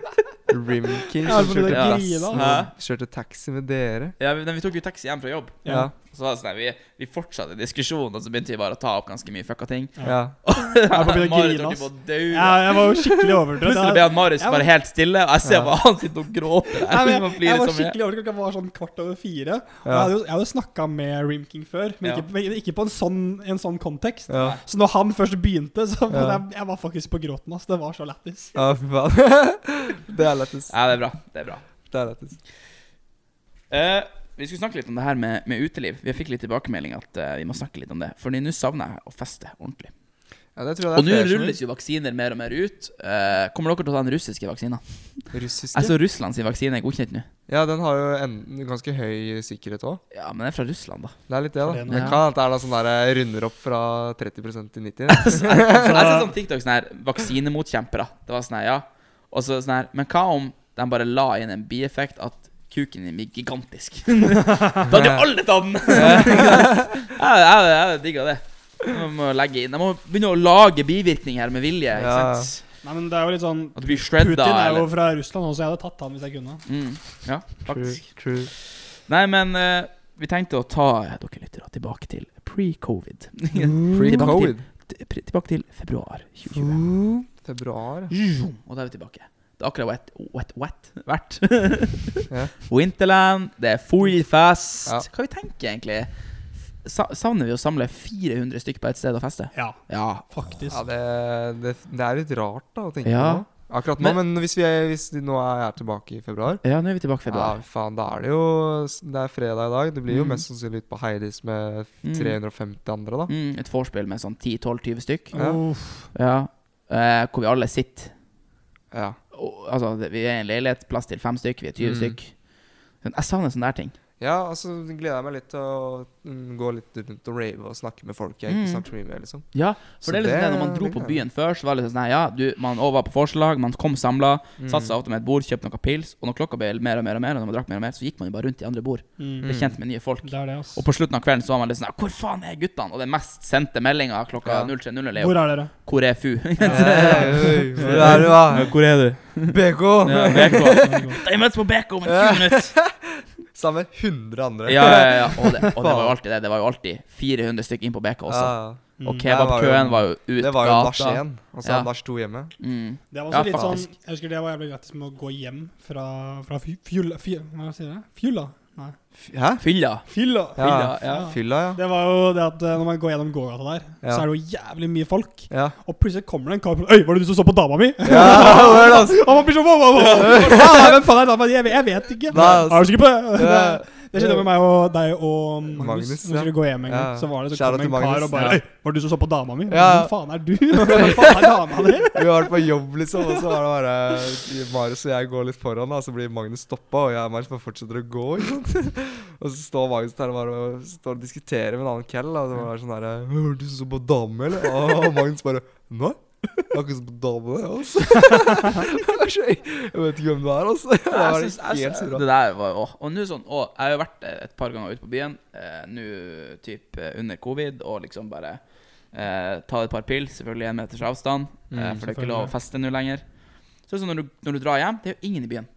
Speaker 3: Rim King
Speaker 2: Jeg
Speaker 3: som
Speaker 2: holdt på å
Speaker 3: kjørte, taxi-
Speaker 2: grine,
Speaker 1: altså.
Speaker 3: kjørte taxi med dere.
Speaker 1: Ja, vi, men vi tok jo taxi hjem fra jobb.
Speaker 3: Ja.
Speaker 1: Så var det sånn, her, vi, vi fortsatte diskusjonen, og så begynte vi bare å ta opp ganske mye fucka ting. *laughs*
Speaker 3: Ja.
Speaker 2: bare begynte å
Speaker 1: Marit
Speaker 2: grine,
Speaker 1: holdt
Speaker 2: ass.
Speaker 1: jo på å daue.
Speaker 2: Ja, jeg var jo skikkelig overdrevet.
Speaker 1: Plutselig ble han Marius
Speaker 2: jeg var-
Speaker 1: bare helt stille, og jeg ser bare han sitter og gråter. der.
Speaker 2: Nei, men
Speaker 1: Man
Speaker 2: jeg,
Speaker 1: flirer
Speaker 2: jeg var
Speaker 1: så mye.
Speaker 2: skikkelig overrasket. Klokka var sånn kvart over fire. Og jeg
Speaker 3: Ja.
Speaker 2: hadde jo, jeg hadde jo snakka med Rimking før, men
Speaker 1: Ja.
Speaker 2: ikke, men ikke på en sånn, en sånn kontekst.
Speaker 3: Ja.
Speaker 2: Så når han først begynte, så var
Speaker 3: Ja.
Speaker 2: jeg, jeg var faktisk på gråten. ass. Det var så lættis.
Speaker 3: Ja, fy faen. *laughs* Det er lættis.
Speaker 1: Ja, det er bra. Det er bra.
Speaker 3: Det er lættis.
Speaker 1: Eh, vi skulle snakke litt om det her med, med uteliv. Vi fikk litt tilbakemelding at eh, vi må snakke litt om det. For nå savner jeg å feste ordentlig.
Speaker 3: Ja, det tror jeg
Speaker 1: Og
Speaker 3: det
Speaker 1: nå
Speaker 3: er flere
Speaker 1: rulles jo vaksiner mer og mer ut. Eh, kommer dere til å ta den russiske vaksina?
Speaker 3: som Russiske?
Speaker 1: Jeg så Russlands vaksine er godkjent nå.
Speaker 3: Ja, den har jo en ganske høy sikkerhet òg.
Speaker 1: Ja, men den er fra Russland, da.
Speaker 3: Det er litt det,
Speaker 2: For
Speaker 3: da.
Speaker 2: det nå,
Speaker 3: Det
Speaker 1: ja.
Speaker 3: kan hende det er noe sånn der runder opp fra 30 til 90.
Speaker 1: *laughs* Så jeg
Speaker 3: *laughs*
Speaker 1: ser sånn TikTok sånn her Vaksinemotkjempere. Det var sånn her, ja. Og så sånn her Men hva om de bare la inn en bieffekt at kuken din blir gigantisk?
Speaker 3: *laughs*
Speaker 1: da hadde jo alle tatt den! jeg *laughs* jeg, jeg digga det. De må, legge inn. de må begynne å lage bivirkninger med vilje. Ikke
Speaker 3: Ja.
Speaker 1: sant?
Speaker 2: Nei, men det er jo litt sånn
Speaker 1: At du blir
Speaker 2: Putin
Speaker 1: shredda.
Speaker 2: er jo
Speaker 1: Eller,
Speaker 2: fra Russland også, jeg hadde tatt han hvis
Speaker 1: *laughs*
Speaker 2: jeg kunne.
Speaker 1: mm, ja, faktisk.
Speaker 3: true.
Speaker 1: Nei, men eh, vi tenkte å ta eh, dere lyttere tilbake til pre-covid. tilbake, til,
Speaker 3: Pre-covid.
Speaker 1: t- tilbake til februar 2020.
Speaker 3: Mm, Februar.
Speaker 1: Zoom, Og da er vi tilbake. Det er akkurat wet, wet, wet, vært.
Speaker 3: Ja.
Speaker 1: *laughs* Winterland, det er full fest.
Speaker 3: Ja.
Speaker 1: Hva vi tenker egentlig? Sa savner vi å samle 400 stykker på et sted og feste?
Speaker 2: Ja,
Speaker 1: Ja.
Speaker 2: faktisk.
Speaker 3: Ja, det, det, det er litt rart da å tenke
Speaker 1: Ja.
Speaker 3: på. Akkurat nå,
Speaker 1: Men-
Speaker 3: men, hvis, vi er, hvis de- nå er jeg tilbake i februar
Speaker 1: Ja, nå er vi tilbake i februar.
Speaker 3: Ja, faen, da er det jo Det er fredag i dag. Det blir jo
Speaker 1: Mm.
Speaker 3: mest sannsynlig ut på Heidis med
Speaker 1: Mm.
Speaker 3: 350 andre, da.
Speaker 1: Mm, et vorspiel med sånn 10-12-20 stykk.
Speaker 3: Ja.
Speaker 2: Uff.
Speaker 1: Ja. Eh, hvor vi alle sitter.
Speaker 3: Ja.
Speaker 1: Og, altså, det- vi er i en leilighet, plass til fem stykk, vi er 20
Speaker 3: Mm.
Speaker 1: stykk. Men Jeg savner sånne der ting.
Speaker 3: ja, altså gleder jeg meg litt til å mm, gå litt rundt og rave og snakke med folk jeg ikke
Speaker 1: Mm.
Speaker 3: snakker så mye med, liksom.
Speaker 1: Ja,
Speaker 3: Så
Speaker 1: for det er liksom det,
Speaker 3: det-
Speaker 1: Når man dro
Speaker 3: det
Speaker 1: på
Speaker 3: kan jeg.
Speaker 1: byen før, så var det liksom sånn her, Ja, du, man over på forslag, man kom samla.
Speaker 3: Mm.
Speaker 1: Satt seg ofte med et bord, kjøpte noen pils, og når klokka ble mer og mer, og mer, og når man drakk mer og mer, så gikk man jo bare rundt i andre bord.
Speaker 2: Mm.
Speaker 1: Ble kjent med nye folk.
Speaker 2: Det er det, ass.
Speaker 1: Og på slutten av kvelden så var man litt sånn her, Hvor faen er guttene? Og den mest sendte meldinga klokka
Speaker 3: Ja.
Speaker 1: 03.00 er jo
Speaker 2: Hvor er dere?
Speaker 1: Hvor er fu?
Speaker 3: Hey, hey, Eh, hvor er du, da?
Speaker 1: Hvor er du?
Speaker 3: BK!
Speaker 1: *laughs* Ja, BK. De møtes på BK om en 20 minutter.
Speaker 3: Sammen med 100 andre.
Speaker 1: Ja, ja, ja. Og det, og det var jo alltid det. Det var jo alltid 400 stykker inn på BK også.
Speaker 3: Ja,
Speaker 1: Og
Speaker 2: Mm.
Speaker 1: kebabkøen var jo
Speaker 3: ja.
Speaker 1: ut
Speaker 3: Det var jo nach
Speaker 1: gata.
Speaker 3: 1, og så
Speaker 1: Ja.
Speaker 3: nach 2 hjemme.
Speaker 1: Mm.
Speaker 2: Det var
Speaker 1: Ja,
Speaker 2: også litt sånn
Speaker 1: faktisk.
Speaker 2: Jeg husker det var jævlig gratis med å gå hjem fra, fra fy- fjula fy- Hva sier jeg? Fjula? Nei.
Speaker 3: F- Hæ?
Speaker 1: Fylla. Fylla,
Speaker 2: Fylla.
Speaker 1: ja.
Speaker 2: Ja.
Speaker 3: Fylla, ja.
Speaker 2: Det var jo det at eh, når man går gjennom gågata der,
Speaker 3: Ja.
Speaker 2: så er det jo jævlig mye folk.
Speaker 3: Ja. *laughs*
Speaker 2: Og plutselig kommer det en kar og sier, Øy, var det du som så på dama mi?
Speaker 3: ja det var det, altså.
Speaker 2: *laughs* Og man blir sånn «Hva, hva, hva?» Ja, Hvem faen er dama di? Jeg, vet- jeg vet ikke.
Speaker 3: Nei, altså.
Speaker 2: Er du sikker på det?
Speaker 3: Ja.
Speaker 2: *laughs* Det, det skjedde med meg og deg og Magnus.
Speaker 3: Magnus,
Speaker 2: Når vi
Speaker 3: ja.
Speaker 2: skulle gå hjem en gang,
Speaker 3: Ja.
Speaker 2: så var det så
Speaker 3: Shout out
Speaker 2: kom
Speaker 3: til
Speaker 2: en kar
Speaker 3: Magnus.
Speaker 2: og bare
Speaker 1: Ja.
Speaker 2: Øy, var det du som så på dama mi?
Speaker 3: Ja.
Speaker 2: Hvem faen er du? *laughs* Hvem faen er dama di?
Speaker 3: *laughs* Vi har vært på jobb, liksom, og så var det bare Marius og jeg går litt foran, da, og så blir Magnus stoppa, og jeg og Marius bare fortsetter å gå. Ikke sant? *laughs* Og så står Magnus der og bare og står og diskuterer med en annen cal, da, og så var det sånn derre Hørte du så på dame, eller? Og *laughs* Magnus bare Nei? Jeg har ikke sett på dame, jeg, altså. *laughs* Jeg vet ikke hvem du er, altså. Det var
Speaker 1: Jeg synes- jeg
Speaker 3: helt
Speaker 1: synes-
Speaker 3: surra.
Speaker 1: det der var åh. Og nå sånn, åh, jeg har jo vært eh, et par ganger ute på byen, eh, nå typ eh, under covid, og liksom bare eh, ta et par pils, selvfølgelig en meters avstand,
Speaker 3: Mm,
Speaker 1: eh, for det er
Speaker 2: selvfølgelig.
Speaker 1: ikke lov å feste nå lenger. Så det er sånn når du, når du drar hjem, det er jo ingen i byen.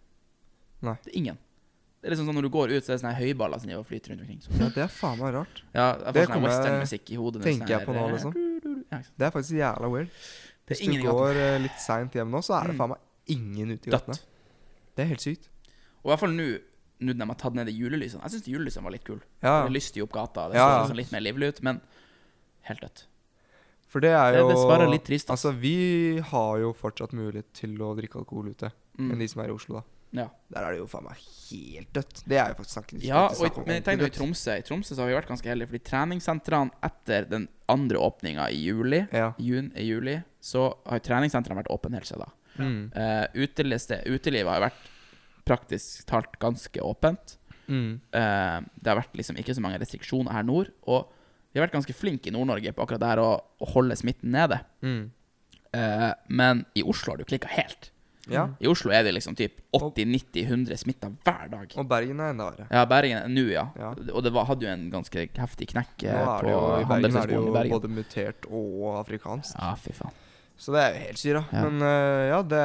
Speaker 3: Nei.
Speaker 1: Det er ingen. Det er liksom sånn Når du går ut, så er det sånne her høyballer som driver og flyter rundt omkring. Så.
Speaker 3: Ja, det er faen meg rart.
Speaker 1: Ja, jeg får
Speaker 3: Det
Speaker 1: sånn
Speaker 3: kommer jeg-
Speaker 1: westernmusikk i hodet.
Speaker 3: tenker
Speaker 1: sånn her,
Speaker 3: jeg på nå,
Speaker 1: eh,
Speaker 3: liksom.
Speaker 1: ja, ikke sant.
Speaker 3: Det er faktisk jævla weird.
Speaker 1: Det
Speaker 3: Hvis
Speaker 1: er ingen
Speaker 3: du
Speaker 1: i gaten.
Speaker 3: går eh, litt seint hjem nå, så er det faen meg ingen ute i
Speaker 1: Dødt.
Speaker 3: gatene. Det er helt sykt.
Speaker 1: Og i hvert fall nå, nå når de har tatt ned de julelysene. Jeg syns julelysene var litt kule.
Speaker 3: Ja,
Speaker 1: Det er lyst i opp gata. Det
Speaker 3: Ah. Ja,
Speaker 1: ser
Speaker 3: ja.
Speaker 1: liksom litt mer livlig ut, men helt dødt.
Speaker 3: for det er
Speaker 1: Det
Speaker 3: jo
Speaker 1: er dessverre litt trist. Altså.
Speaker 3: Altså, vi har jo fortsatt mulighet til å drikke alkohol ute, enn
Speaker 1: Mm.
Speaker 3: de som er i Oslo, da.
Speaker 1: Ja.
Speaker 3: Der er det jo faen meg helt dødt. Det er jo faktisk snakket
Speaker 1: ja, og i, men tenk nå i Tromsø. I Tromsø så har vi vært ganske heldige, fordi treningssentrene etter den andre åpninga i juli,
Speaker 3: Ja.
Speaker 1: jun, i juli, så har treningssentrene vært åpne helt siden da.
Speaker 3: Mm.
Speaker 1: Eh, uteliste, utelivet har vært praktisk talt ganske åpent.
Speaker 3: Mm.
Speaker 1: Eh, det har vært liksom ikke så mange restriksjoner her nord. Og vi har vært ganske flinke i Nord-Norge på akkurat det her å, å holde smitten nede.
Speaker 3: Mm.
Speaker 1: Eh, men i Oslo har du klikka helt.
Speaker 3: Ja.
Speaker 1: I Oslo er det liksom typ 80-90-100 smitta hver dag.
Speaker 3: Og Bergen er enda verre.
Speaker 1: Ja, Bergen er nå, ja.
Speaker 3: Ja.
Speaker 1: Og det var, hadde jo en ganske heftig knekk
Speaker 3: Nå
Speaker 1: eh,
Speaker 3: er
Speaker 1: på
Speaker 3: det jo, I Bergen er det
Speaker 1: Handelshøyskolen
Speaker 3: jo
Speaker 1: i Bergen.
Speaker 3: både mutert og afrikansk.
Speaker 1: Ja, fy faen.
Speaker 3: Så det er jo helt syra.
Speaker 1: Ja.
Speaker 3: Men øh, ja, det,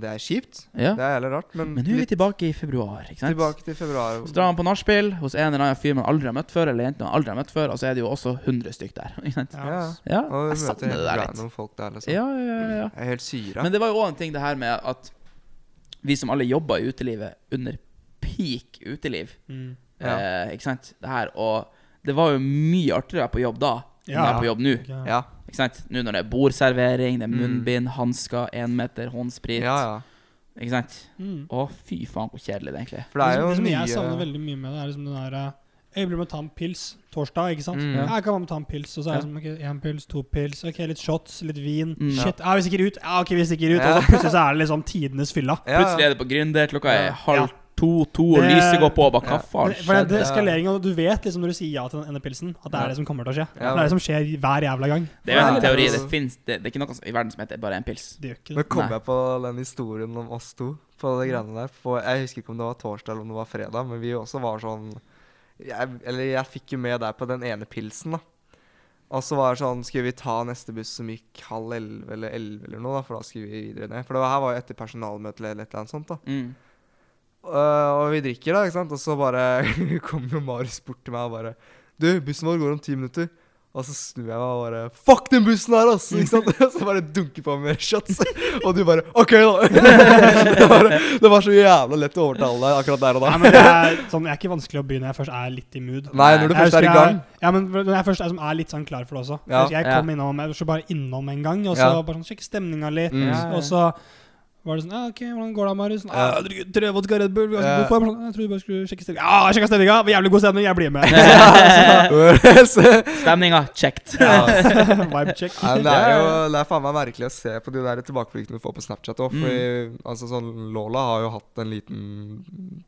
Speaker 3: det er kjipt.
Speaker 1: Ja.
Speaker 3: Det er jævlig rart. Men,
Speaker 1: Men nå er vi
Speaker 3: Mm, litt
Speaker 1: tilbake i februar, ikke sant?
Speaker 3: tilbake til februar.
Speaker 1: Så drar han på nachspiel hos en eller annen fyr man aldri har møtt før, eller jente man aldri har møtt før, og så er det jo også 100 stykk der. *laughs* Ikke sant?
Speaker 3: Ja. ja.
Speaker 1: Ja,
Speaker 3: Og
Speaker 1: jeg
Speaker 3: vi møter
Speaker 1: savner det
Speaker 3: helt
Speaker 1: der litt.
Speaker 3: random folk der, liksom.
Speaker 1: Ja, ja, ja, ja.
Speaker 3: Det er helt syra.
Speaker 1: Men det var jo òg en ting, det her med at vi som alle jobber i utelivet under peak uteliv,
Speaker 2: Mm.
Speaker 3: Ja.
Speaker 1: eh, ikke sant? Det her, og det var jo mye artigere å være på jobb da enn å
Speaker 2: Ja.
Speaker 1: være på jobb nå.
Speaker 2: Ja.
Speaker 3: ja.
Speaker 1: Ikke sant? Nå når det er bordservering, det er
Speaker 3: Mm.
Speaker 1: munnbind, hansker, én meter, håndsprit.
Speaker 3: ja, ja.
Speaker 1: Ikke sant?
Speaker 2: Mm.
Speaker 1: Å, fy faen, hvor kjedelig det egentlig er.
Speaker 3: For det er
Speaker 2: som-
Speaker 3: jo
Speaker 2: som
Speaker 3: mye
Speaker 2: jeg savner veldig mye med det, er liksom den der eh, Jeg blir med å ta en pils torsdag, ikke sant?
Speaker 3: Mm.
Speaker 2: Ja, Jeg kan være med å ta en pils, og så er
Speaker 1: Ja.
Speaker 2: det som ok, en pils, to pils, ok, litt shots, litt vin.
Speaker 1: Mm.
Speaker 2: Shit, ja, vi stikker ut! Ja, ok, vi stikker ut!
Speaker 3: Ja.
Speaker 2: Og så plutselig så er det liksom tidenes fylla.
Speaker 3: Ja,
Speaker 1: Plutselig er det på Gründer, klokka er
Speaker 3: Ja.
Speaker 1: halv to, to, og
Speaker 2: Det-
Speaker 1: lyset går på, og bare
Speaker 3: Ja.
Speaker 1: hva faen
Speaker 2: Det- For
Speaker 1: skjedde?
Speaker 2: det, det
Speaker 3: skjedd?
Speaker 2: eskaleringen, og du vet liksom når du sier ja til den ene pilsen, at det
Speaker 3: Ja.
Speaker 2: er det som kommer til å skje.
Speaker 3: Ja.
Speaker 2: Det er det som skjer hver jævla gang.
Speaker 1: Det er jo
Speaker 3: Ja.
Speaker 1: en teori. Det, finnes, det, det er ikke noe i verden som heter bare en pils.
Speaker 2: Det gjør ikke
Speaker 3: Nå
Speaker 2: det.
Speaker 3: kom
Speaker 1: Nei.
Speaker 3: jeg på den historien om oss to på de greiene der. På, jeg husker ikke om det var torsdag eller om det var fredag, men vi også var sånn jeg, Eller jeg fikk jo med deg på den ene pilsen, da. Og så var det sånn Skulle vi ta neste buss som gikk halv elleve eller elleve eller noe, da, for da skulle vi videre ned. For det var- her var jo etter personalmøte eller et eller annet sånt, da.
Speaker 1: Mm.
Speaker 3: Eh, og vi drikker, da, ikke sant? Og så bare *laughs* kommer jo Marius bort til meg og bare Du, bussen vår går om ti minutter. Og så snur jeg meg og bare Fuck den bussen her, ass! Ikke sant? *laughs* Og så bare dunker på med shots. *laughs* Og du bare OK, da. *laughs* det, var, det var så jævla lett å overtale deg akkurat der og
Speaker 1: *laughs*
Speaker 2: Nei,
Speaker 3: da. *laughs*
Speaker 2: men det er, sånn, det er ikke vanskelig å begynne når jeg først er litt i mood.
Speaker 3: Nei, når du
Speaker 2: Jeg
Speaker 3: først er i
Speaker 2: husker
Speaker 3: gang.
Speaker 2: Jeg, ja, men når jeg først er, som er litt sånn klar for det også.
Speaker 3: Ja.
Speaker 2: Jeg husker jeg
Speaker 1: Ja.
Speaker 2: kom innom, jeg var bare innom en gang, og så
Speaker 3: Ja.
Speaker 2: bare sånn, sjekke stemninga litt.
Speaker 3: Mm.
Speaker 1: Ja, ja.
Speaker 2: Og så var det sånn ja, OK, hvordan går det, Marius? Sånn,
Speaker 3: Ja.
Speaker 2: «Ah, jeg drikker Tre vodka Red Bull, vi har så
Speaker 3: Ja.
Speaker 2: god form. Sånn, Jeg trodde du bare skulle sjekke stemninga. Ja, jeg sjekka stemninga! Jævlig god stemning, jeg blir med. *laughs*
Speaker 3: Så-
Speaker 1: Stemninga checked.
Speaker 3: ja.
Speaker 2: Vibe check.
Speaker 3: Nei, men det er jo det er faen meg merkelig å se på de der tilbakeblikkene du får på Snapchat òg. Mm. Altså, sånn, Lola har jo hatt en liten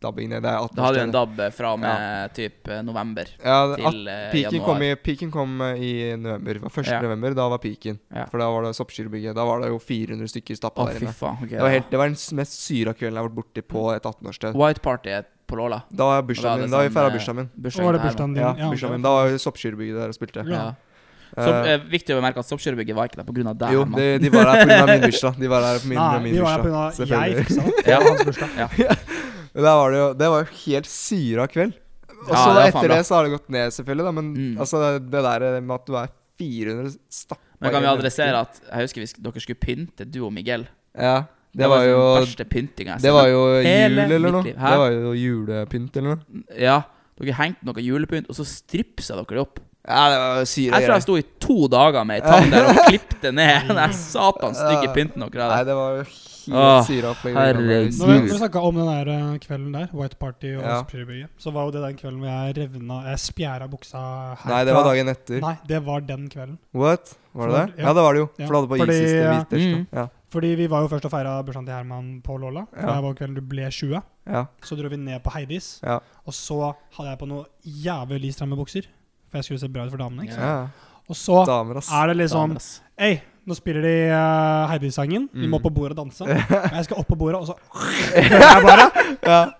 Speaker 3: dabbing ned. Det er 18
Speaker 1: Da hadde vi en DAB eh, fra og med typ eh, november
Speaker 3: Ja, det-
Speaker 1: til eh,
Speaker 3: Piken kom, i,
Speaker 1: januar.
Speaker 3: piken kom eh, i november. Det var 1.
Speaker 1: Ja.
Speaker 3: november, da var piken.
Speaker 1: Ja.
Speaker 3: For da var det soppskyrbygget. Da var det jo 400 stykker stappa
Speaker 1: Å,
Speaker 3: der
Speaker 1: fy
Speaker 3: inne.
Speaker 1: faen. ok,
Speaker 3: Det var,
Speaker 1: da.
Speaker 3: helt, det var den s- mest syra kvelden jeg har vært borti på et 18-årssted.
Speaker 1: White Party på Låla.
Speaker 3: Da var
Speaker 1: Da
Speaker 3: bursdagen
Speaker 1: er det
Speaker 3: min. Da vi
Speaker 1: sånn,
Speaker 3: feira
Speaker 1: eh,
Speaker 3: bursdagen min.
Speaker 2: Og var det bursdagen din?
Speaker 3: Ja, bursdagen min. Da var jo soppskyrbygget der og spilte.
Speaker 1: Ja. Så
Speaker 3: Eh,
Speaker 1: eh, viktig å bemerke at Soppkjørebygget var ikke der på grunn av deg.
Speaker 3: jo,
Speaker 1: Herman.
Speaker 3: de, de var der pga. min bursdag. De var der på min,
Speaker 2: Nei,
Speaker 3: min
Speaker 2: de var der
Speaker 3: bursdag.
Speaker 2: pga. jeg
Speaker 3: selvfølgelig.
Speaker 2: fiksa
Speaker 3: *laughs*
Speaker 1: Ja.
Speaker 2: det. Hans bursdag.
Speaker 3: Der var det, jo, det var jo helt syra kveld. Og
Speaker 1: Ja,
Speaker 3: så
Speaker 1: det var faen
Speaker 3: etter
Speaker 1: bra.
Speaker 3: det så har det gått ned, selvfølgelig. Da, men
Speaker 1: Mm.
Speaker 3: altså, det der med at du er 400 stappa
Speaker 1: Men kan vi
Speaker 3: inn i-
Speaker 1: adressere at jeg husker vi, sk- dere skulle pynte, du og Miguel.
Speaker 3: Ja. Det var jo
Speaker 1: den verste pyntinga jeg
Speaker 3: Det var jo jul
Speaker 1: Hele
Speaker 3: eller
Speaker 1: mitt
Speaker 3: noe.
Speaker 1: liv. Hæ?
Speaker 3: Det var jo julepynt eller noe.
Speaker 1: Ja, dere hengte noe julepynt, og så stripsa dere det opp.
Speaker 3: Ja, det var syre
Speaker 1: Jeg tror jeg sto i to dager med ei tann der og klippte
Speaker 3: *laughs*
Speaker 1: ned den der satans stygge pynten dere
Speaker 3: Nei,
Speaker 1: hadde.
Speaker 3: det var jo helt
Speaker 1: Åh,
Speaker 3: syra opplegg.
Speaker 1: herregud.
Speaker 2: Når vi, når
Speaker 1: Gud.
Speaker 2: vi snakka om den der eh, kvelden der, White Party og
Speaker 3: Ja.
Speaker 2: Spyrbye, så var jo det den kvelden hvor jeg revna Jeg spjæra buksa herfra.
Speaker 3: Nei, det var dagen etter.
Speaker 2: Nei, det var den kvelden.
Speaker 3: What? Var det det?
Speaker 2: For- ja.
Speaker 3: Ja, det var det jo.
Speaker 2: Ja.
Speaker 3: For du hadde på
Speaker 2: Fordi,
Speaker 3: Isis til
Speaker 2: ja.
Speaker 3: hvitørsta.
Speaker 1: Mm.
Speaker 3: Ja.
Speaker 2: Fordi vi var jo først og feira bursdagen til Herman på Lola. For
Speaker 3: Ja.
Speaker 2: Det var kvelden du ble 20.
Speaker 3: Ja.
Speaker 2: Så dro vi ned på Heidis,
Speaker 3: Ja.
Speaker 2: og så hadde jeg på noe jævlig stramme bukser. For jeg skulle se bra ut for damene. ikke sant?
Speaker 3: ja.
Speaker 2: Og så
Speaker 3: Damer, ass.
Speaker 2: er det liksom
Speaker 1: Faen, ass.
Speaker 2: Hei, nå spiller de eh, Heidi-sangen. Vi må
Speaker 3: Mm.
Speaker 2: på bordet
Speaker 3: *laughs*
Speaker 2: og danse. Og jeg skal opp på bordet, og så jeg bare,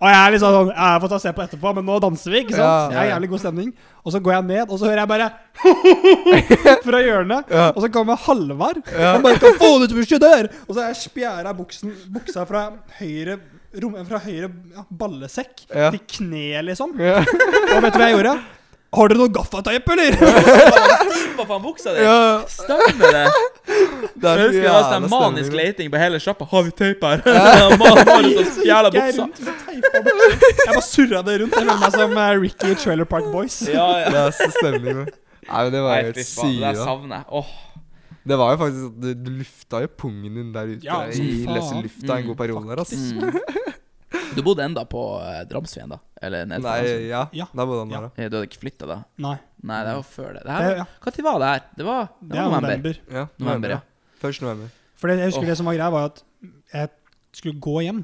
Speaker 2: Og jeg er liksom sånn Jeg får ta og se på etterpå, men nå danser vi, ikke
Speaker 3: Ja, ja,
Speaker 2: sant? Jeg er
Speaker 3: ja.
Speaker 2: jævlig god stemning. Og så går jeg ned, og så hører jeg bare *laughs* fra hjørnet.
Speaker 3: Ja.
Speaker 2: Og så kommer Halvard. Og bare kan få det til å bli der! Og så er jeg spjæra buksen, buksa fra høyre rom, Fra høyre ja, ballesekk
Speaker 3: Ja.
Speaker 2: til kneet, liksom.
Speaker 3: Ja.
Speaker 2: Og vet du hva jeg gjorde? Har dere noe gaffateip, eller?
Speaker 1: Hva faen buksa di?
Speaker 3: ja.
Speaker 1: Stemmer det?
Speaker 3: *laughs* Det
Speaker 1: Jeg
Speaker 3: så
Speaker 1: husker det var sånn
Speaker 3: jævla
Speaker 1: manisk
Speaker 3: stemning.
Speaker 1: leiting på hele sjappa. Har vi teip
Speaker 3: *laughs*
Speaker 1: her? Man har ut og stjela
Speaker 2: Jeg
Speaker 1: buksa.
Speaker 2: rundt med teipa bukser. Jeg bare surra det rundt. Jeg føler meg som eh, Ricky i Trailer Park Boys.
Speaker 1: Ja, ja.
Speaker 3: Det er så stemning. det. Nei, men det var
Speaker 1: Nei,
Speaker 3: jo
Speaker 1: fy
Speaker 3: helt
Speaker 1: faen, det der
Speaker 3: syra.
Speaker 1: savner jeg. Åh,
Speaker 3: Det var jo faktisk at du, du lufta jo pungen din der ute
Speaker 2: Ja, som
Speaker 3: i
Speaker 2: faen.
Speaker 3: løse lufta en
Speaker 1: Mm,
Speaker 3: god periode der, ass.
Speaker 1: mm. Du bodde enda på eh, Dramsveen, da? Eller nede
Speaker 3: Nei,
Speaker 1: Nei.
Speaker 3: ja.
Speaker 2: Ja.
Speaker 3: Da bodde han
Speaker 2: Ja.
Speaker 3: der, ja.
Speaker 1: altså. Eh, Du hadde ikke flytta da?
Speaker 2: Nei,
Speaker 1: Nei, det var før det. det
Speaker 2: det,
Speaker 1: her,
Speaker 2: ja,
Speaker 1: hva tid var det her? Det var, det
Speaker 2: det
Speaker 1: var
Speaker 2: er
Speaker 1: november.
Speaker 2: november.
Speaker 3: ja.
Speaker 1: November, ja.
Speaker 3: Først november.
Speaker 2: For det, jeg husker det som var greia, var at jeg skulle gå hjem.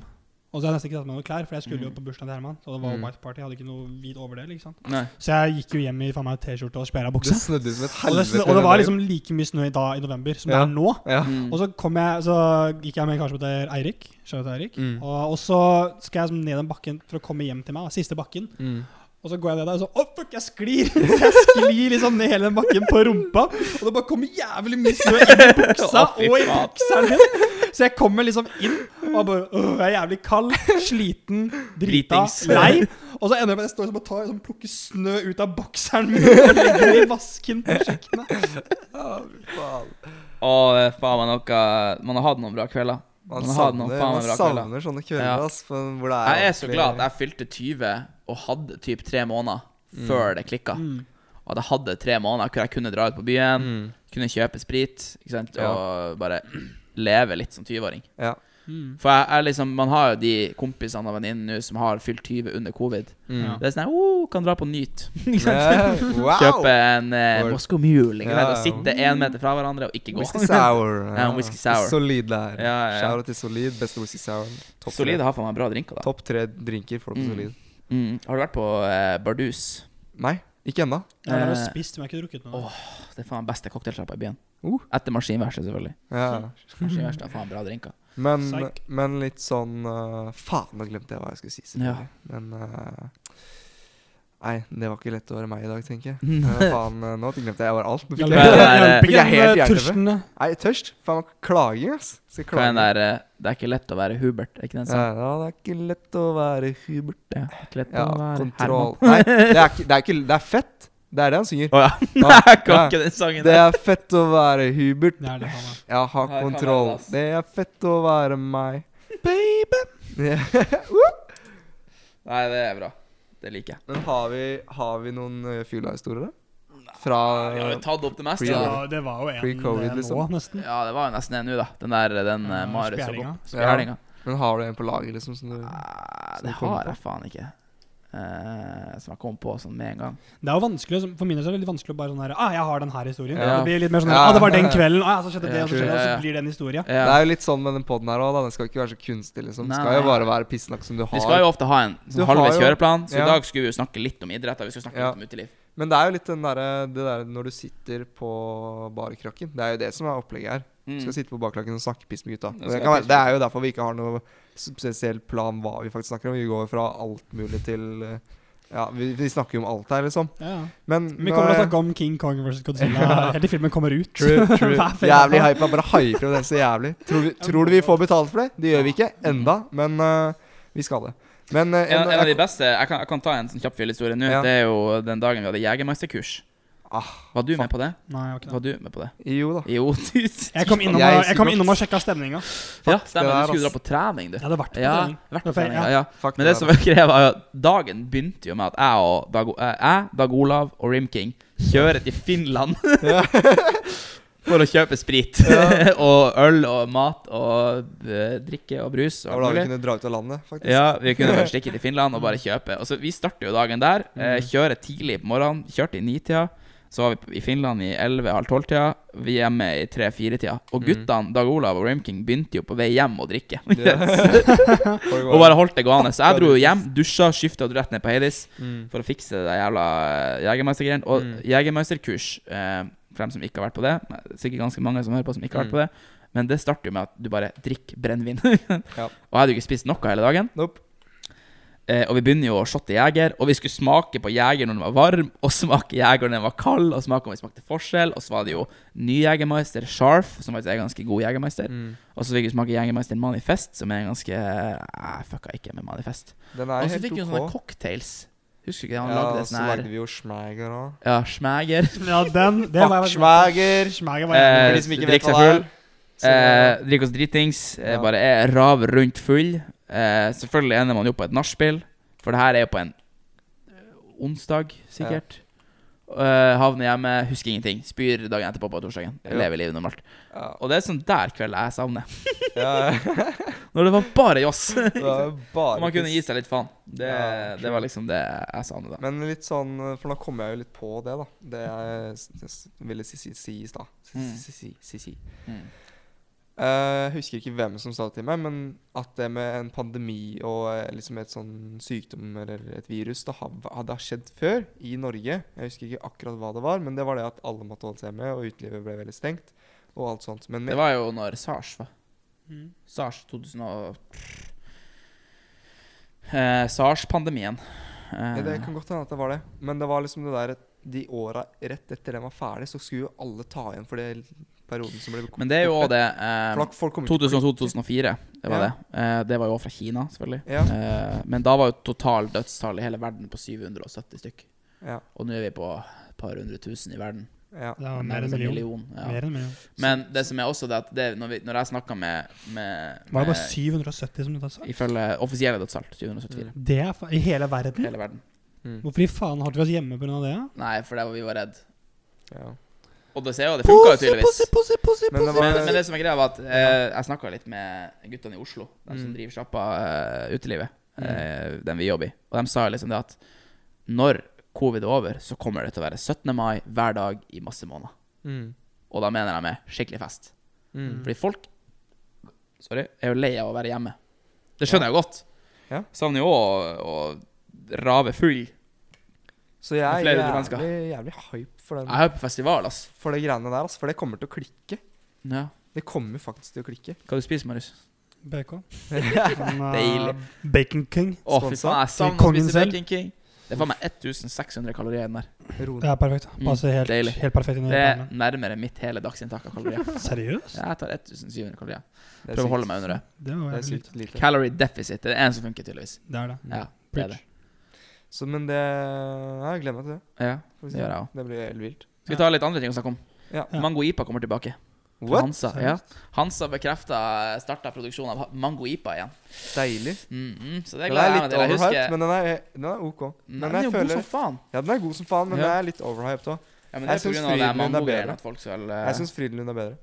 Speaker 2: Og så hadde jeg nesten ikke tatt med noen klær, for jeg skulle jo på bursdagen til Herman. Og det var
Speaker 3: Mm.
Speaker 2: white party, jeg hadde ikke noe hvit overdel. ikke sant?
Speaker 1: Nei.
Speaker 2: Så jeg gikk jo hjem i faen meg T-skjorte og spjæra
Speaker 3: Det
Speaker 2: bukse.
Speaker 3: snødde som et
Speaker 2: Og det,
Speaker 3: helvete.
Speaker 2: og
Speaker 3: den
Speaker 2: det var
Speaker 3: dagen.
Speaker 2: liksom like mye snø i dag i november som det
Speaker 3: Ja.
Speaker 2: er nå.
Speaker 3: Ja.
Speaker 1: Mm.
Speaker 2: Og så, kom jeg, så gikk jeg med en kar som heter Eirik. Shout out til Eirik.
Speaker 3: Mm.
Speaker 2: Og, og så skal jeg liksom ned den bakken for å komme hjem til meg. da, Siste bakken.
Speaker 3: Mm.
Speaker 2: Og så går jeg ned der og så Å, fuck, jeg sklir! *laughs* Jeg sklir liksom ned hele den bakken på rumpa. Og det bare kommer jævlig mye snø inn i buksa
Speaker 1: *laughs* Å, fy
Speaker 2: og i
Speaker 1: faen.
Speaker 2: bukseren min. Så jeg kommer liksom inn og bare Åh, jeg er jævlig kald, sliten, drita,
Speaker 1: Dritings.
Speaker 2: lei. Og så ender jeg med at jeg står og bare tar, sånn, plukker snø ut av bokseren min og legger den i vasken på kjøkkenet.
Speaker 3: Faen.
Speaker 1: Åh, det er faen meg noe Man har hatt noen bra kvelder.
Speaker 3: Man
Speaker 1: Man har hatt noen
Speaker 3: savner,
Speaker 1: faen meg
Speaker 3: man
Speaker 1: bra kvelder.
Speaker 3: savner sånne kvelder,
Speaker 1: Ja.
Speaker 3: ass. For hvor det er
Speaker 1: Jeg er så
Speaker 3: ordentlig-
Speaker 1: glad at jeg fylte 20 og hadde typ tre måneder før det klikka.
Speaker 2: Mm.
Speaker 1: Og at jeg hadde tre måneder hvor jeg kunne dra ut på byen,
Speaker 3: Mm.
Speaker 1: kunne kjøpe sprit ikke sant?
Speaker 3: Ja.
Speaker 1: og bare leve litt som 20-åring.
Speaker 3: Ja.
Speaker 1: For jeg, jeg liksom, man har jo de kompisene og venninnene nå som har fylt 20 under covid.
Speaker 2: Ja.
Speaker 1: Det er sånn her, oh, kan dra på Nyt. Ikke sant?
Speaker 2: *laughs*
Speaker 3: Yeah, wow.
Speaker 1: Kjøpe en eh,
Speaker 3: Or-
Speaker 1: Moscow Mule ikke sant?
Speaker 3: Ja,
Speaker 1: og sitte én meter fra hverandre og ikke gå.
Speaker 3: Whisky sour.
Speaker 1: Ja, whisky sour.
Speaker 3: Solid der.
Speaker 1: Ja, ja, ja.
Speaker 3: Shout out til Solid. Beste whisky sour.
Speaker 1: *laughs*
Speaker 3: Topp tre.
Speaker 1: Solide har faen meg bra drinker, da.
Speaker 3: Topp tre drinker får du på
Speaker 1: Mm.
Speaker 3: Solid.
Speaker 1: Mm. Har du vært på eh, Bardus?
Speaker 3: Nei, ikke ennå.
Speaker 2: Jeg har bare
Speaker 1: Eh,
Speaker 2: spist, men jeg har ikke drukket noe.
Speaker 1: åh. Det er faen beste cocktailsjappa i byen.
Speaker 3: Uh.
Speaker 1: Etter
Speaker 3: *laughs*
Speaker 1: Maskinverkstedet, selvfølgelig.
Speaker 3: Ja.
Speaker 1: Maskinverkstedet har faen bra drinker.
Speaker 3: Men,
Speaker 2: Psych.
Speaker 3: men litt sånn eh, Faen, nå glemte jeg hva jeg skulle si. selvfølgelig. Men eh, Nei, det var ikke lett å være meg i dag, tenker jeg.
Speaker 1: *laughs*
Speaker 3: Eh, faen, eh, nå glemte jeg bare alt. Nå fikk
Speaker 1: det
Speaker 3: jeg-
Speaker 1: er- eh,
Speaker 2: Hjelper
Speaker 3: Jeg er helt
Speaker 2: ikke den
Speaker 3: jernteppe.
Speaker 2: tørsten.
Speaker 3: Nei, tørst. Faen, klaging, ass. Skal
Speaker 1: Hva er
Speaker 3: klage.
Speaker 1: den der eh, Det er ikke lett å være Hubert, er ikke den sangen?
Speaker 3: Ja, ja, det er ikke lett å være Hubert.
Speaker 1: Ja. Det er ikke lett
Speaker 3: Ja,
Speaker 1: å være *laughs*
Speaker 3: kontroll Nei, det er, ikke, det er ikke Det er fett. Det er det han synger.
Speaker 1: Herman. Å
Speaker 3: *laughs*
Speaker 1: ja. *laughs* Nei, jeg kan ikke den
Speaker 3: Det
Speaker 1: sangen der.
Speaker 3: er fett å være Hubert.
Speaker 2: Det er det, faen meg.
Speaker 3: Ja, ha
Speaker 1: Ja, det kan
Speaker 3: kontroll.
Speaker 1: være det, ass.
Speaker 3: Det er fett å være meg. Baby. *laughs*
Speaker 1: Nei, det er bra. Det liker jeg.
Speaker 3: Men har vi, har vi noen eh, fylla-historier, da? Fra
Speaker 1: Vi har jo tatt opp det meste.
Speaker 3: Pre-covid.
Speaker 1: da.
Speaker 2: Ja, det var jo en
Speaker 3: Pre-covid,
Speaker 2: eh,
Speaker 3: liksom.
Speaker 2: nå, nesten.
Speaker 1: Ja, det var jo nesten en nå, da. Den der den uh,
Speaker 2: Ja,
Speaker 1: Marius tok
Speaker 2: spjæringa.
Speaker 1: opp. Spjæringa.
Speaker 3: Men har du en på lager, liksom? Som du Som
Speaker 1: Nei, Ah, Det
Speaker 3: du kom
Speaker 1: har
Speaker 3: på?
Speaker 1: jeg faen ikke. Eh, som jeg kom på sånn med en gang.
Speaker 2: Det er jo vanskelig, å- For min del så er det veldig vanskelig å bare sånn her Ah, jeg har den her historien.
Speaker 1: Ja.
Speaker 2: Det blir litt mer sånn her,
Speaker 3: Ja.
Speaker 2: Ah, det var den kvelden. Ah, ja, så skjedde det, og så
Speaker 1: Ja,
Speaker 2: skjedde det, og
Speaker 1: ja,
Speaker 2: så
Speaker 1: ja.
Speaker 2: blir det en historie.
Speaker 3: Det
Speaker 1: Ja.
Speaker 3: er jo litt sånn med den poden her òg, den skal ikke være så kunstig, liksom. Den
Speaker 1: Nei,
Speaker 3: skal jo
Speaker 1: nei.
Speaker 3: bare være pissnakk som du
Speaker 1: Vi skal
Speaker 3: har.
Speaker 1: jo ofte ha en
Speaker 3: Du
Speaker 1: sånn
Speaker 3: har
Speaker 1: halvveis
Speaker 3: jo-
Speaker 1: kjøreplan, så
Speaker 3: Ja.
Speaker 1: i dag skulle vi jo snakke litt om idrett. Da. Vi skulle snakke
Speaker 3: Ja.
Speaker 1: litt om uteliv.
Speaker 3: Men det er jo litt den derre- det der når du sitter på barkrakken. Det er jo det som er opplegget her.
Speaker 1: Mm.
Speaker 3: Skal sitte på baklakken og snakke piss med gutta.
Speaker 1: Det
Speaker 3: Det,
Speaker 1: skal
Speaker 3: kan være,
Speaker 1: piss med
Speaker 3: det er jo derfor vi ikke har noe spesiell plan hva vi faktisk snakker om. Vi går fra alt mulig til eh, Ja, vi, vi snakker jo om alt her, liksom.
Speaker 2: Ja. ja.
Speaker 3: Men eh,
Speaker 2: Vi kommer til å
Speaker 3: nå-
Speaker 2: snakke om King Kong versus Godzilla
Speaker 3: Ja.
Speaker 2: helt til filmen kommer ut. *laughs*
Speaker 3: True, true.
Speaker 2: Hver fredag.
Speaker 3: Jævlig hype. Jeg bare hyper om den så jævlig. Tror, vi, tror du vi får betalt for det? Det gjør vi ikke enda, men eh, vi skal det. Men eh,
Speaker 1: En, en av de
Speaker 3: jeg,
Speaker 1: beste Jeg kan, jeg kan ta en sånn kjapp fyllehistorie nå.
Speaker 3: Ja.
Speaker 1: Det er jo den dagen vi hadde jegermesterkurs.
Speaker 3: Ah,
Speaker 1: Var du med på det?
Speaker 2: Nei, jeg var ikke det.
Speaker 1: Var du med på det?
Speaker 3: eh, jo da.
Speaker 1: Jo, *laughs* tusen
Speaker 2: Jeg kom innom,
Speaker 3: Jeg
Speaker 2: og- jeg kom
Speaker 3: skulle-
Speaker 2: innom og sjekka stemninga.
Speaker 1: Ja,
Speaker 3: det
Speaker 1: stemmer.
Speaker 3: der,
Speaker 1: Du skulle dra
Speaker 3: ass.
Speaker 1: på trening, du.
Speaker 2: Jeg hadde vært på
Speaker 1: Ja,
Speaker 2: trening.
Speaker 1: vært
Speaker 2: Det
Speaker 1: på
Speaker 2: var feil,
Speaker 1: trening.
Speaker 2: ja.
Speaker 1: Ja, ja.
Speaker 3: Fuck
Speaker 1: Men det
Speaker 3: det
Speaker 1: som
Speaker 3: der.
Speaker 1: var greia, var jo at dagen begynte jo med at jeg og Dag, eh, jeg, Dag Olav og Rim King kjører til Finland *laughs* for å kjøpe sprit. *laughs* og øl og mat og eh, drikke og brus.
Speaker 3: Det var
Speaker 1: Og
Speaker 3: da
Speaker 1: alt
Speaker 3: vi
Speaker 1: mulig.
Speaker 3: kunne dra ut av landet, faktisk.
Speaker 1: Ja, vi kunne bare stikke til Finland og bare kjøpe. Og så Vi starter jo dagen der.
Speaker 3: Mm.
Speaker 1: Eh, kjører tidlig på morgenen. Kjørte i nitida. Så var vi på- i Finland i 11-halv tolv-tida. Vi er hjemme i 3-4-tida.
Speaker 3: Mm.
Speaker 1: Og guttene, Dag Olav og Rimking, begynte jo på vei hjem å drikke. *laughs* og bare holdt det gående. Så jeg dro jo hjem, dusja, skifta og dro rett ned på Heidis
Speaker 3: Mm.
Speaker 1: for å fikse det jævla jegermeistergreiene. Og
Speaker 3: Mm.
Speaker 1: jegermeisterkurs, eh, for dem som ikke har vært på det, sikkert ganske mange som hører på som ikke har
Speaker 3: Mm.
Speaker 1: vært på det, men det starter jo med at du bare drikker brennevin. *laughs*
Speaker 3: Ja.
Speaker 1: Og jeg hadde jo ikke spist noe hele dagen.
Speaker 3: Nope.
Speaker 1: Eh, og vi begynner jo å shotte jeger, og vi skulle smake på jeger når den var varm, og smake jeger når den var kald, og smake om vi smakte forskjell. Og så var det jo ny jegermeister, Sharf, som faktisk er ganske god jegermeister.
Speaker 3: Mm.
Speaker 1: Og så fikk vi smake jegermeister Manifest, som er ganske eh, Jeg fucka ikke med Manifest.
Speaker 3: Den er
Speaker 1: Og så
Speaker 3: helt
Speaker 1: fikk vi jo sånne
Speaker 3: ok.
Speaker 1: cocktails. Husker du ikke det? Han
Speaker 3: ja,
Speaker 1: lagde
Speaker 3: og så
Speaker 1: sånn her
Speaker 3: lagde vi jo Schmager òg.
Speaker 1: Ja, Schmager.
Speaker 2: Ja, den det var Mm.
Speaker 3: Fuck
Speaker 2: jeg-
Speaker 3: Schmager!
Speaker 2: Schmager var jeg.
Speaker 1: Eh,
Speaker 3: For de som ikke vet
Speaker 1: Drikk seg
Speaker 3: hva det er.
Speaker 1: full. Eh, Drikke oss dritings. Eh,
Speaker 3: Ja.
Speaker 1: Bare er rav rundt full. Eh, selvfølgelig ender man jo på et nachspiel, for det her er jo på en eh, onsdag, sikkert. Eh, havner hjemme, husker ingenting. Spyr dagen etterpå på torsdagen.
Speaker 3: Ja.
Speaker 1: Lever livet normalt.
Speaker 3: Ja.
Speaker 1: Og det er sånn der kveld jeg savner. *laughs*
Speaker 3: Ja, *laughs*
Speaker 1: Når det var bare joss.
Speaker 3: det
Speaker 1: *laughs*
Speaker 3: var bare
Speaker 1: Og man kunne
Speaker 3: piss.
Speaker 1: gi seg litt faen. Det,
Speaker 3: Ja,
Speaker 1: det var liksom det jeg savner da.
Speaker 3: Men litt sånn, for nå kommer jeg jo litt på det, da. Det jeg s- s- ville si si- si i stad. Si-
Speaker 1: Mm.
Speaker 3: si- si- si- si.
Speaker 1: Mm.
Speaker 3: Eh, Jeg husker ikke hvem som sa det til meg, men at det med en pandemi og eh, liksom et sånn sykdom eller et virus, det har- hadde skjedd før i Norge. Jeg husker ikke akkurat hva det var, men det var det at alle måtte holde seg hjemme, og utelivet ble veldig stengt. Og alt sånt. Men
Speaker 1: Det var jo når SARS var.
Speaker 2: Mm.
Speaker 1: SARS 2000 og eh, SARS-pandemien. Eh,
Speaker 3: Ja, det kan godt hende at det var det. Men det var liksom det der at de åra rett etter den var ferdig, så skulle jo alle ta igjen for det perioden som ble kort-
Speaker 1: men det er jo òg
Speaker 3: borte.
Speaker 1: det
Speaker 3: For da
Speaker 1: eh,
Speaker 3: folk kommer til å
Speaker 1: 2002-2004, det var
Speaker 3: Ja.
Speaker 1: det. Eh, det var jo òg fra Kina, selvfølgelig.
Speaker 3: Ja.
Speaker 1: Eh, men da var jo total dødstall i hele verden på 770 stykk.
Speaker 3: Ja,
Speaker 1: Og nå er vi på et par hundre tusen i verden.
Speaker 3: ja.
Speaker 2: Det var
Speaker 1: Men
Speaker 2: mer enn
Speaker 3: Eh.
Speaker 1: det er
Speaker 2: en
Speaker 1: en
Speaker 2: million.
Speaker 1: ja.
Speaker 2: Mer enn en million.
Speaker 1: Men det som er også det at det, når, vi, når jeg snakka med, med,
Speaker 2: Var
Speaker 3: Eh.
Speaker 1: med
Speaker 2: det bare 770 som du sa?
Speaker 1: Ifølge offisielle dødstall 774
Speaker 2: Det er fa I hele
Speaker 1: i
Speaker 2: verden?
Speaker 1: hele verden.
Speaker 3: mm,
Speaker 2: Hvorfor i faen har dere oss hjemme pga. det? da?
Speaker 1: Nei, for det var vi var redd.
Speaker 3: ja.
Speaker 1: Og det ser jo, det funka jo tydeligvis.
Speaker 3: Men det var
Speaker 1: Men, men det som er greia, var at eh, jeg snakka litt med guttene i Oslo, de som
Speaker 3: Mm.
Speaker 1: driver sjappa eh, utelivet, eh, den vi jobber i, og de sa jo liksom det at når covid er over, så kommer det til å være 17. mai hver dag i masse måneder.
Speaker 3: mm.
Speaker 1: Og da mener jeg med skikkelig fest.
Speaker 3: Mm.
Speaker 1: Fordi folk sorry, er jo lei av å være hjemme. Det skjønner jeg jo godt.
Speaker 3: Ja.
Speaker 1: Savner jo å, å rave full.
Speaker 3: Så jeg er
Speaker 1: Flere hundre mennesker.
Speaker 3: jævlig, jævlig hype for,
Speaker 1: Jeg
Speaker 3: den,
Speaker 1: hører på festival, ass.
Speaker 3: for det greiene der, altså. For det kommer til å klikke.
Speaker 1: Ja.
Speaker 3: Det kommer faktisk til å klikke. *laughs*
Speaker 1: Hva du spiser Marius? *laughs*
Speaker 2: BK. Men, eh,
Speaker 1: Deilig.
Speaker 2: Bacon King.
Speaker 1: Å, fy
Speaker 3: Sponsa.
Speaker 1: faen, jeg
Speaker 2: Til
Speaker 1: savner å
Speaker 2: kongen
Speaker 1: spise
Speaker 2: selv.
Speaker 1: Bacon King. Det er faen meg 1600 kalorier i den der.
Speaker 3: Ro
Speaker 2: Det
Speaker 3: ned.
Speaker 2: er perfekt. Passer helt,
Speaker 1: Deilig.
Speaker 2: helt perfekt inn i
Speaker 1: Mm. Det er
Speaker 2: planen.
Speaker 1: nærmere mitt hele dagsinntak av
Speaker 3: *laughs*
Speaker 1: kalorier.
Speaker 2: Seriøst?
Speaker 1: Ja, Jeg tar 1700 kalorier.
Speaker 3: Det er
Speaker 1: Prøver å holde
Speaker 3: sykt-
Speaker 1: meg under det.
Speaker 2: Det var
Speaker 3: Det er
Speaker 2: jævlig lite.
Speaker 3: sykt lite.
Speaker 1: Calorie deficit. Det er en som funker, tydeligvis.
Speaker 2: Det er det.
Speaker 1: Ja, det er
Speaker 2: Preach.
Speaker 1: det.
Speaker 3: Så, men det Ja, jeg gleder meg til det.
Speaker 1: Ja.
Speaker 3: får vi
Speaker 1: Det
Speaker 3: se.
Speaker 1: gjør jeg også.
Speaker 3: Det blir helt vilt.
Speaker 1: Skal vi ta litt andre ting å snakke om?
Speaker 3: Ja.
Speaker 2: Ja.
Speaker 1: Mango IPA kommer tilbake. Fra
Speaker 3: What?
Speaker 1: Hansa, ja. Hansa bekrefta starta produksjonen av ha- Mango IPA igjen.
Speaker 3: Deilig.
Speaker 1: Mhm, så det
Speaker 3: Den er
Speaker 1: gleder jeg meg
Speaker 3: litt
Speaker 1: til. Jeg
Speaker 3: overhyped,
Speaker 1: husker
Speaker 3: men den er, den er OK.
Speaker 1: Nei,
Speaker 3: Men
Speaker 1: den er
Speaker 3: jeg
Speaker 1: jo god
Speaker 3: føler
Speaker 1: som faen.
Speaker 3: Ja, den er god som faen, men
Speaker 1: Ja.
Speaker 3: den er litt overhyped òg.
Speaker 1: Ja, men det
Speaker 3: Jeg
Speaker 1: er på
Speaker 3: syns
Speaker 1: grunn av det
Speaker 3: Frydenlund er
Speaker 1: mango-greiene
Speaker 3: bedre.
Speaker 1: at folk skal eh,
Speaker 3: Jeg syns Frydenlund er bedre.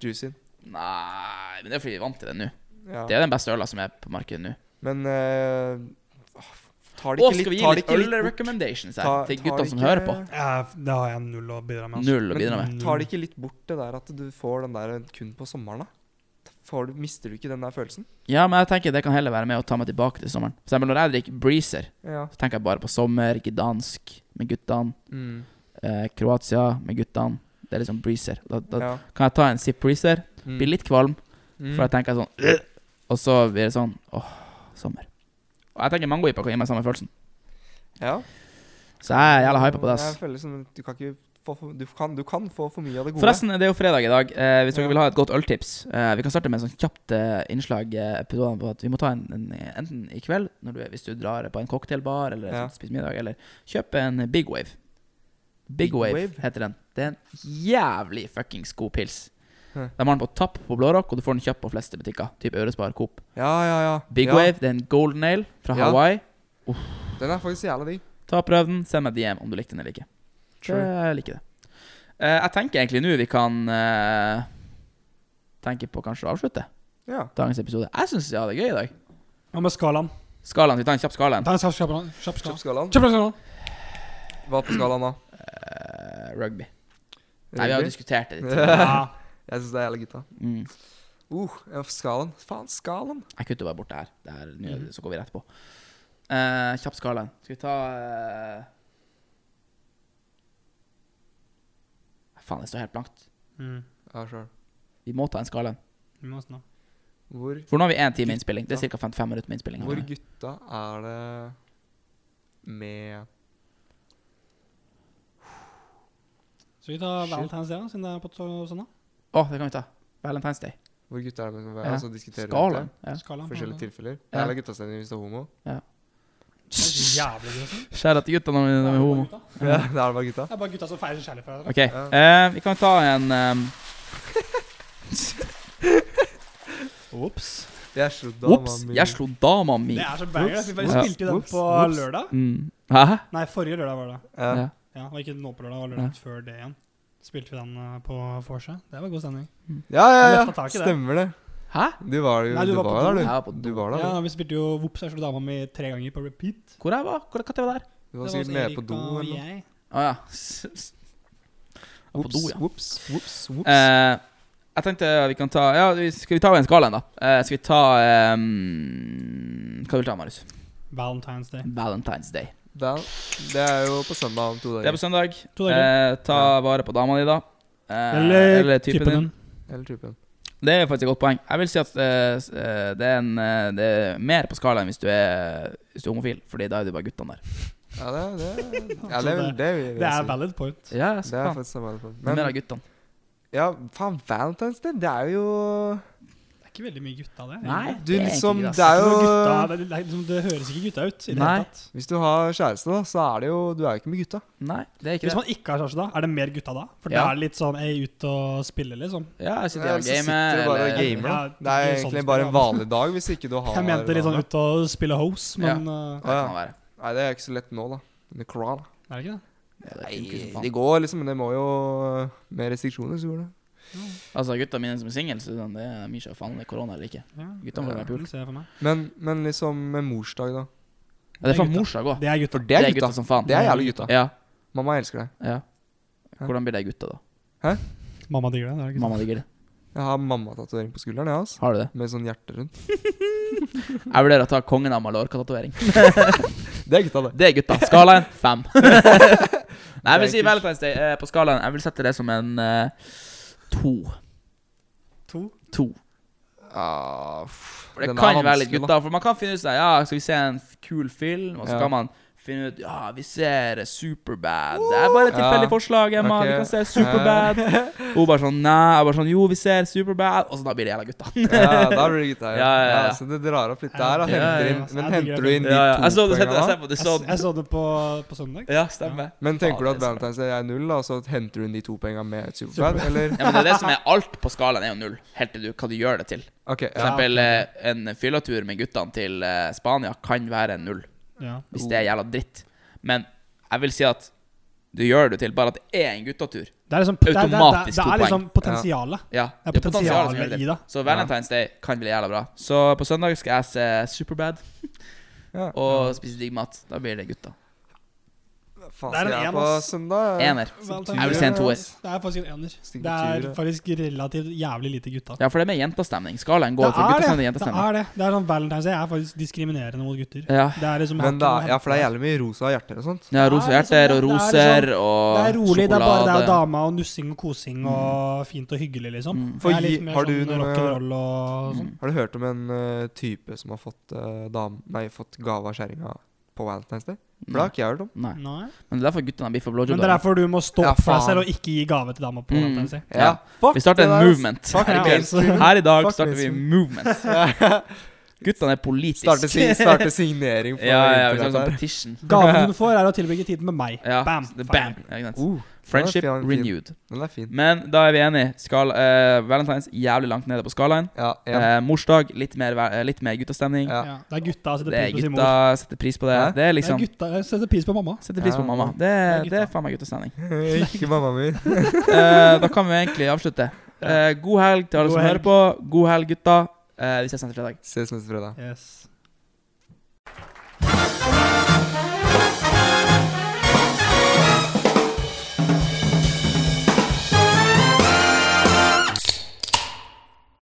Speaker 3: Juicyen.
Speaker 1: Nei, men det er fordi vi er vant til den nå.
Speaker 3: Ja.
Speaker 1: Det er den beste øla som er på markedet nå.
Speaker 3: Men eh, ah, Tar det
Speaker 1: Og
Speaker 3: ikke
Speaker 1: skal
Speaker 3: litt
Speaker 1: vi gi
Speaker 3: tar det
Speaker 1: litt
Speaker 3: ikke litt bort-
Speaker 1: øl-recommendations
Speaker 3: Ta-
Speaker 1: her til
Speaker 3: tar
Speaker 1: guttene
Speaker 3: det
Speaker 1: som
Speaker 3: ikke-
Speaker 1: hører på?
Speaker 2: Ja, det har jeg null å bidra med. Altså.
Speaker 1: Null
Speaker 3: Men-
Speaker 1: å bidra med.
Speaker 3: Tar det ikke litt bort det der at du får den der kun på sommeren, da? Får du, mister du ikke den der følelsen?
Speaker 1: Ja, men jeg tenker det kan heller være med å ta meg tilbake til sommeren. For eksempel når jeg drikker Breezer,
Speaker 3: Ja.
Speaker 1: så tenker jeg bare på sommer, gdansk med guttene, eh, Kroatia med guttene. Det er liksom Breezer. Da, da
Speaker 3: ja.
Speaker 1: kan jeg ta en sip Breezer,
Speaker 3: Mm.
Speaker 1: bli litt kvalm,
Speaker 3: Mm.
Speaker 1: for jeg tenker sånn «Ugh!» Og så blir det sånn åh, sommer. Og jeg tenker mangojipa kan gi meg samme følelsen.
Speaker 3: Ja.
Speaker 1: Så jeg er jævla hypa på det.
Speaker 3: Jeg
Speaker 1: ass.
Speaker 3: føler som du kan ikke få for, du, kan, du kan få for mye av det gode.
Speaker 1: Forresten, det er jo fredag i dag. Eh, hvis dere
Speaker 3: Ja.
Speaker 1: vil ha et godt øltips eh, Vi kan starte med en sånn kjapt eh, innslag eh, episoden på at vi må ta en, en enten i kveld, når du, er- hvis du drar på en cocktailbar eller
Speaker 3: Ja.
Speaker 1: spiser middag, eller kjøpe en Big Wave. Big Wave,
Speaker 3: Wave?
Speaker 1: heter den. Det er en jævlig fuckings god pils.
Speaker 3: Hæ.
Speaker 1: De har den på tapp på Blå Rock, og du får den kjøpt på fleste butikker. Typ Ørespar, Coop.
Speaker 3: Ja, ja, ja.
Speaker 1: Big
Speaker 3: ja,
Speaker 1: Wave, det er en golden ale fra
Speaker 3: Ja.
Speaker 1: Hawaii.
Speaker 3: Den er faktisk jævla digg.
Speaker 1: Ta prøv den, send meg DM om du likte den eller ikke.
Speaker 3: True.
Speaker 1: Det- Jeg liker det. Eh, jeg tenker egentlig nå vi kan eh, tenke på kanskje å avslutte
Speaker 3: Ja.
Speaker 1: dagens episode. Jeg syns jeg hadde det gøy i dag.
Speaker 2: Hva med skalaen?
Speaker 1: Skalaen, Vi tar en kjapp skala. en.
Speaker 2: Ta en kjapp skala. Kjapp skala.
Speaker 3: Kjøp skalaen.
Speaker 2: Kjapp skala.
Speaker 3: Hva på skalaen da?
Speaker 1: Eh, rugby. Nei, vi har jo
Speaker 3: Rugby?
Speaker 1: diskutert det
Speaker 3: *laughs*
Speaker 1: litt. *laughs*
Speaker 2: Ja.
Speaker 3: Jeg syns det er jævla gutta.
Speaker 1: Mm.
Speaker 3: Uh, ja, skalaen. Faen, skalaen.
Speaker 1: Jeg kutter bare bort det her. Det her nå, er det- Så går vi rett på. Eh, kjapp skalaen. Skal vi ta eh, Faen, det står helt blankt.
Speaker 2: Mm.
Speaker 3: Ja, sure.
Speaker 1: Vi må ta en skalaen.
Speaker 2: Vi må snart.
Speaker 3: Hvor,
Speaker 1: For nå har vi én time innspilling. Det er ca. 55 minutter med innspilling.
Speaker 3: hvor gutta er det med
Speaker 2: Skal vi ta
Speaker 1: Shit.
Speaker 2: Valentine's Day, da, siden det er på to- søndag?
Speaker 1: Å, det kan vi ta. Valentine's Day.
Speaker 3: Hvor gutta er det med
Speaker 1: Ja.
Speaker 3: altså, diskuterer rundt
Speaker 1: Skalaen. Ja.
Speaker 2: Skalaen.
Speaker 3: det, Forskjellige tilfeller.
Speaker 1: Ja.
Speaker 3: Jævla guttastemning hvis du er
Speaker 1: *laughs*
Speaker 3: homo.
Speaker 2: Det er så jævlig gøy. altså.
Speaker 1: Skjæra til gutta når vi når vi er homo.
Speaker 2: Det
Speaker 3: Ja, det er det bare gutta.
Speaker 2: er bare gutta som feirer sin kjærlighet for hverandre.
Speaker 1: Ok, eh, vi kan ta en um,
Speaker 2: *laughs* Ops.
Speaker 3: Jeg slo dama
Speaker 1: Ops,
Speaker 3: mi.
Speaker 1: jeg slo dama mi.
Speaker 2: Det er så banger. ass. Vi bare
Speaker 1: Ops.
Speaker 2: spilte jo den
Speaker 3: Ops.
Speaker 2: på
Speaker 3: Ops.
Speaker 2: lørdag.
Speaker 1: Mm. Hæ?
Speaker 2: Nei, forrige lørdag var det.
Speaker 3: Ja.
Speaker 1: Ja.
Speaker 2: Ja, det var ikke nå på lørdag, det var lørdag før det igjen. Spilte vi den eh, på Forsa. Det var god stemning.
Speaker 3: Ja, ja,
Speaker 2: Jeg løftet
Speaker 3: ja.
Speaker 2: tak i det.
Speaker 3: Stemmer det.
Speaker 1: Hæ?
Speaker 3: Du var jo
Speaker 2: Nei, du
Speaker 3: du
Speaker 2: var på
Speaker 3: var
Speaker 2: do.
Speaker 3: der,
Speaker 1: Jeg var på
Speaker 3: du. Du
Speaker 1: do.
Speaker 3: var der,
Speaker 2: Ja,
Speaker 3: du.
Speaker 2: vi spilte jo Vops, jeg slo dama mi tre ganger på repeat.
Speaker 1: Hvor jeg var Hvor Når var jeg der?
Speaker 3: Du var sikkert med på do.
Speaker 2: og
Speaker 3: eller noe.
Speaker 2: jeg.
Speaker 1: Å ja. var på
Speaker 3: Ops,
Speaker 1: do, ja.
Speaker 3: ops, ops, ops.
Speaker 1: Eh, jeg tenkte vi kan ta Ja, vi- Skal vi ta en skala, da? Eh, skal vi ta ehm, Hva vil du ta, Marius?
Speaker 2: Valentine's Day.
Speaker 1: Valentine's Day.
Speaker 3: Det er- Det er jo på søndag om to
Speaker 1: Det er
Speaker 3: dager.
Speaker 1: på søndag.
Speaker 2: To dager.
Speaker 1: Eh, ta vare på dama di, da. Eh,
Speaker 2: Eller, typen, din.
Speaker 3: Eller typen.
Speaker 1: Det er faktisk et godt poeng. Jeg vil si at eh, s- eh, det, er en, eh, det er mer på skala enn hvis du er, hvis du er homofil, Fordi da er du bare guttene der.
Speaker 3: Ja, det er
Speaker 2: *laughs*
Speaker 3: det. Ja, det, er- det, vil jeg
Speaker 2: Det er
Speaker 3: si.
Speaker 2: valid point.
Speaker 1: Ja,
Speaker 3: Det er faktisk samme alle fall.
Speaker 1: Men, mer
Speaker 3: Men
Speaker 1: av guttene.
Speaker 3: ja, faen, Valentine's Day, det er jo
Speaker 2: Det er ikke veldig mye gutta, det.
Speaker 1: Nei,
Speaker 3: Du
Speaker 1: det er
Speaker 3: liksom
Speaker 1: egentlig
Speaker 3: Det
Speaker 1: det,
Speaker 3: er
Speaker 2: Det, er ikke noe gutta,
Speaker 3: jo
Speaker 2: det, det, er liksom- det høres ikke gutta ut i det
Speaker 1: Nei.
Speaker 2: hele tatt.
Speaker 3: Hvis du har kjæreste, da, så er det jo Du er jo ikke med gutta.
Speaker 1: Nei, det er ikke det.
Speaker 2: Hvis man ikke har kjæreste da, er det mer gutta da? For da
Speaker 1: Ja.
Speaker 2: er det litt sånn ei, ut og spille, liksom.
Speaker 1: Ja, jeg sitter
Speaker 3: Eller
Speaker 1: og
Speaker 3: så sitter
Speaker 1: gamer.
Speaker 3: du bare og
Speaker 1: eller-
Speaker 3: gamer,
Speaker 2: Ja,
Speaker 3: da. Det er
Speaker 2: det er sånn
Speaker 3: egentlig
Speaker 2: det
Speaker 3: bare
Speaker 2: skal
Speaker 3: en
Speaker 2: være.
Speaker 3: vanlig dag hvis ikke du har
Speaker 2: Jeg mente litt sånn
Speaker 3: dame.
Speaker 2: ut og spille hose, men eh,
Speaker 1: Det kan være.
Speaker 3: Nei, det er ikke så lett nå, da. Med corona.
Speaker 2: er det ikke det?
Speaker 1: Ja, det er funker som
Speaker 3: Nei,
Speaker 1: faen.
Speaker 3: det går liksom, men det må jo
Speaker 1: øh,
Speaker 3: Med restriksjoner, så går det.
Speaker 1: altså, gutta mine som er single, så sånn, det er mye av faen det er korona eller ikke.
Speaker 2: Ja.
Speaker 1: Gutta må
Speaker 3: Ja.
Speaker 1: være pul.
Speaker 2: Det ser jeg for meg.
Speaker 3: Men, men liksom med morsdag, da.
Speaker 1: Ja, det er faen
Speaker 2: gutta.
Speaker 1: morsdag òg.
Speaker 2: Det er gutta.
Speaker 3: Det er gutta.
Speaker 1: som faen.
Speaker 3: Det er jævlig gutta.
Speaker 1: Ja,
Speaker 3: Mamma elsker deg.
Speaker 1: ja. Hvordan blir det gutta, da?
Speaker 2: Mamma digger det. det er gutta.
Speaker 1: Mamma digger det.
Speaker 3: Jeg har mammatatovering på skulderen, jeg, altså.
Speaker 1: Har du det?
Speaker 3: Med sånn hjerte rundt.
Speaker 1: Jeg vurderer å ta kongen av Mallorca-tatovering.
Speaker 3: Det er gutta, det.
Speaker 1: Det er gutta. Skalaen
Speaker 3: *laughs*
Speaker 1: fem. Nei, jeg vil si
Speaker 3: Ikke-
Speaker 1: Valentine's Day eh, på skalaen. Jeg vil sette det som en eh, to.
Speaker 2: To.
Speaker 1: To.
Speaker 3: Ah, pff,
Speaker 1: For det
Speaker 3: den er
Speaker 1: kan være litt
Speaker 3: vanskelig, da.
Speaker 1: gutta. For man kan finne ut sånn Ja, skal vi se en f- kul film? Og så
Speaker 3: Ja.
Speaker 1: kan man finne ut Ja, vi ser Superbad. Det er bare et tilfeldig
Speaker 3: Ja.
Speaker 1: forslag, Emma.
Speaker 3: Ok.
Speaker 1: Vi kan se Superbad. *laughs* Hun bare sånn Nei. Jeg bare sånn Jo, vi ser Superbad. Og så da blir det jævla gutta. *laughs*
Speaker 3: Ja, da blir det gutta. Ja.
Speaker 1: Ja, ja, ja.
Speaker 3: så det drar opp litt der. Da.
Speaker 1: Ja,
Speaker 3: Henter
Speaker 1: ja, ja.
Speaker 3: inn,
Speaker 2: Ja,
Speaker 3: men
Speaker 2: det
Speaker 3: henter
Speaker 2: gjør
Speaker 3: du
Speaker 2: det.
Speaker 3: inn de
Speaker 1: Ja, ja. Jeg
Speaker 3: to
Speaker 1: så det, jeg
Speaker 3: poengene?
Speaker 1: ser på det
Speaker 2: Jeg,
Speaker 1: sånn.
Speaker 2: s- jeg så det på, på søndag.
Speaker 1: Ja, stemmer.
Speaker 3: Men tenker du
Speaker 1: Faen,
Speaker 3: at
Speaker 1: det er så bra.
Speaker 3: Valentine's Day er null, da, og så henter du inn de to poengene med Superbad? Eller?
Speaker 1: Ja, men det er det som er alt på skalaen, er jo null. Helt til du hva du gjør det til.
Speaker 3: Ok,
Speaker 1: For
Speaker 3: ja.
Speaker 1: eksempel eh, en fyllatur med guttene til eh, Spania kan være en null,
Speaker 2: Ja.
Speaker 1: hvis det er jævla dritt. Men jeg vil si at du gjør det til bare at det er en guttatur.
Speaker 2: Det er liksom, det er, det er, det
Speaker 1: Automatisk
Speaker 2: er,
Speaker 1: to
Speaker 2: det er liksom
Speaker 1: poeng.
Speaker 2: potensialet.
Speaker 1: Ja,
Speaker 2: Det er
Speaker 1: det er potensialet som
Speaker 2: potensialet
Speaker 1: gjør det.
Speaker 2: i det.
Speaker 1: Så Valentine's Day kan bli jævla bra. Så på søndag skal jeg se Superbad
Speaker 3: ja.
Speaker 1: og spise digg mat. Da blir det gutta.
Speaker 3: Faen,
Speaker 2: Det er
Speaker 3: skal
Speaker 2: en
Speaker 3: jeg
Speaker 2: en,
Speaker 3: på
Speaker 2: ass.
Speaker 3: søndag? ja.
Speaker 1: Ener.
Speaker 2: Valentine's
Speaker 1: Jeg vil
Speaker 2: Day.
Speaker 1: se en toer.
Speaker 2: Det er faktisk en ener.
Speaker 3: Stinker
Speaker 2: Det er
Speaker 3: ture.
Speaker 2: faktisk relativt jævlig lite gutta.
Speaker 1: Ja, for det er med jentastemning. Skalaen går fra
Speaker 2: det,
Speaker 1: guttastemning til
Speaker 2: er det. det
Speaker 1: jentastemning.
Speaker 2: er det. Det er sånn Valentine's Day er faktisk diskriminerende mot gutter.
Speaker 1: Ja.
Speaker 2: Det er liksom
Speaker 3: Men da, ja, for det er jævlig mye rosa hjerter og sånt.
Speaker 1: ja, rosa
Speaker 2: Det er liksom-
Speaker 1: hjerter og
Speaker 2: det er
Speaker 1: roser og
Speaker 2: Det er rolig. Det er bare det er
Speaker 1: sjokolade.
Speaker 2: dama og nussing og kosing og fint og hyggelig, liksom.
Speaker 1: Mm.
Speaker 3: For
Speaker 2: det er
Speaker 3: gi-
Speaker 2: litt mer
Speaker 3: har du
Speaker 2: sånn
Speaker 3: noe-
Speaker 2: rock'n'roll og sånn.
Speaker 3: Har du hørt om en eh, type som har fått, eh, dam, nei, fått gave av kjerringa på Valentine's Day? For det har ikke jeg hørt om.
Speaker 1: Mm. Nei.
Speaker 2: Nei.
Speaker 1: Men det er derfor guttene blir for blowjob.
Speaker 2: Men det er derfor du må stå
Speaker 3: Ja,
Speaker 2: opp for
Speaker 3: faen.
Speaker 2: deg selv og ikke gi gave til dama på
Speaker 1: Mm.
Speaker 2: Valentine's Day.
Speaker 1: Ja.
Speaker 3: fuck
Speaker 1: Vi starter
Speaker 3: det
Speaker 1: en
Speaker 3: der, ass.
Speaker 1: movement.
Speaker 3: Fuck
Speaker 1: Her i
Speaker 2: det,
Speaker 1: kveld.
Speaker 2: altså.
Speaker 1: Her i dag
Speaker 3: Fuck
Speaker 1: starter vi
Speaker 3: mainstream.
Speaker 1: movement.
Speaker 3: Ja.
Speaker 1: Guttene er politiske.
Speaker 3: Starte,
Speaker 1: *laughs*
Speaker 3: si- starte signering på
Speaker 1: ja, ja,
Speaker 3: internett
Speaker 1: vi snakker sånn
Speaker 3: her.
Speaker 1: petition.
Speaker 2: Gaven du får, er å tilbringe tiden med meg.
Speaker 1: *laughs* Ja,
Speaker 2: Bam.
Speaker 1: det-
Speaker 2: ferdig.
Speaker 1: bam. Ja, ikke sant.
Speaker 3: Uh,
Speaker 1: Friendship
Speaker 3: den er fin.
Speaker 1: renewed.
Speaker 3: den er fin.
Speaker 1: Men da er vi enige. Skal, eh, Valentines jævlig langt nede på skalaen.
Speaker 3: Ja, en.
Speaker 1: Eh, morsdag, litt mer, va- eh, litt mer guttastemning.
Speaker 3: Ja.
Speaker 2: Ja. Det er gutta som
Speaker 1: Det
Speaker 2: setter
Speaker 1: er
Speaker 2: pris på sin mor.
Speaker 1: gutta setter pris på det.
Speaker 3: Hæ?
Speaker 1: Det er
Speaker 2: Det er
Speaker 1: liksom
Speaker 2: gutta som setter pris på mamma.
Speaker 1: Setter pris på
Speaker 3: Ja.
Speaker 1: mamma. Det,
Speaker 2: er
Speaker 1: er-
Speaker 2: gutta.
Speaker 1: det er faen meg guttastemning.
Speaker 3: *laughs* Ikke mamma mi.
Speaker 1: Eh, da kan vi egentlig avslutte. Eh, god helg til alle
Speaker 2: God
Speaker 1: som
Speaker 2: helg.
Speaker 1: hører på. God helg, gutta. Eh, vi ses neste fredag.
Speaker 3: Ses neste fredag.
Speaker 2: Yes.